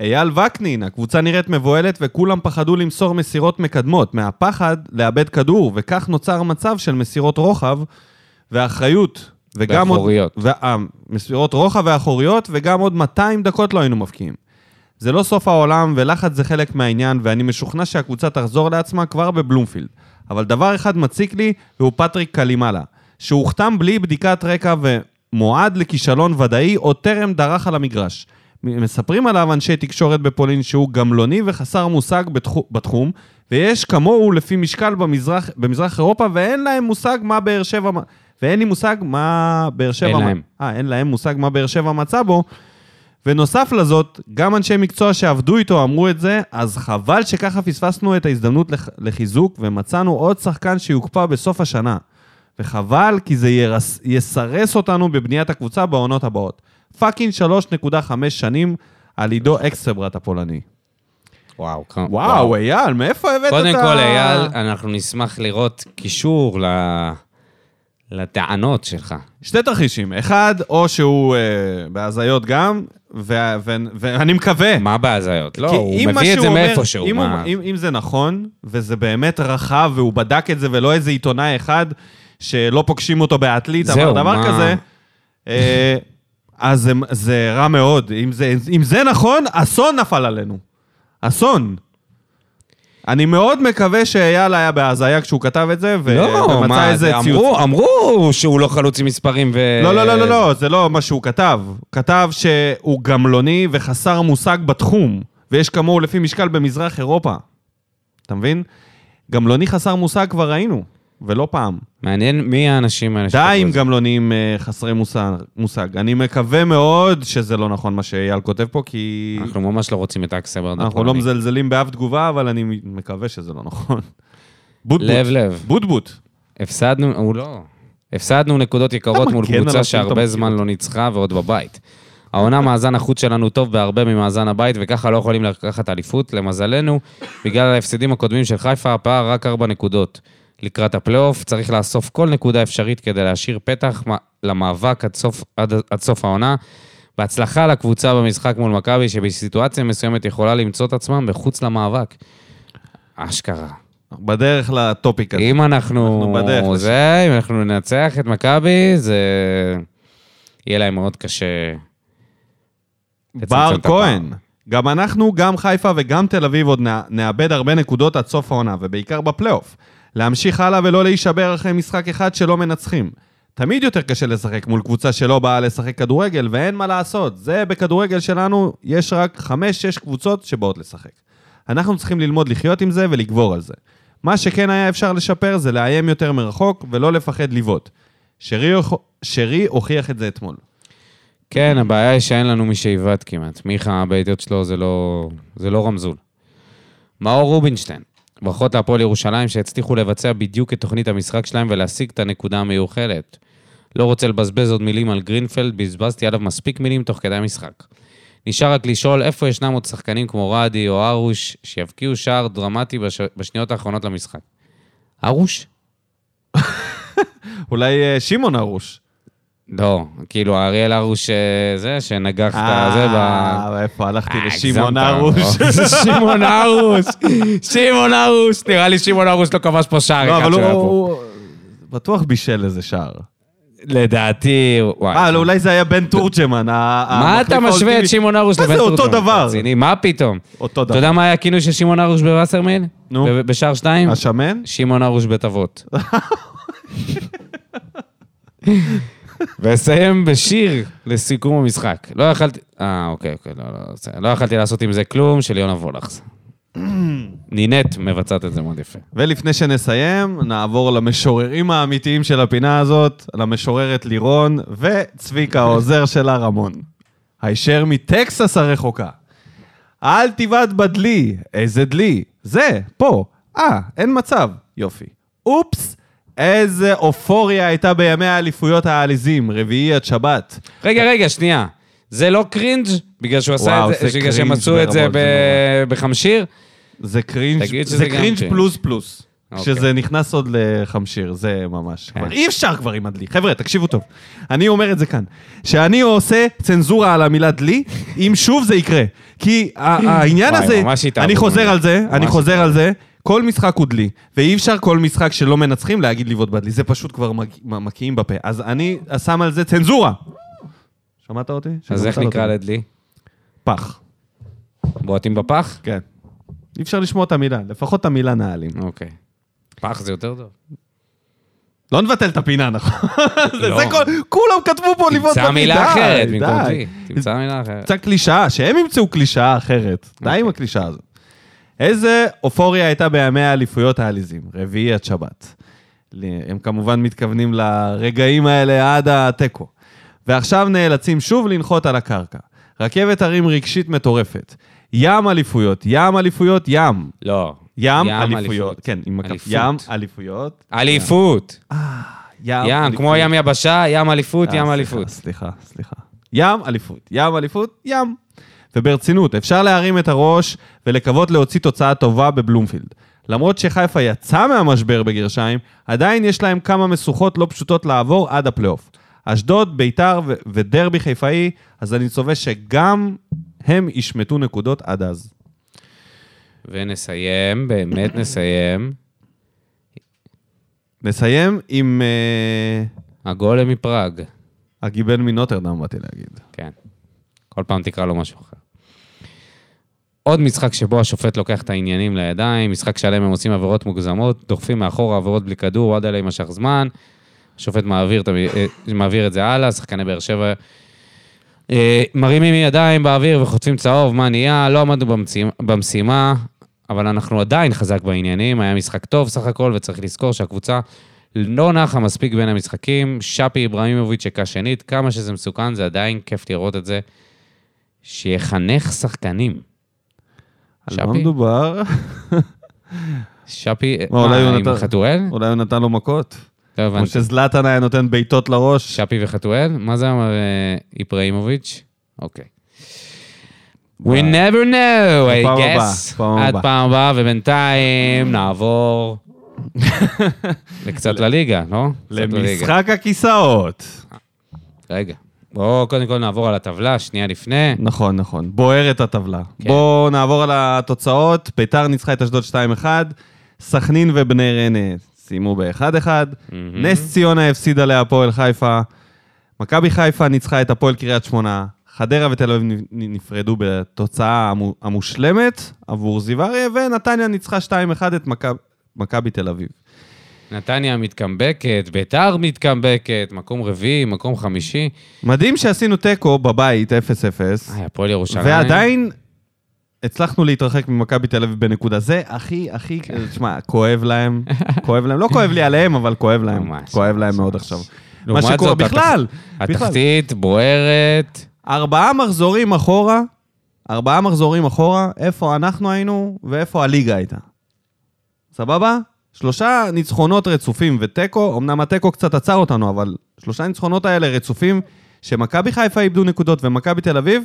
אייל וקנין, הקבוצה נראית מבוהלת וכולם פחדו למסור מסירות מקדמות, מהפחד לאבד כדור, וכך נוצר מצב של מסירות רוחב ואחריות. וגם
ואחוריות.
עוד, ו... אה, מסירות רוחב ואחוריות, וגם עוד 200 דקות לא היינו מבקיעים. זה לא סוף העולם, ולחץ זה חלק מהעניין, ואני משוכנע שהקבוצה תחזור לעצמה כבר בבלומפילד. אבל דבר אחד מציק לי, והוא פטריק קלימאלה, שהוכתם בלי בדיקת רקע ומועד לכישלון ודאי, עוד טרם דרך על המגרש. מ- מספרים עליו אנשי תקשורת בפולין שהוא גמלוני וחסר מושג בתחו- בתחום, ויש כמוהו לפי משקל במזרח, במזרח אירופה, ואין להם מושג מה באר שבע... מ- ואין לי מושג מה באר שבע...
אין
מ-
להם.
אה, אין להם מושג מה באר שבע מצא בו, ונוסף לזאת, גם אנשי מקצוע שעבדו איתו אמרו את זה, אז חבל שככה פספסנו את ההזדמנות לח- לחיזוק, ומצאנו עוד שחקן שיוקפא בסוף השנה. וחבל, כי זה ירס, יסרס אותנו בבניית הקבוצה בעונות הבאות. פאקינג 3.5 שנים על עידו אקסטברט הפולני.
וואו, כמה-
וואו, אייל, מאיפה הבאת את ה...
קודם כל, אייל, אנחנו נשמח לראות קישור ל- לטענות שלך.
שתי תרחישים. אחד, או שהוא אה, בהזיות גם, ו- ו- ואני מקווה.
מה בהזיות? לא,
כי
הוא
אם מה
מביא את
שהוא
זה
אומר-
מאיפשהו.
אם,
מה-
הוא- אם, אם זה נכון, וזה באמת רחב, והוא בדק את זה, ולא איזה עיתונאי אחד שלא פוגשים אותו בעתלית,
זהו,
אמר דבר
מה-
כזה, אה, אז זה, זה רע מאוד. אם זה, אם זה נכון, אסון נפל עלינו. אסון. אני מאוד מקווה שאייל היה בהזיה כשהוא כתב את זה, ו-
לא,
ומצא
מה,
אה, איזה
זה-
ציוץ.
אמרו- אמרו שהוא לא חלוץ עם מספרים ו...
לא, לא, לא, לא, לא, זה לא מה שהוא כתב. כתב שהוא גמלוני וחסר מושג בתחום, ויש כמוהו לפי משקל במזרח אירופה. אתה מבין? גמלוני חסר מושג כבר ראינו, ולא פעם.
מעניין מי האנשים האלה שכתבו
די עם
את זה.
גמלונים אה, חסרי מושג, מושג. אני מקווה מאוד שזה לא נכון מה שאייל כותב פה, כי
אנחנו ממש לא רוצים את אקסבר.
אנחנו לא מזלזלים באף תגובה, אבל אני מקווה שזה לא נכון. בוטבוט.
לב לב.
בוטבוט.
הפסדנו, הוא לא. הפסדנו נקודות יקרות
אתה
מול
מגן עליו
קבוצה
כאילו אתה
שהרבה
מכיר
זמן לא ניצחה ועוד בבית. העונה מאזן החוץ שלנו טוב בהרבה ממאזן הבית, וככה לא יכולים לקחת אליפות, למזלנו, בגלל ההפסדים הקודמים של חיפה, הפער רק ארבע נקודות. לקראת הפלייאוף צריך לאסוף כל נקודה אפשרית כדי להשאיר פתח מ- למאבק עד סוף, עד, עד סוף העונה. בהצלחה לקבוצה במשחק מול מכבי, שבסיטואציה מסוימת יכולה למצוא את עצמם מחוץ למאבק. אשכרה.
בדרך לטופיק הזה.
אם אנחנו...
אנחנו בדרך לשם.
זה, אם אנחנו ננצח את מכבי, זה... יהיה להם מאוד קשה. לצמצם
בר
את הפער.
כהן. גם אנחנו, גם חיפה וגם תל אביב עוד נא- נאבד הרבה נקודות עד סוף העונה, ובעיקר בפלייאוף. להמשיך הלאה ולא להישבר אחרי משחק אחד שלא מנצחים. תמיד יותר קשה לשחק מול קבוצה שלא באה לשחק כדורגל, ואין מה לעשות. זה בכדורגל שלנו, יש רק 5-6 קבוצות שבאות לשחק. אנחנו צריכים ללמוד לחיות עם זה ולגבור על זה. מה שכן היה אפשר לשפר זה לאיים יותר מרחוק ולא לפחד לבעוט. שרי, הוכ- שרי הוכיח את זה אתמול.
כן, הבעיה היא שאין לנו מי שיבעט כמעט. מיכה, הבעיטות שלו זה לא, זה לא רמזול. מאור רובינשטיין, ברכות להפועל ירושלים שהצליחו לבצע בדיוק את תוכנית המשחק שלהם ולהשיג את הנקודה המיוחלת. לא רוצה לבזבז עוד מילים על גרינפלד, בזבזתי עליו מספיק מילים תוך כדי המשחק. נשאר רק לשאול איפה ישנם עוד שחקנים כמו רדי או ארוש שיבקיעו שער דרמטי בש... בשניות האחרונות למשחק. ארוש?
אולי אה, שמעון הרוש.
לא, כאילו אריאל ארוש אה, זה, שנגח את זה ב...
אה, איפה הלכתי
אה,
לשמעון
הגזמת. אוקיי.
הרוש.
*laughs* שמעון הרוש, שמעון הרוש. נראה לי שמעון הרוש לא כבש פה
לא,
שער אחד
אבל
שהוא היה פה. אה,
הוא בטוח בישל איזה שער.
לדעתי, וואי.
אה, לא, אולי זה היה בן תורג'מן. ה-
כן. מה
המחליף
אתה משווה
האולטימי.
את שמעון הרוש
מה
לבן
זה
תורג'מן?
אותו דבר?
רציני, מה פתאום?
אותו
אתה
דבר.
יודע מה היה הכינוי של שמעון הרוש בווסרמיל?
נו.
ב- בשער שתיים?
השמן?
שמעון הרוש בית אבות. ואסיים בשיר לסיכום המשחק. לא יכלתי... אה, אוקיי, אוקיי, לא, לא, בסדר. לא יכלתי לעשות עם זה כלום, של יונה וולאכס. נינט מבצעת את זה מאוד יפה.
ולפני שנסיים, נעבור למשוררים האמיתיים של הפינה הזאת, למשוררת לירון וצביקה, העוזר שלה, רמון. הישר מטקסס הרחוקה. אל תבעט בדלי, איזה דלי. זה, פה. אה, אין מצב. יופי. אופס, איזה אופוריה הייתה בימי האליפויות העליזים, רביעי עד שבת.
רגע, רגע, שנייה. זה לא קרינג' בגלל שהוא עשה
וואו,
את זה,
זה
בגלל שהם
קרינג'
עשו את זה
ברמות,
ב-
זה
בחמשיר?
זה קרינג',
תגיד שזה
זה
גם
קרינג'
קרינג'.
פלוס פלוס.
אוקיי. כן.
כשזה נכנס עוד לחמשיר, זה ממש. כבר אי אפשר כבר עם הדלי. חבר'ה, תקשיבו טוב. אני אומר את זה כאן. שאני עושה צנזורה על המילה דלי, אם שוב זה יקרה. כי ה- העניין
וואי,
הזה,
ממש התאהבו
אני חוזר
ממנו.
על זה,
ממש
אני חוזר על זה, כל משחק הוא דלי, ואי אפשר כל משחק שלא מנצחים להגיד לבעוט בדלי, זה פשוט כבר מק- מ- מקיאים בפה. אז אני שם על זה צנזורה. שמעת אותי?
אז
שמעת
איך
אותי?
נקרא לדלי?
פח,
בועטים בפח?
כן. אי אפשר לשמוע את המילה, לפחות את המילה נעלים.
אוקיי. פח זה יותר טוב.
לא נבטל את הפינה,
*laughs*
נכון? זה
לא.
זה כל... כולם כתבו פה לבעוט
תמצא
בפינה,
מילה אחרת
די.
במקומתי. תמצא מילה אחרת.
תמצא קלישאה, שהם ימצאו קלישאה אחרת. די
אוקיי.
עם הקלישאה הזאת. איזה אופוריה הייתה בימי האליפויות העליזים, רביעי עד שבת. ל- הם כמובן מתכוונים לרגעים האלה עד התיקו. ועכשיו נאלצים שוב לנחות על הקרקע. רכבת הרים רגשית מטורפת. ים אליפויות, ים אליפויות, ים.
לא.
ים
ים
אליפויות.
אליפויות.
כן, עם הכף.
אליפות.
ים אליפויות.
אליפות. ים,
אליפויות.
כמו ים יבשה, ים אליפות,
אה,
ים
סליחה,
אליפות.
סליחה, סליחה. ים אליפות, ים אליפות, ים. וברצינות, אפשר להרים את הראש ולקוות להוציא תוצאה טובה בבלומפילד. למרות שחיפה יצאה מהמשבר בגרשיים, עדיין יש להם כמה משוכות לא פשוטות לעבור עד הפלייאוף. אשדוד, ביתר ו- ודרבי חיפאי, אז אני צובע שגם הם ישמטו נקודות עד אז.
ונסיים, באמת נסיים. *laughs*
נסיים עם uh,
הגולם מפראג.
הגיבל מנוטרדם, באתי להגיד.
כן. כל פעם תקרא לו משהו אחר. עוד משחק שבו השופט לוקח את העניינים לידיים, משחק שעליהם הם עושים עבירות מוגזמות, דוחפים מאחורה עבירות בלי כדור, אוהד עליה יימשך זמן, השופט מעביר, את המ- אה, מעביר את זה הלאה, שחקני באר שבע אה, מרימים ידיים באוויר וחוטפים צהוב, מה נהיה, לא עמדנו במשימה, במשימה, אבל אנחנו עדיין חזק בעניינים, היה משחק טוב סך הכל, וצריך לזכור שהקבוצה לא נחה מספיק בין המשחקים, שפי איברהימוביץ' שכה שנית, כמה שזה מסוכן, זה עדיין כיף לראות את זה. שיחנך שחקנים.
על מה
שפי?
מדובר?
שפי,
מה, אולי
מה,
הוא
עם
נתן-
חתואל?
אולי הוא נתן לו מכות.
לא
כמו
הבנתי.
שזלאטן היה נותן בעיטות לראש.
שפי וחתואל? מה זה אמר אה, איברהימוביץ'? אוקיי. We never know, I
פעם הבאה,
guess.
פעם
עד
הבאה.
פעם הבאה, ובינתיים
*laughs*
נעבור לקצת לליגה, לא? קצת אה. לליגה.
למשחק הכיסאות.
רגע. בואו קודם כל נעבור על הטבלה, שנייה לפני.
נכון, נכון. בוערת הטבלה.
כן.
בואו נעבור על התוצאות. ביתר ניצחה את אשדוד 2-1, סכנין ובני ריינה סיימו ב-1-1, נס ציונה הפסידה להפועל חיפה, מכבי חיפה ניצחה את הפועל קריית שמונה, חדרה ותל אביב נ- נפרדו בתוצאה המו- המושלמת עבור זיו אריה, ונתניה ניצחה 2-1 את מכב- מכבי תל אביב.
נתניה מתקמבקת, ביתר מתקמבקת, מקום רביעי, מקום חמישי.
מדהים שעשינו תיקו בבית 0-0.
אה, הפועל ירושלים.
ועדיין הצלחנו להתרחק ממכבי תל אביב בנקודה. זה הכי, הכי,
כן.
תשמע, כואב להם, כואב להם, לא כואב לי עליהם, אבל כואב להם,
ממש,
כואב להם
ממש,
מאוד
ממש.
עכשיו. מה
לעומת
שקורה
זאת,
בכלל, בכלל.
התחתית בוערת.
ארבעה מחזורים אחורה, ארבעה מחזורים אחורה, איפה אנחנו היינו ואיפה הליגה הייתה. סבבה? שלושה ניצחונות רצופים ותיקו, אמנם התיקו קצת עצר אותנו, אבל שלושה ניצחונות האלה רצופים, שמכבי חיפה איבדו נקודות ומכבי תל אביב,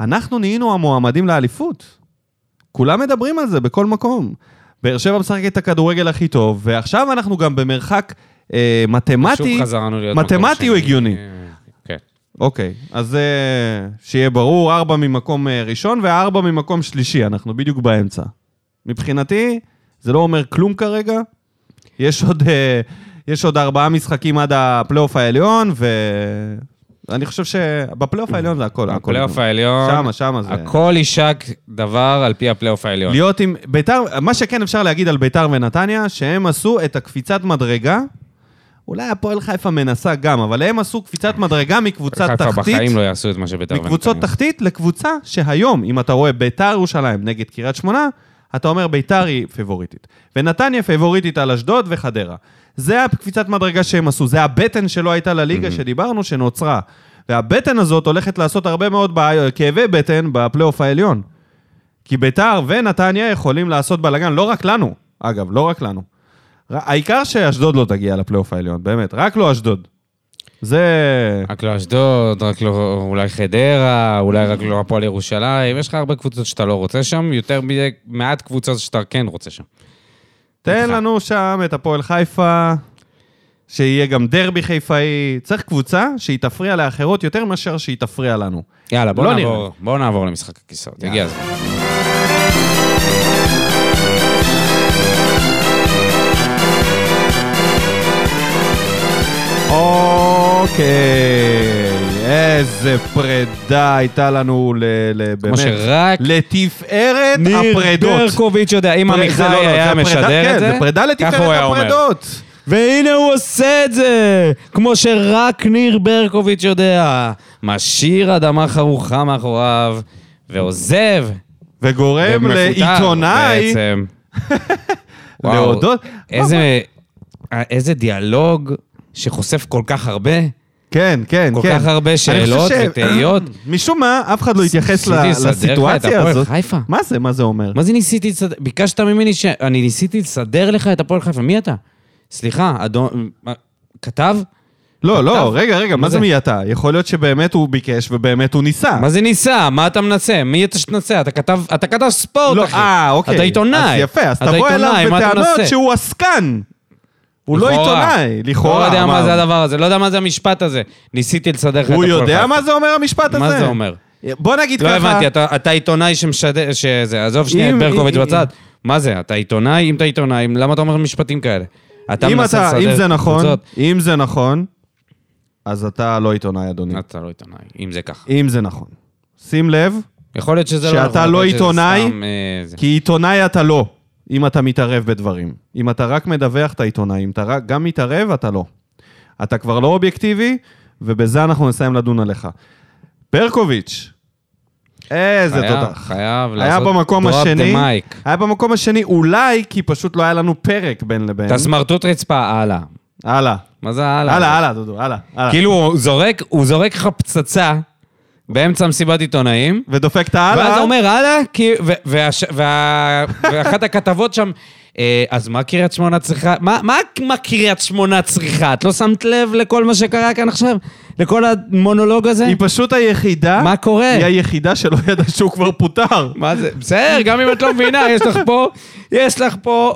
אנחנו נהיינו המועמדים לאליפות. כולם מדברים על זה בכל מקום. באר שבע משחקת את הכדורגל הכי טוב, ועכשיו אנחנו גם במרחק אה, מתמטי.
שוב חזרנו להיות מקום
מתמטי הוא
שני.
הגיוני.
אה, כן.
אוקיי, אז אה, שיהיה ברור, ארבע ממקום אה, ראשון וארבע ממקום שלישי, אנחנו בדיוק באמצע. מבחינתי, זה לא אומר כלום כרגע. יש עוד, אה, יש עוד ארבעה משחקים עד הפלייאוף העליון, ואני חושב שבפלייאוף העליון זה הכל. הכל.
הפלייאוף Mm. העליון.
שמה, שמה זה.
הכל יישק דבר על פי הפלייאוף העליון.
להיות עם ביתר, מה שכן אפשר להגיד על ביתר ונתניה, שהם עשו את הקפיצת מדרגה. אולי הפועל חיפה מנסה גם, אבל הם עשו קפיצת מדרגה מקבוצה תחתית.
חיפה בחיים לא יעשו את מה שביתר
מקבוצות
ונתניה.
תחתית לקבוצה שהיום, אם אתה רואה ביתר ירושלים נגד קריית שמונה, אתה אומר ביתר היא פייבוריטית. ונתניה פייבוריטית על אשדוד וחדרה. זה הקפיצת מדרגה שהם עשו, זה הבטן שלא הייתה לליגה שדיברנו, שנוצרה. והבטן הזאת הולכת לעשות הרבה מאוד בעי- כאבי בטן בפלייאוף העליון. כי ביתר ונתניה יכולים לעשות בלאגן, לא רק לנו, אגב, לא רק לנו. ר- העיקר שאשדוד לא תגיע לפלייאוף העליון, באמת, רק לא אשדוד. זה...
רק לא אשדוד, רק לא אולי חדרה, אולי רק לא הפועל ירושלים. יש לך הרבה קבוצות שאתה לא רוצה שם, יותר מדי- מעט קבוצות שאתה כן רוצה שם.
תן
איתך.
לנו שם את הפועל חיפה, שיהיה גם דרבי חיפאי. צריך קבוצה שהיא תפריע לאחרות יותר מאשר שהיא תפריע לנו.
יאללה, בוא
לא
נעבור- בוא נעבור למשחק הכיסאות. הגיע הזמן.
אוקיי, איזה פרידה הייתה לנו ל... ל-
כמו
באמת.
שרק
לתפארת הפרדות.
ברקוביץ' יודע, אם
פריד-
עמיחי
זה לא, לא, זה
היה
הפרידה-
משדר
כן,
את זה,
זה פרידה
ככה הוא
לתפארת
היה אומר.
הפרדות.
והנה הוא עושה את זה! כמו שרק ניר ברקוביץ' יודע. משאיר אדמה חרוכה מאחוריו, ועוזב.
וגורם
ומפוטר
לעיתונאי *laughs*
בעצם. וואו,
להודות.
איזה, איזה דיאלוג שחושף כל כך הרבה.
כן, כן,
כל
כן.
כך הרבה
אני חושב
שאלות
ש-
ותהיות.
*clears throat* משום מה, אף אחד לא התייחס ל-
ניסיתי לסדר לך את
לסיטואציה
הפועל
הזאת.
חיפה.
מה זה, מה זה אומר?
מה זה ניסיתי לסדר? ביקשת ממני ש... אני ניסיתי לסדר לך את הפועל חיפה. מי אתה? סליחה, אדון... מה, כתב?
לא,
כתב?
לא, רגע, רגע, מה
זה?
זה מי אתה? יכול להיות שבאמת הוא ביקש ובאמת הוא ניסה.
מה זה ניסה? מה אתה מנסה? מי אתה שתנסה? אתה כתב, אתה כתב ספורט,
לא,
אחי.
אה, אוקיי.
אתה עיתונאי.
אז יפה, אז
אתה
תבוא אליו
עיתונאי, מה אתה
בטענות
מנסה?
שהוא עסקן. הוא לא
לכאורה.
עיתונאי, לכאורה.
לא יודע מה
אמרנו.
זה הדבר הזה, לא יודע מה זה המשפט הזה. ניסיתי לסדר לך את
הוא
הפועל
יודע
חיפה.
מה זה אומר המשפט הזה?
מה זה אומר?
בוא נגיד
לא
ככה...
הבנתי, אתה- אתה עיתונאי שמשדר, שזה, עזוב שנייה את
אם-
ברקוביץ'
אם-
בצד. מה זה, אתה עיתונאי? אם אתה עיתונאי, למה אתה אומר משפטים כאלה? אתה
אם
מנסה
אתה,
לסדר
אם זה נכון,
קבוצות?
אם זה נכון, אז אתה לא עיתונאי, אדוני.
אתה לא עיתונאי, אם זה ככה.
אם זה נכון. שים לב,
יכול להיות שזה לא...
שאתה
נכון, יכול
לא
להיות שזה
עיתונאי,
סתם, אה, זה.
כן. כי עיתונאי אתה לא, אם אתה מתערב בדברים. אם אתה רק מדווח, אתה עיתונאי. אם אתה רק, גם מתערב, אתה לא. אתה כבר לא אובייקטיבי, ובזה אנחנו נסיים לדון עליך. ברקוביץ', איזה
חייב,
תותח.
חייב
היה
לעשות
במקום
drop the
השני,
mic.
היה במקום השני אולי כי פשוט לא היה לנו פרק בין לבין.
אתה סמרטוט רצפה, הלאה.
הלאה.
מה זה הלאה?
הלאה, הלאה, דודו, הלאה. הלאה.
כאילו הוא זורק, הוא זורק לך פצצה באמצע מסיבת עיתונאים,
ודופק את הלאה.
ואז הוא אומר הלאה, כי... ו- והש- וה- ואחת הכתבות שם, "אה, אז מה קריית שמונה צריכה... מה, מה, מה קריית שמונה צריכה? את לא שמת לב לכל מה שקרה כאן עכשיו? לכל המונולוג הזה?
היא פשוט היחידה...
מה קורה?
היא היחידה שלא ידעה שהוא כבר פוטר.
מה זה? בסדר, גם אם את לא מבינה, יש לך פה, יש לך פה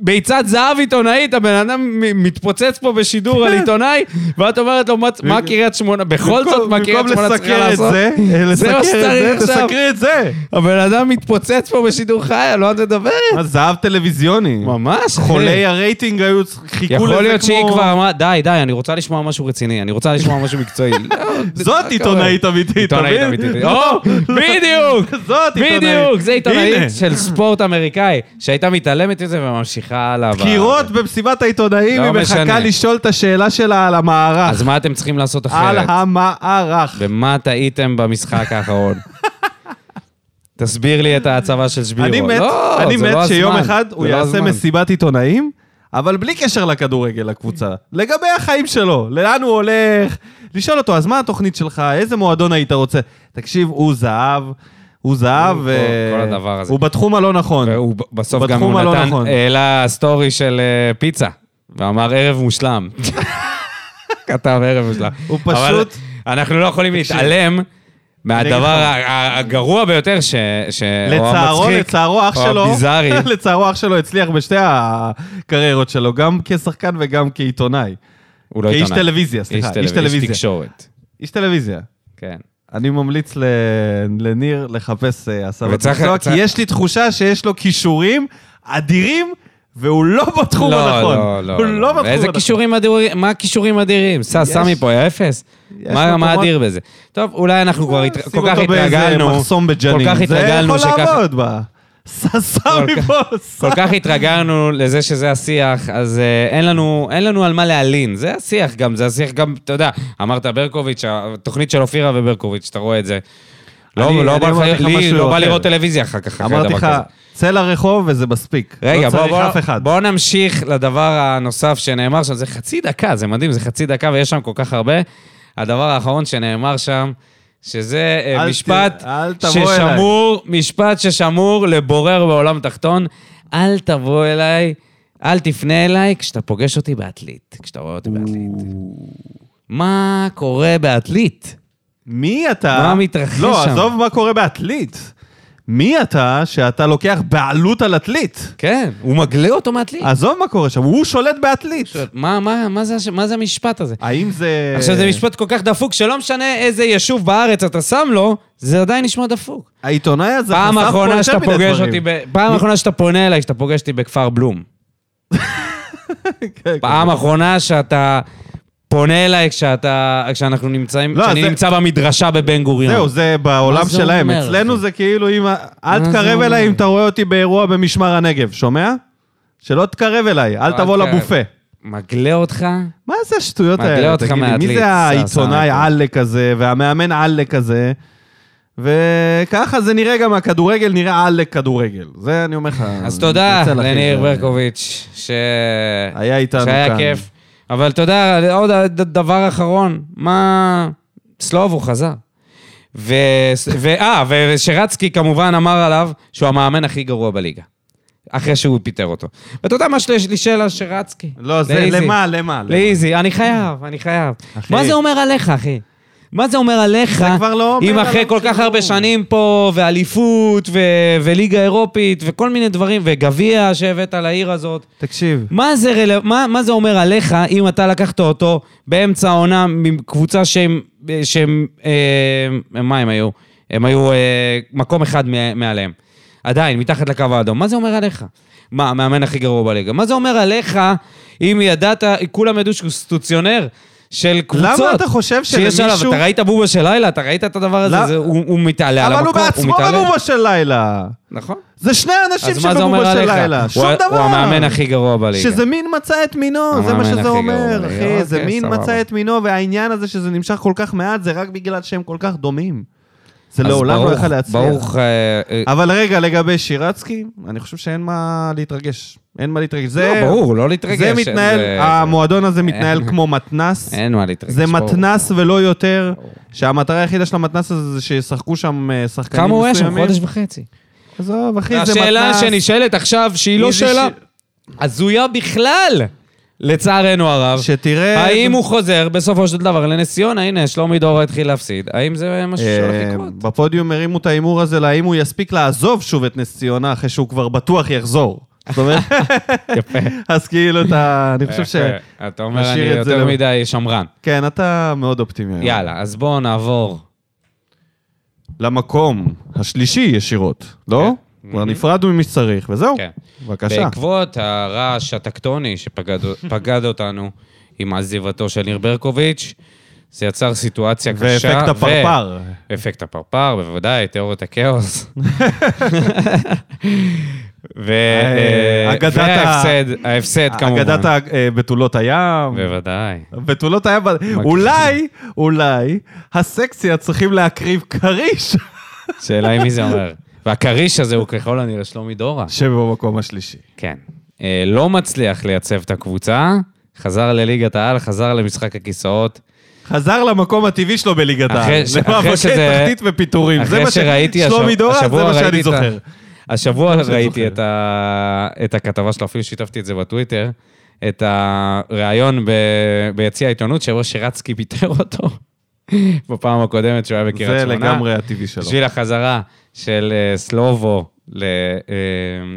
ביצת זהב עיתונאית, הבן אדם מ- מתפוצץ פה בשידור על עיתונאי, ואת אומרת לו, מה- מה קריית שמונה, בכל זאת, מה קריית שמונה צריכה לעשות?
במקום לסקר את זה, אה,
מה
לסקר את זה,
שצריך עכשיו.
תסקרי את זה.
הבן אדם מתפוצץ פה בשידור חי, אני לא יודעת לדבר.
מה, זהב טלוויזיוני.
ממש, אחי.
חולי הרייטינג היו, צ- חיכו לזה כמו...
יכול להיות שהיא כבר אמרה, די, די, אני רוצה לשמוע משהו רציני, אני רוצה לשמוע משהו מקצועי. לא,
*laughs* זאת
מה
עיתונאית
קורה?
אמיתית, אתה
עיתונאית
מבין?
אמיתית.
לא,
או, בדיוק!
זאת עיתונאית.
בדיוק, זה
הנה,
עיתונאית של ספורט אמריקאי, שהייתה מתעלמת מזה וממשיכה הלאה. ב-
קירות במסיבת העיתונאים,
לא
היא מחכה
משנה.
לשאול את השאלה שלה על המערך.
אז מה אתם צריכים לעשות
על
אחרת?
המערך.
במה טעיתם
*laughs*
במשחק האחרון? תסביר לי את ההצבה של שבירו.
אני מת,
לא,
אני
זה
מת
לא הזמן.
שיום אחד הוא
זה לא
יעשה
הזמן.
מסיבת עיתונאים, אבל בלי קשר לכדורגל, לקבוצה. לגבי החיים שלו, לאן הוא הולך, לשאול אותו, אז מה התוכנית שלך, איזה מועדון היית רוצה? תקשיב, הוא זהב, הוא זהב,
כל-
ו-
כל הדבר הזה.
הוא בתחום הלא נכון.
והוא ב- בסוף גם
בתחום
הוא
הלא
נתן,
נכון.
העלה סטורי של אה, פיצה, ואמר ערב מושלם. *laughs* כתב ערב מושלם.
הוא
אבל
פשוט-
אנחנו לא יכולים להתעלם מהדבר ה- ה- הגרוע ביותר, ש... ש- או
לצערו,
המצחיק,
לצערו אח
או
שלו,
הביזארי.
*laughs* לצערו אח שלו הצליח בשתי הקריירות שלו, גם כשחקן וגם כעיתונאי.
הוא לא
כאיש
עיתונאי.
טלוויזיה, סליחה, איש
איש
טלוויזיה.
תקשורת,
איש טלוויזיה.
כן.
אני ממליץ ל... לניר לחפש אה, הסבת
וצריך-
מקצוע, כי
צריך-
יש לי תחושה שיש לו כישורים אדירים, והוא לא בתחום
לא,
הנכון.
לא, לא.
הוא לא בתחום
איזה
הנכון.
כישורים אדירים? מה הכישורים האדירים? סע, סמי פה, היה אפס?
יש
מה מה
מקומות- אה,
אדיר בזה? טוב, אולי אנחנו כבר התר-
שים
כל כך
אותו באיזה
התרגלנו,
מחסום
כל
בג'נין.
כך
זה יכול
התרגלנו שככה...
לעבוד בה. ססה
כל כך-
מבוס.
כל כך התרגלנו לזה שזה השיח, אז אה, אין לנו, אין לנו על מה להלין. זה השיח גם, זה השיח גם, אתה יודע, אמרת ברקוביץ', התוכנית של אופירה וברקוביץ', אתה רואה את זה.
אני-
לא, לא
אני
בא
אמרתי
לך,
לך
לי
משהו
לא בא
אחר.
לראות טלוויזיה אחר כך, אחרי
אמרתי
דבר
לך,
כזה.
צא לרחוב וזה מספיק.
רגע,
לא
בוא,
צריך
בוא,
אף אחד.
בוא נמשיך לדבר הנוסף שנאמר שם. זה חצי דקה, זה מדהים, זה חצי דקה ויש שם כל כך הרבה. הדבר האחרון שנאמר שם, שזה אה,
אל ת-
משפט
אל תבוא
ששמור, משפט ששמור לבורר בעולם תחתון. אל תבוא אליי, אל תפנה אליי כשאתה פוגש אותי בעתלית, כשאתה רואה אותי בעתלית. מה קורה בעתלית?
מי אתה?
מה מתרחש
לא,
שם?
עזוב מה קורה בעתלית. מי אתה שאתה לוקח בעלות על עתלית?
כן, הוא מגלה אותו מעתלית.
עזוב מה קורה שם, הוא שולט בעתלית.
מה, מה, מה, זה, הש- מה זה המשפט הזה?
האם זה...
עכשיו, זה משפט כל כך דפוק, שלא משנה איזה יישוב בארץ אתה שם לו, זה עדיין נשמע דפוק.
העיתונאי הזה חשף
פעם
פה יותר
אחרונה שאתה
מדי
פוגש
דברים.
אותי, ב- פעם אחרונה שאתה פונה אליי, שאתה פוגש אותי בכפר בלום.
כן, כן.
פעם אחרונה שאתה פונה אליי כשאתה, כשאנחנו נמצאים,
לא,
כשאני
זה-
נמצא במדרשה בבן גוריון.
זהו, זה בעולם
מה זה
שלהם.
אומר,
אצלנו
אחי?
זה כאילו אם... אל
מה זה
תקרב
אומר?
אליי אם אתה רואה אותי באירוע במשמר הנגב, שומע? שלא תקרב אליי, אל
לא,
תבוא
אל תקרב.
לבופה.
מגלה אותך,
מה זה השטויות
מגלה
האלה?
אותך
תגיד לי, מי
מהעתלית,
זה
סע, סע
העיתונאי
מפה.
עלק הזה, והמאמן עלק הזה? וככה זה נראה גם הכדורגל, נראה עלק כדורגל. זה אני אומר לך.
אז
אני
תודה
מתנצל, אחי.
לניר ברקוביץ', ש...
היה איתנו
שהיה
כאן.
כיף. אבל אתה יודע, עוד דבר אחרון, מה... סלוב, הוא חזר. ו... ו... אה, ושרצקי כמובן אמר עליו שהוא המאמן הכי גרוע בליגה. אחרי שהוא פיטר אותו. ואתה יודע מה שיש לי שאלה שרצקי?
לא, זה
לאיזי.
למה, למה?
לאיזי, אני חייב, אני חייב.
אחי.
מה זה אומר עליך, אחי? מה זה אומר עליך,
זה כבר לא אומר
אם אחרי
עליו
כל כך
כלום.
הרבה שנים פה, ואליפות, ו- וליגה אירופית, וכל מיני דברים, וגביע שהבאת לעיר הזאת,
תקשיב.
מה זה, רל... מה, מה זה אומר עליך אם אתה לקחת אותו באמצע העונה מקבוצה שהם... שהם אה, מה הם היו? הם היו אה, מקום אחד מ- מעליהם. עדיין, מתחת לקו האדום. מה זה אומר עליך? מה, המאמן הכי גרוע בליגה. מה זה אומר עליך אם ידעת, כולם ידעו שהוא סטוציונר של קבוצות?
למה אתה חושב
שיש עליו,
שלמישהו...
אתה ראית בובה של לילה, אתה ראית את הדבר הזה,
למה-
זה, הוא, הוא מתעלה על
אבל
המקום,
הוא בעצמו
מתעלה.
בבובה של לילה.
נכון.
זה שני אנשים
אז מה זה אומר
שבבובה של
עליך?
לילה. שום
הוא, ה-
דבר.
הוא המאמן הכי גרוע בליגה.
שזה מין מצא את מינו, זה מה
המאמן
שזה
הכי גרוע
אומר,
בליגה.
אחי. זה
אוקיי,
מין
סבבה.
מצא את מינו, והעניין הזה שזה נמשך כל כך מעט, זה רק בגלל שהם כל כך דומים. זה
אז
לעולם לא
ברוך-
יכול להצליח.
ברוך... אה, אה,
אבל רגע, לגבי שירצקי, אני חושב שאין מה להתרגש. אין מה להתרגש. זה...
לא, ברור, לא להתרגש.
זה מתנהל,
זה- אה,
המועדון הזה מתנהל כמו מתנס.
אין מה להתרגש.
זה
ברור.
מתנס ולא יותר, שהמטרה היחידה של המתנס הזה זה שישחקו שם אה, שחקנים
כמה
מסוימים.
הוא היה שם? חודש וחצי.
עזוב, אחי, זה מתנס.
השאלה שנשאלת עכשיו, שהיא לא
מי זה
שאלה
ש-
הזויה בכלל, לצערנו הרב,
שתראה...
האם הוא חוזר בסופו של דבר לנס ציונה? הנה, שלומי דורה התחיל להפסיד. האם זה משהו שהולך
אה,
לקרות?
בפודיום הרימו את ההימור הזה להאם הוא יספיק לעזוב שוב את נס ציונה אחרי שהוא כבר בטוח יחזור. זאת
*laughs*
אומרת,
יפה.
אז כאילו אתה,
אה,
אני חושב ש...
יפה. אתה אומר, אני
נשאיר את זה
יותר
ל-
מדי שמרן.
כן, אתה מאוד אופטימי. היום.
יאללה, אז בואו נעבור.
למקום השלישי ישירות, לא?
כן.
כבר נפרדנו ממי שצריך, וזהו.
כן.
בבקשה.
בעקבות הרעש הטקטוני שפגד אותנו עם עזיבתו של ניר ברקוביץ', זה יצר סיטואציה קשה.
ואפקט
ו-
הפרפר.
אפקט הפרפר, בוודאי, תיאוריית הכאוס. ו-
אה, אגדת ה-
וההפסד, ההפסד כמובן.
אגדת אה, בתולות הים.
בוודאי.
בתולות הים. אולי, אולי, הסקציה צריכים להקריב
*laughs*
כריש
שאלה היא מי זה אומר. והכריש הזה הוא ככל הנראה שלומי דורה.
שבמקום השלישי.
כן. אה, לא מצליח לייצב את הקבוצה, חזר לליגת העל, חזר למשחק הכיסאות.
חזר למקום הטבעי שלו בליגת
אחרי
העל.
ש-
זה
אחרי
מאבקי
שזה-
תחתית ופיטורים. זה
אחרי
מה ש...
שראיתי
שלומי
השב-
דורה, זה
השבוע
מה
ראיתי
שאני
את ה-
זוכר.
השבוע
שאני
ראיתי
זוכר.
את, ה... את הכתבה שלו, אפילו שיתפתי את זה בטוויטר, את הריאיון ב... ביציע העיתונות שבו שרצקי *laughs* פיטר אותו בפעם הקודמת שהוא היה בקריית
זה
שמונה.
לגמרי הטבעי שלו.
בשביל החזרה של אה, סלובו ל... אה,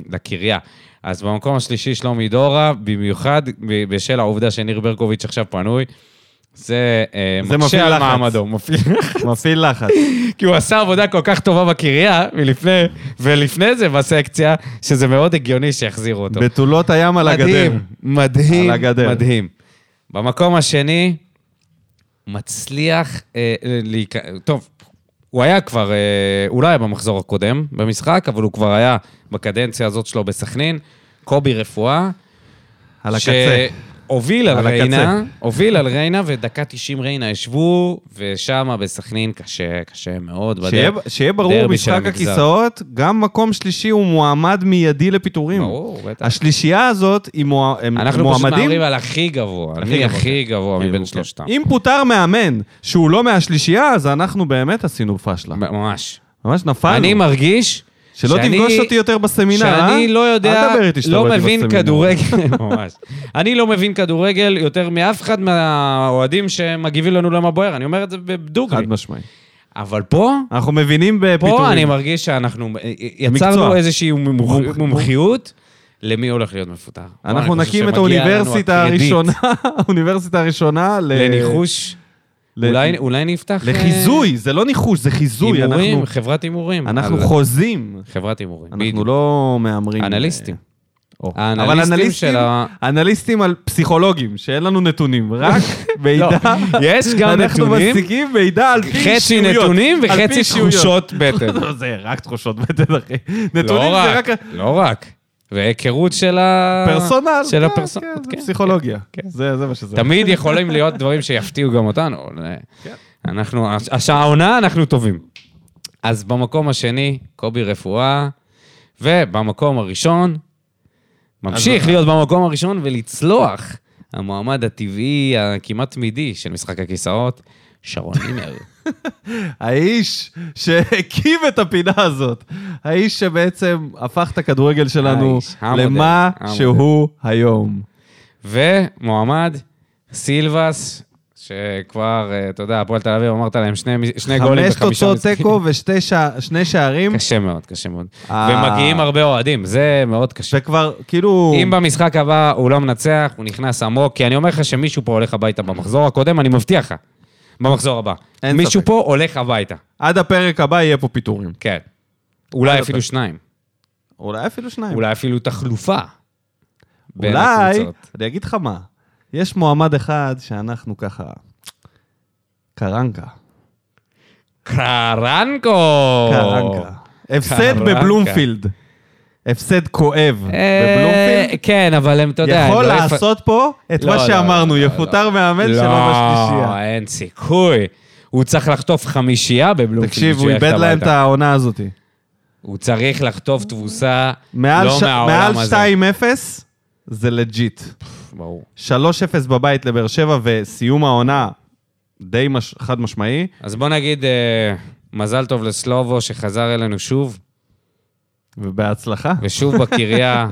לקריה. אז במקום השלישי שלומי דורה, במיוחד ב- בשל העובדה שניר ברקוביץ' עכשיו פנוי. זה, אה,
זה מפעיל
מקשה על
לחץ.
מעמדו, מפעיל *laughs*
מפעיל לחץ.
כי הוא עשה עבודה כל כך טובה בקריה, מלפני, ולפני זה בסקציה, שזה מאוד הגיוני שיחזירו אותו.
בתולות הים על הגדר.
מדהים, מדהים,
על הגדר.
מדהים. במקום השני, מצליח אה, להיכנס... טוב, הוא היה כבר, אה, הוא לא היה במחזור הקודם במשחק, אבל הוא כבר היה בקדנציה הזאת שלו בסכנין. קובי רפואה.
על הקצה.
שהוביל על,
על הקצה.
ריינה, הוביל על ריינה, ודקה 90 ריינה ישבו, ושם בסכנין קשה, קשה מאוד. בדרך.
שיהיה- שיהיה ברור,
דרבי של
משחק
המגזר.
הכיסאות, גם מקום שלישי הוא מועמד מיידי לפיטורים.
ברור, בטח.
השלישייה הזאת, היא מוע- הם
אנחנו פשוט
מועמדים...
מדברים על הכי גבוה, אני
גבוה,
הכי גבוה
כאילו,
מבין
כן.
שלושתם.
אם פוטר מאמן שהוא לא מהשלישייה, אז אנחנו באמת עשינו פשלה.
ממש.
ממש נפלנו.
אני מרגיש...
שלא
שאני-
תפגוש אותי יותר בסמינר, אה?
שאני לא יודע,
אל תדבר איתי שאתה
לא
רואה אותי
מבין
בסמינר.
כדורגל,
*laughs*
ממש. אני לא מבין כדורגל יותר מאף אחד מהאוהדים שמגיבים לנו למה בוער, אני אומר את זה
חד
בדוגרי.
משמעית.
אבל פה,
אנחנו מבינים בפיטורים.
פה אני מרגיש שאנחנו יצרנו
מקצוע.
איזושהי מומח-
מומח-
מומחיות למי הולך להיות מפוטר.
אנחנו
אני חושב
נקים את
שמגיע לנו
האוניברסיטה
הקרדיט
הראשונה, *laughs* האוניברסיטה הראשונה ל-
לניחוש,
ל-
אולי- אולי נפתח... אה,
לחיזוי, זה לא ניחוש, זה חיזוי.
הימורים,
אנחנו-
חברת הימורים.
אנחנו
על-
חוזים.
חברת הימורים,
אנחנו
בדיוק.
לא מהמרים.
אנליסטים.
או.
האנליסטים
אבל אנליסטים-
של ה-
אנליסטים על פסיכולוגים, שאין לנו נתונים, *laughs* רק
לא,
מידע.
יש גם
אנחנו
נתונים,
משיגים מידע על פי אישיויות.
חצי נתונים
על פי
וחצי
אישיויות.
תחושות בטן.
*laughs* לא, זה רק תחושות בטן, אחי. נתונים
לא
זה
רק,
רק...
לא רק. והיכרות של ה...
פרסונל.
של
כן,
הפרסונל,
כן,
כן.
זה פסיכולוגיה.
כן.
זה זה מה שזה.
תמיד יכולים להיות דברים שיפתיעו גם אותנו. אבל, אה,
כן.
אנחנו, הש- הש- העונה אנחנו טובים. אז במקום השני, קובי רפואה, ובמקום הראשון, ממשיך להיות במקום הראשון ולצלוח המועמד הטבעי הכמעט תמידי של משחק הכיסאות, שרון נינר.
האיש שהקים את הפינה הזאת, האיש שבעצם הפך את הכדורגל שלנו
האיש, המודל,
למה
המודל.
שהוא היום.
ומועמד, סילבס, שכבר, אה, אתה יודע, הפועל תל אביב, אמרת להם שני מ- שני גולים
חמש
וחמישה
תוצאות
משחקים.
תיקו ושני שע- שני שערים,
*laughs* קשה מאוד, קשה מאוד.
אה.
ומגיעים הרבה אוהדים, זה מאוד קשה.
שכבר כאילו...
אם במשחק הבא הוא לא מנצח, הוא נכנס עמוק, כי אני אומר לך שמישהו פה הולך הביתה במחזור הקודם, אני מבטיח לך. במחזור הבא.
אין
מישהו
ספק.
פה הולך הביתה,
עד הפרק הבא יהיה פה פיטורים.
כן. אולי
אוקיי.
אפילו שניים.
אולי אפילו שניים.
אולי אפילו תחלופה. בין
אולי,
הקבוצות.
אני אגיד לך מה, יש מועמד אחד שאנחנו ככה... קרנקה.
קרנקו!
קרנקה. הפסד
קרנקה.
בבלומפילד. הפסד כואב
אה,
בבלומפילד.
כן, אבל הם, אתה יודע... הם
יכול
לא יפ-
לעשות פה את
לא,
מה
לא,
שאמרנו,
לא, לא,
יפוטר מאמן שלו
לא,
בשלישייה.
אין סיכוי. הוא צריך לחטוף חמישייה בבלומפילד.
תקשיב, הוא
בשביל ללכת
איבד להם את
הביתה.
העונה הזאת.
הוא צריך לחטוף תבוסה
מעל
לא
ש- מעל
מהעולם הזה.
2-0 זה לג'יט.
ברור.
3-0 בבית לבאר שבע וסיום העונה די מש- חד משמעי.
אז בוא נגיד אה, מזל טוב לסלובו שחזר אלינו שוב,
ובהצלחה.
ושוב בקריה,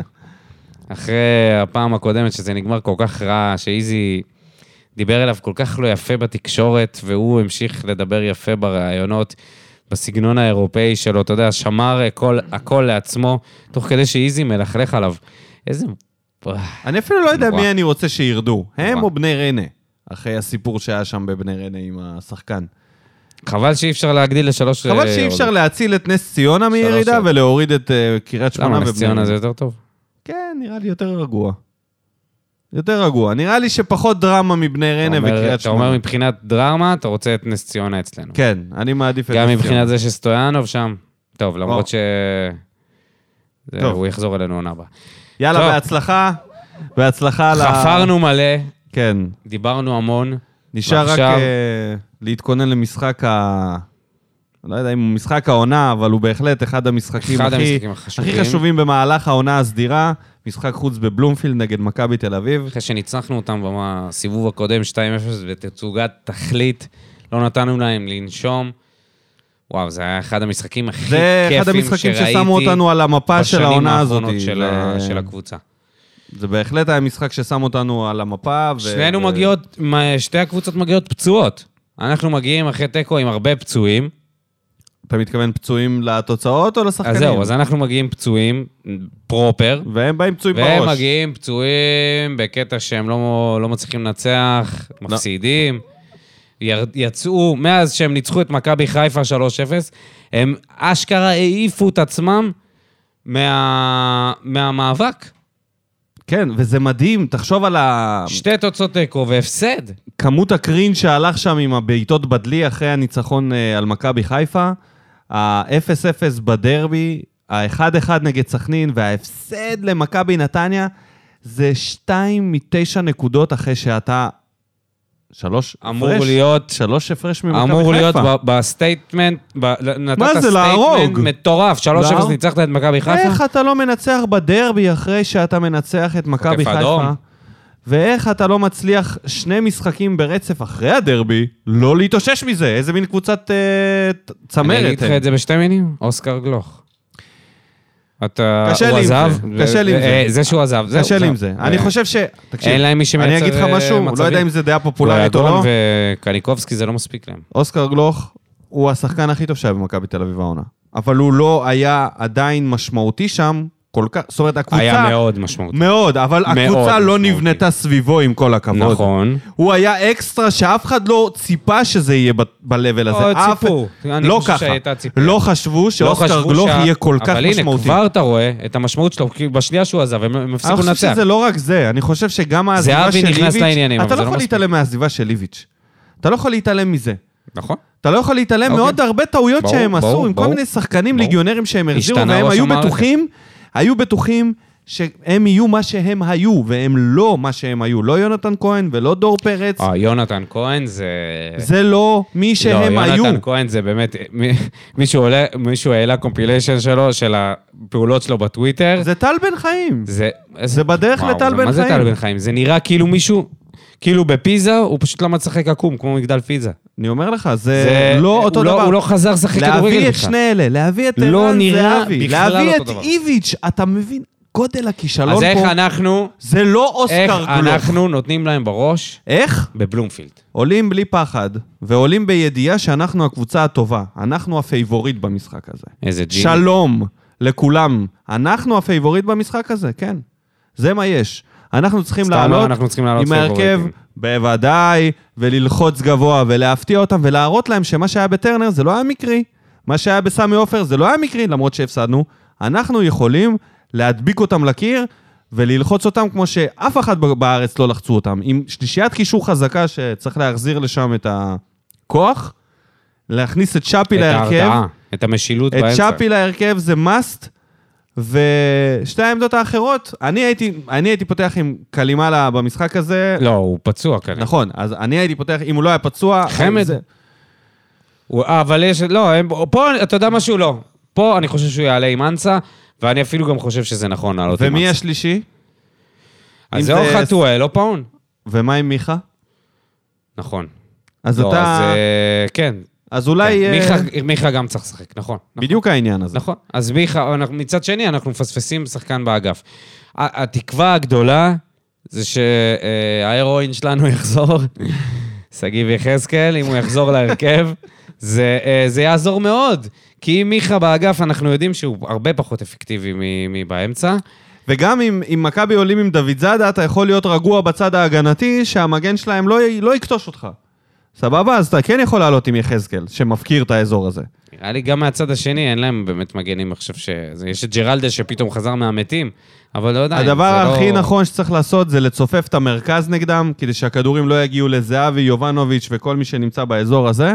אחרי הפעם הקודמת שזה נגמר כל כך רע, שאיזי דיבר אליו כל כך לא יפה בתקשורת, והוא המשיך לדבר יפה בראיונות. בסגנון האירופאי שלו, אתה יודע, שמר הכל, הכל לעצמו, תוך כדי שאיזי מלכלך עליו. איזה...
אני אפילו לא יודע
נורא.
מי אני רוצה שירדו, הם
נורא.
או בני ריינה, אחרי הסיפור שהיה שם בבני ריינה עם השחקן.
חבל שאי אפשר להגדיל לשלוש...
חבל
אה,
שאי
עוד.
אפשר להציל את נס ציונה מירידה
שלוש.
ולהוריד את אה, קריית שמונה
למה,
ובני
נס ציונה זה יותר טוב?
כן, נראה לי יותר רגוע. יותר רגוע. נראה לי שפחות דרמה מבני ריינה
אתה אומר-
וקריית
אתה אומר
שמונה.
מבחינת דרמה, אתה רוצה את נס ציונה אצלנו.
כן, אני מעדיף את
גם
נס ציונה.
מבחינת זה שסטויאנוב שם. טוב, למרות ש... זה-
טוב.
הוא יחזור אלינו עונה הבאה.
יאללה,
טוב.
בהצלחה. בהצלחה ל...
חפרנו מלא,
כן.
דיברנו המון.
נשאר רק
ועכשיו-
אה, להתכונן למשחק ה... לא יודע אם הוא משחק העונה, אבל הוא בהחלט אחד המשחקים
אחד
הכי...
המשחקים החשובים.
הכי חשובים במהלך העונה הסדירה, משחק חוץ בבלומפילד נגד מכבי תל אביב.
אחרי שניצחנו אותם בסיבוב הקודם 2-0 בתצוגת תכלית, לא נתנו להם לנשום. וואו, זה היה אחד המשחקים הכי כיפים
זה
שראיתי.
אחד המשחקים ששמו אותנו על המפה של העונה הזאת.
בשנים האחרונות של ה-
זה-
של הקבוצה.
זה בהחלט היה משחק ששם אותנו על המפה. ו-
שנינו
ו-
מגיעות, מה- שתי הקבוצות מגיעות פצועות. אנחנו מגיעים אחרי תיקו עם הרבה פצועים.
אתה מתכוון פצועים לתוצאות או לשחקנים?
אז זהו, אז אנחנו מגיעים פצועים, פרופר,
והם באים פצועים בראש.
והם מגיעים פצועים בקטע שהם לא, לא מצליחים לנצח,
לא.
מפסידים. יר- יצאו, מאז שהם ניצחו את מכבי חיפה 3-0, הם אשכרה העיפו את עצמם מה, מהמאבק.
כן, וזה מדהים, תחשוב על ה...
שתי תוצאות תיקו והפסד.
כמות הקרין שהלך שם עם הבעיטות בדלי אחרי הניצחון אה, על מכבי חיפה, ה-0-0 בדרבי, ה-1-1 נגד סכנין וההפסד למכבי נתניה, זה 2 מ-9 נקודות אחרי שאתה... שלוש
אמור
הפרש?
להיות-
שלוש הפרש ממכבי חיפה.
אמור להיות ב- בסטייטמנט, ב- נתת
מה זה,
סטייטמנט
להרוג?
מטורף, 3-0
להרוג?
ניצחת את מכבי חיפה.
איך אתה לא מנצח בדרבי אחרי שאתה מנצח את מכבי
חוטף
חיפה?
אדום.
ואיך אתה לא מצליח שני משחקים ברצף אחרי הדרבי לא להתאושש מזה? איזה מין קבוצת אה, ת- צמרת.
אני אגיד לך
הם.
את זה בשתי מילים, אוסקר גלוך. אתה,
קשה
הוא
לי עם
עזב.
זה, קשה לי עם זה.
אה, זה שהוא עזב, זהו.
קשה לי
זהו.
עם זה.
אה,
אני חושב ש... תקשיב,
אין להם מי שמייצר
אני אגיד לך
אה,
משהו, לא
מצבים.
יודע אם זה דעה פופולרית או לא.
גויאדון וקניקובסקי זה לא מספיק להם.
אוסקר גלוך הוא השחקן הכי טוב שהיה במכבי תל אביב העונה. אבל הוא לא היה עדיין משמעותי שם כל כך... זאת אומרת, הקבוצה...
היה מאוד משמעותי.
מאוד, אבל
מאוד
הקבוצה לא
משמעותי.
נבנתה סביבו, עם כל הכבוד.
נכון.
הוא היה אקסטרה שאף אחד לא ציפה שזה יהיה ב- ב-level הזה.
עוד
אף-
ציפו. אני
לא
חושב
ככה.
שהייתה ציפייה.
לא חשבו שאוסקר
חשבו
גלוך
שה-
יהיה כל כך
אבל הנה,
משמעותי.
כבר אתה רואה את המשמעות שלו, כי בשנייה שהוא עזב, הם הם
אני
הפסיקו
חושב
לנצח.
שזה לא רק זה, אני חושב שגם העזיבה
זהבי
של
נכנס
איביץ',
לעניינים, אבל
אתה לא
זה לא
יכול
מספיק.
להתעלם מהעזיבה של איביץ'. אתה לא יכול להתעלם מזה.
נכון.
אתה לא יכול להתעלם
אוקיי.
מעוד הרבה טעויות
ברור,
שהם
ברור,
עשו, עם כל
ברור.
מיני שחקנים
ברור.
ליגיונרים שהם החזירו,
השתנה
והם
ראש
היו
המערכת.
בטוחים, היו בטוחים שהם יהיו מה שהם היו, והם לא מה שהם היו. לא יונתן כהן ולא דור פרץ,
אה, יונתן כהן זה...
זה לא מי שהם
לא,
היו.
יונתן כהן זה באמת... מי- מישהו עולה- מישהו העלה קומפיליישן שלו, של הפעולות שלו בטוויטר.
זה טל בן חיים.
זה...
זה בדרך
וואו,
לטל
זה-
בן
מה זה
חיים.
טל בן חיים? זה נראה כאילו מישהו... כאילו בפיזה, הוא פשוט למד לשחק עקום, כמו מגדל פיזה.
אני אומר לך, זה
זה-
לא אותו
הוא
דבר.
הוא לא חזר לשחק
להביא
כדורגל
את
בכלל.
שני אלה, להביא את
לא
ערן
נראה
זהבי,
בכלל
להביא
אותו
את
דבר.
איביץ', אתה מבין? גודל הכישלון
אז איך
פה,
אנחנו...
זה לא
איך
אוסקר גלוך.
אנחנו נותנים להם בראש?
איך?
בבלומפילד.
עולים בלי פחד, ועולים בידיעה שאנחנו הקבוצה הטובה. אנחנו הפייבוריט במשחק הזה.
איזה ג'יני.
שלום לכולם. אנחנו הפייבוריט במשחק הזה, כן. זה מה יש. אנחנו צריכים
סתם
לעלות
לא, אנחנו צריכים לעלות
עם ההרכב,
פייבוריטים.
בוודאי, וללחוץ גבוה, ולהפתיע אותם, ולהראות להם שמה שהיה בטרנר זה לא היה מקרי. מה שהיה בסמי עופר זה לא היה מקרי, למרות שהפסדנו. אנחנו יכולים להדביק אותם לקיר וללחוץ אותם כמו שאף אחד ב- בארץ לא לחצו אותם. עם שלישיית קישור חזקה שצריך להחזיר לשם את הכוח, להכניס את שפי
את
להרכב.
ההרתעה, את המשילות
את
באמצע.
שפי להרכב זה must, ושתי העמדות האחרות, אני הייתי, אני הייתי פותח עם קלימלה במשחק הזה.
לא, הוא פצוע כנראה.
נכון, אז אני הייתי פותח, אם הוא לא היה פצוע...
חמד.
זה-
הוא- אה, אבל יש, לא, הם, פה, אתה יודע משהו? לא. פה אני חושב שהוא יעלה עם אנסה, ואני אפילו גם חושב שזה נכון לעלות עם אנסה.
ומי השלישי? אם
אז זה
זה-
או חתואל או פאון.
ומה עם מיכה?
נכון.
אז
לא, אז
אתה...
אה, כן.
אז אולי...
כן.
אה,
מיכה- מיכה גם צריך לשחק, נכון. נכון.
בדיוק העניין הזה.
נכון. אז מיכה, אנחנו- מצד שני, אנחנו מפספסים שחקן באגף. ה- התקווה הגדולה זה שההרואין שלנו *laughs* יחזור, שגיב יחזקאל, אם הוא יחזור להרכב, זה, אה, זה יעזור מאוד. כי אם מיכה באגף, אנחנו יודעים שהוא הרבה פחות אפקטיבי מ- מבאמצע.
וגם אם, אם מכבי עולים עם דוד זאדה, אתה יכול להיות רגוע בצד ההגנתי, שהמגן שלהם לא, י- לא יקטוש אותך. סבבה? אז אתה כן יכול לעלות עם יחזקאל, שמפקיר את האזור הזה.
נראה לי גם מהצד השני, אין להם באמת מגנים עכשיו ש... זה- יש את ג'רלדה שפתאום חזר מהמתים, אבל לא עדיין.
הדבר
זה
הכי
לא...
נכון שצריך לעשות זה לצופף את המרכז נגדם, כדי שהכדורים לא יגיעו לזהבי, יובנוביץ' וכל מי שנמצא באזור הזה,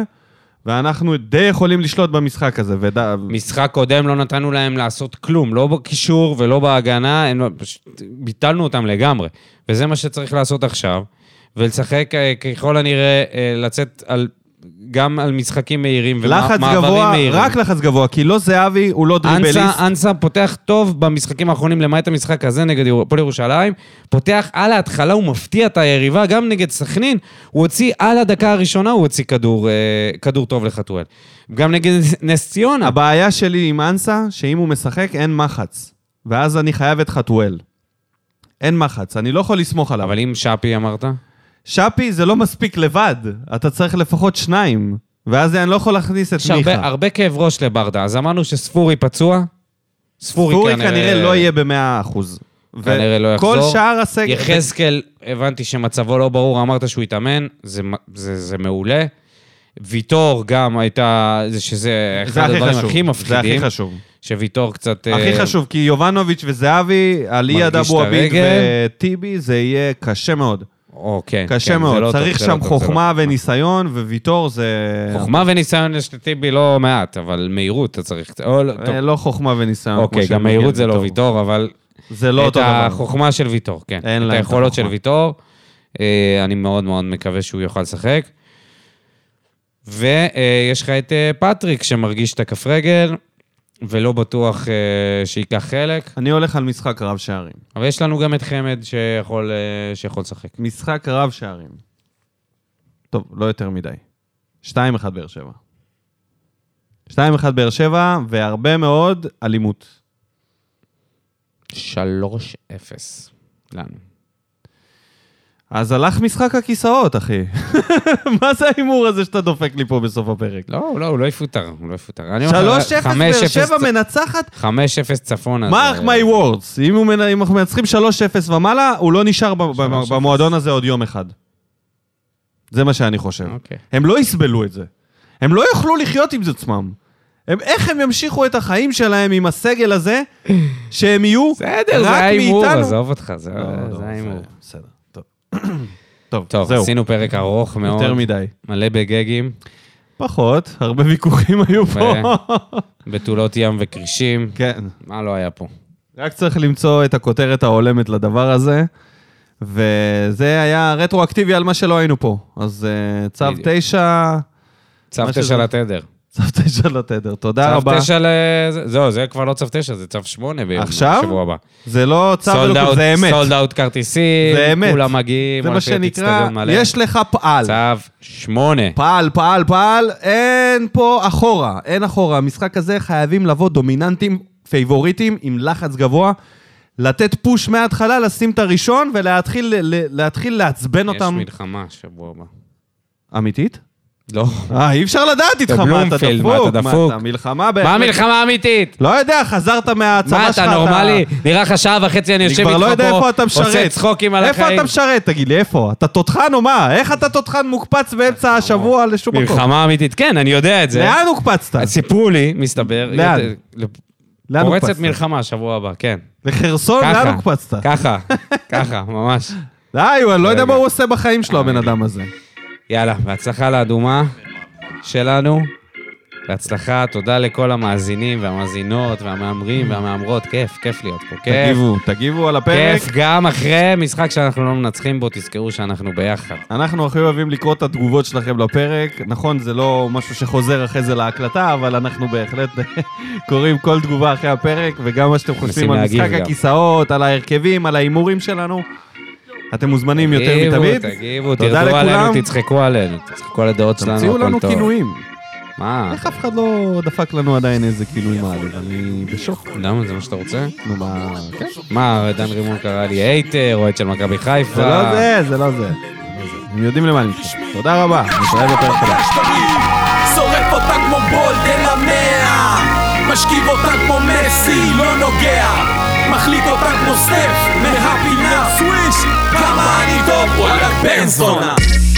ואנחנו די יכולים לשלוט במשחק הזה. וד...
משחק קודם לא נתנו להם לעשות כלום, לא בקישור ולא בהגנה, הם... לא- פשוט ביטלנו אותם לגמרי. וזה מה שצריך לעשות עכשיו, ולשחק אה, ככל הנראה, אה, לצאת על... גם על משחקים מהירים
לחץ
ומעברים
גבוה,
מהירים.
רק לחץ גבוה, כי לא זהבי, הוא לא דריבליסט.
אנסה, אנסה פותח טוב במשחקים האחרונים, למעט המשחק הזה נגד יור- הפועל ירושלים. פותח על ההתחלה, הוא מפתיע את היריבה, גם נגד סכנין. הוא הוציא על הדקה הראשונה, הוא הוציא כדור, אה, כדור טוב לחתואל. גם נגד נס- נס ציונה.
הבעיה שלי עם אנסה, שאם הוא משחק, אין מחץ. ואז אני חייב את חתואל. אין מחץ, אני לא יכול לסמוך עליו.
אבל אם שפי אמרת?
שפי זה לא מספיק לבד, אתה צריך לפחות שניים. ואז אני לא יכול להכניס את
יש
מיכה.
הרבה, הרבה כאב ראש לברדה, אז אמרנו שספורי פצוע. ספורי,
ספורי כנראה לא יהיה במאה אחוז.
כנראה לא
וכל
יחזור.
שאר הסגל...
יחזקאל, הבנתי שמצבו לא ברור, אמרת שהוא התאמן, זה, מ- זה, זה מעולה. ויטור גם הייתה, זה שזה
זה
אחד
הכי
הדברים
חשוב.
הכי
זה הכי
מפחידים,
חשוב.
שוויטור קצת...
הכי
אה,
חשוב, כי יובנוביץ' וזהבי, על
מרגיש
אייד אבו
את
עביד
הרגל.
וטיבי, זה יהיה קשה מאוד.
או, כן,
קשה
כן, זה
מאוד.
לא טוב,
צריך
זה לא
שם
טוב, זה לא
חוכמה
טוב.
וניסיון, וויטור זה...
חוכמה וניסיון יש לטיבי לא מעט, אבל מהירות אתה צריך... קצת- או, לא, טוב.
אה, לא חוכמה וניסיון. כמו
אוקיי,
של
גם
מיגל
מהירות זה לא ויטור, אבל
זה לא
את
אותו דבר.
החוכמה של ויטור, כן.
אין להם
את
את
היכולות של
החוכמה.
ויטור. אה, אני מאוד מאוד מקווה שהוא יוכל לשחק. ויש לך את אה, פטריק שמרגיש את הכף רגל, ולא בטוח אה, שייקח חלק.
אני הולך על משחק רב שערים.
אבל יש לנו גם את חמד שיכול אה, שיכול לשחק.
משחק רב שערים. טוב, לא יותר מדי. 2-1 באר שבע. 2-1 באר שבע, והרבה מאוד אלימות.
3-0 לנו.
אז הלך משחק הכיסאות, אחי. *laughs* מה זה ההימור הזה שאתה דופק לי פה בסוף הפרק?
לא, לא, הוא לא יפוטר, הוא לא יפוטר. אני
3-0
אומר לך,
באר
5-0
שבע מנצחת?
5-0 צפונה.
מרק
זה-
מיי וורדס. אם הוא מנ- אם אנחנו מנצחים 3-0 ומעלה, הוא לא נשאר ב- ב-
3-0.
במועדון הזה עוד יום אחד. זה מה שאני חושב.
אוקיי.
הם לא יסבלו את זה. הם לא יוכלו לחיות עם זה עצמם. הם, איך הם ימשיכו את החיים שלהם עם הסגל הזה, שהם יהיו
בסדר, זה
רק
היה הימור,
מאיתנו?
עזוב אותך, זה
לא, לא,
זה היה הימור.
בסדר, טוב. *coughs* טוב,
טוב,
זהו,
עשינו פרק ארוך מאוד,
יותר מדי.
מלא בגגים,
פחות, הרבה
*laughs* אה.
ויכוחים היו פה.
בתולות ים וכרישים,
כן.
מה לא היה פה?
רק צריך למצוא את הכותרת ההולמת לדבר הזה, וזה היה רטרואקטיבי על מה שלא היינו פה. אז אה, צו
בדיוק.
תשע, *laughs*
צו
מה שזה-
תשע לתדר.
צו תשע לתדר, תודה
צו
רבה.
תשע ל... זהו, זה כבר לא צו תשע, זה צו שמונה ביום.
עכשיו?
בשבוע הבא.
זה לא צו, אלא כלום, זה אמת.
סולד אאוט כרטיסים,
זה אמת.
כולם מגיעים,
זה מה
הולכת
שנקרא,
לאצטדיון מלא.
יש לך פעל.
צו שמונה.
פעל, פעל, פעל, אין פה אחורה, אין אחורה. המשחק הזה חייבים לבוא דומיננטים, פייבוריטים, עם לחץ גבוה, לתת פוש מההתחלה, לשים את הראשון ולהתחיל ל- ל- להתחיל לעצבן
יש
אותם.
מלחמה שבוע הבא.
אמיתית?
לא.
אה, אי אפשר לדעת איתך מה אתה
בבלומפילד,
דפוק.
מה, אתה דפוק?
מה אתה מלחמה
מה
באמת?
המלחמה האמיתית?
לא יודע, חזרת מההצבה
מה,
שלך.
אתה נורמלי? נראה לך שעה וחצי אני
אני
יושב איתך פה,
כבר לא יודע איפה אתה משרת.
עושה צחוקים על
איפה
החיים.
אתה משרת? תגיד לי, איפה? אתה תותחן או מה? איך אתה תותחן מוקפץ באמצע השבוע לשום מקום?
מלחמה אמיתית, כן, אני יודע את זה.
לאן הוקפצת?
סיפרו לי, מסתבר.
לאן? לאן
פורצת
הוקפצת?
מלחמה שבוע הבא, כן.
לחרסון?
ככה.
לאן הוקפצת? *laughs*
ככה, ככה, ממש.
די, הוא- אני לא יודע
רגע.
מה הוא עושה בחיים שלו, הבן אדם הזה.
יאללה, בהצלחה לאדומה שלנו. בהצלחה, תודה לכל המאזינים והמאזינות והמהמרים והמהמרות. כיף, כיף להיות פה. כיף.
תגיבו, תגיבו על הפרק.
כיף גם אחרי משחק שאנחנו לא מנצחים בו, תזכרו שאנחנו ביחד.
אנחנו הכי אוהבים לקרוא את התגובות שלכם לפרק. נכון, זה לא משהו שחוזר אחרי זה להקלטה, אבל אנחנו בהחלט *laughs* קוראים כל תגובה אחרי הפרק, וגם מה שאתם חושבים
מנסים
על
להגיב
משחק
גם.
הכיסאות, על ההרכבים, על ההימורים שלנו. אתם מוזמנים יותר מתמיד.
תגיבו,
תודה
תרדו
לכולם.
עלינו, תצחקו עלינו, תצחקו על הדעות שלנו,
תמציאו
הכל
לנו
טוב.
כינויים.
מה?
איך אף אחד לא דפק לנו עדיין איזה כינוי מעליב? אני בשוק.
למה, זה מה שאתה רוצה?
נו, מה... כן.
מה, דן רימון קרא לי אייטר, אוהד של מכבי חיפה.
זה לא זה, זה לא זה. הם יודעים למה אני מתכוון. תודה רבה, נתראה בפרק הבא.
שורף אותה כמו בולדן המאה משכיב אותה כמו מסי, לא נוגע מחליט אותה כמו סטף, מהפינה סוויש כמה אני טוב, וואלה בן זונה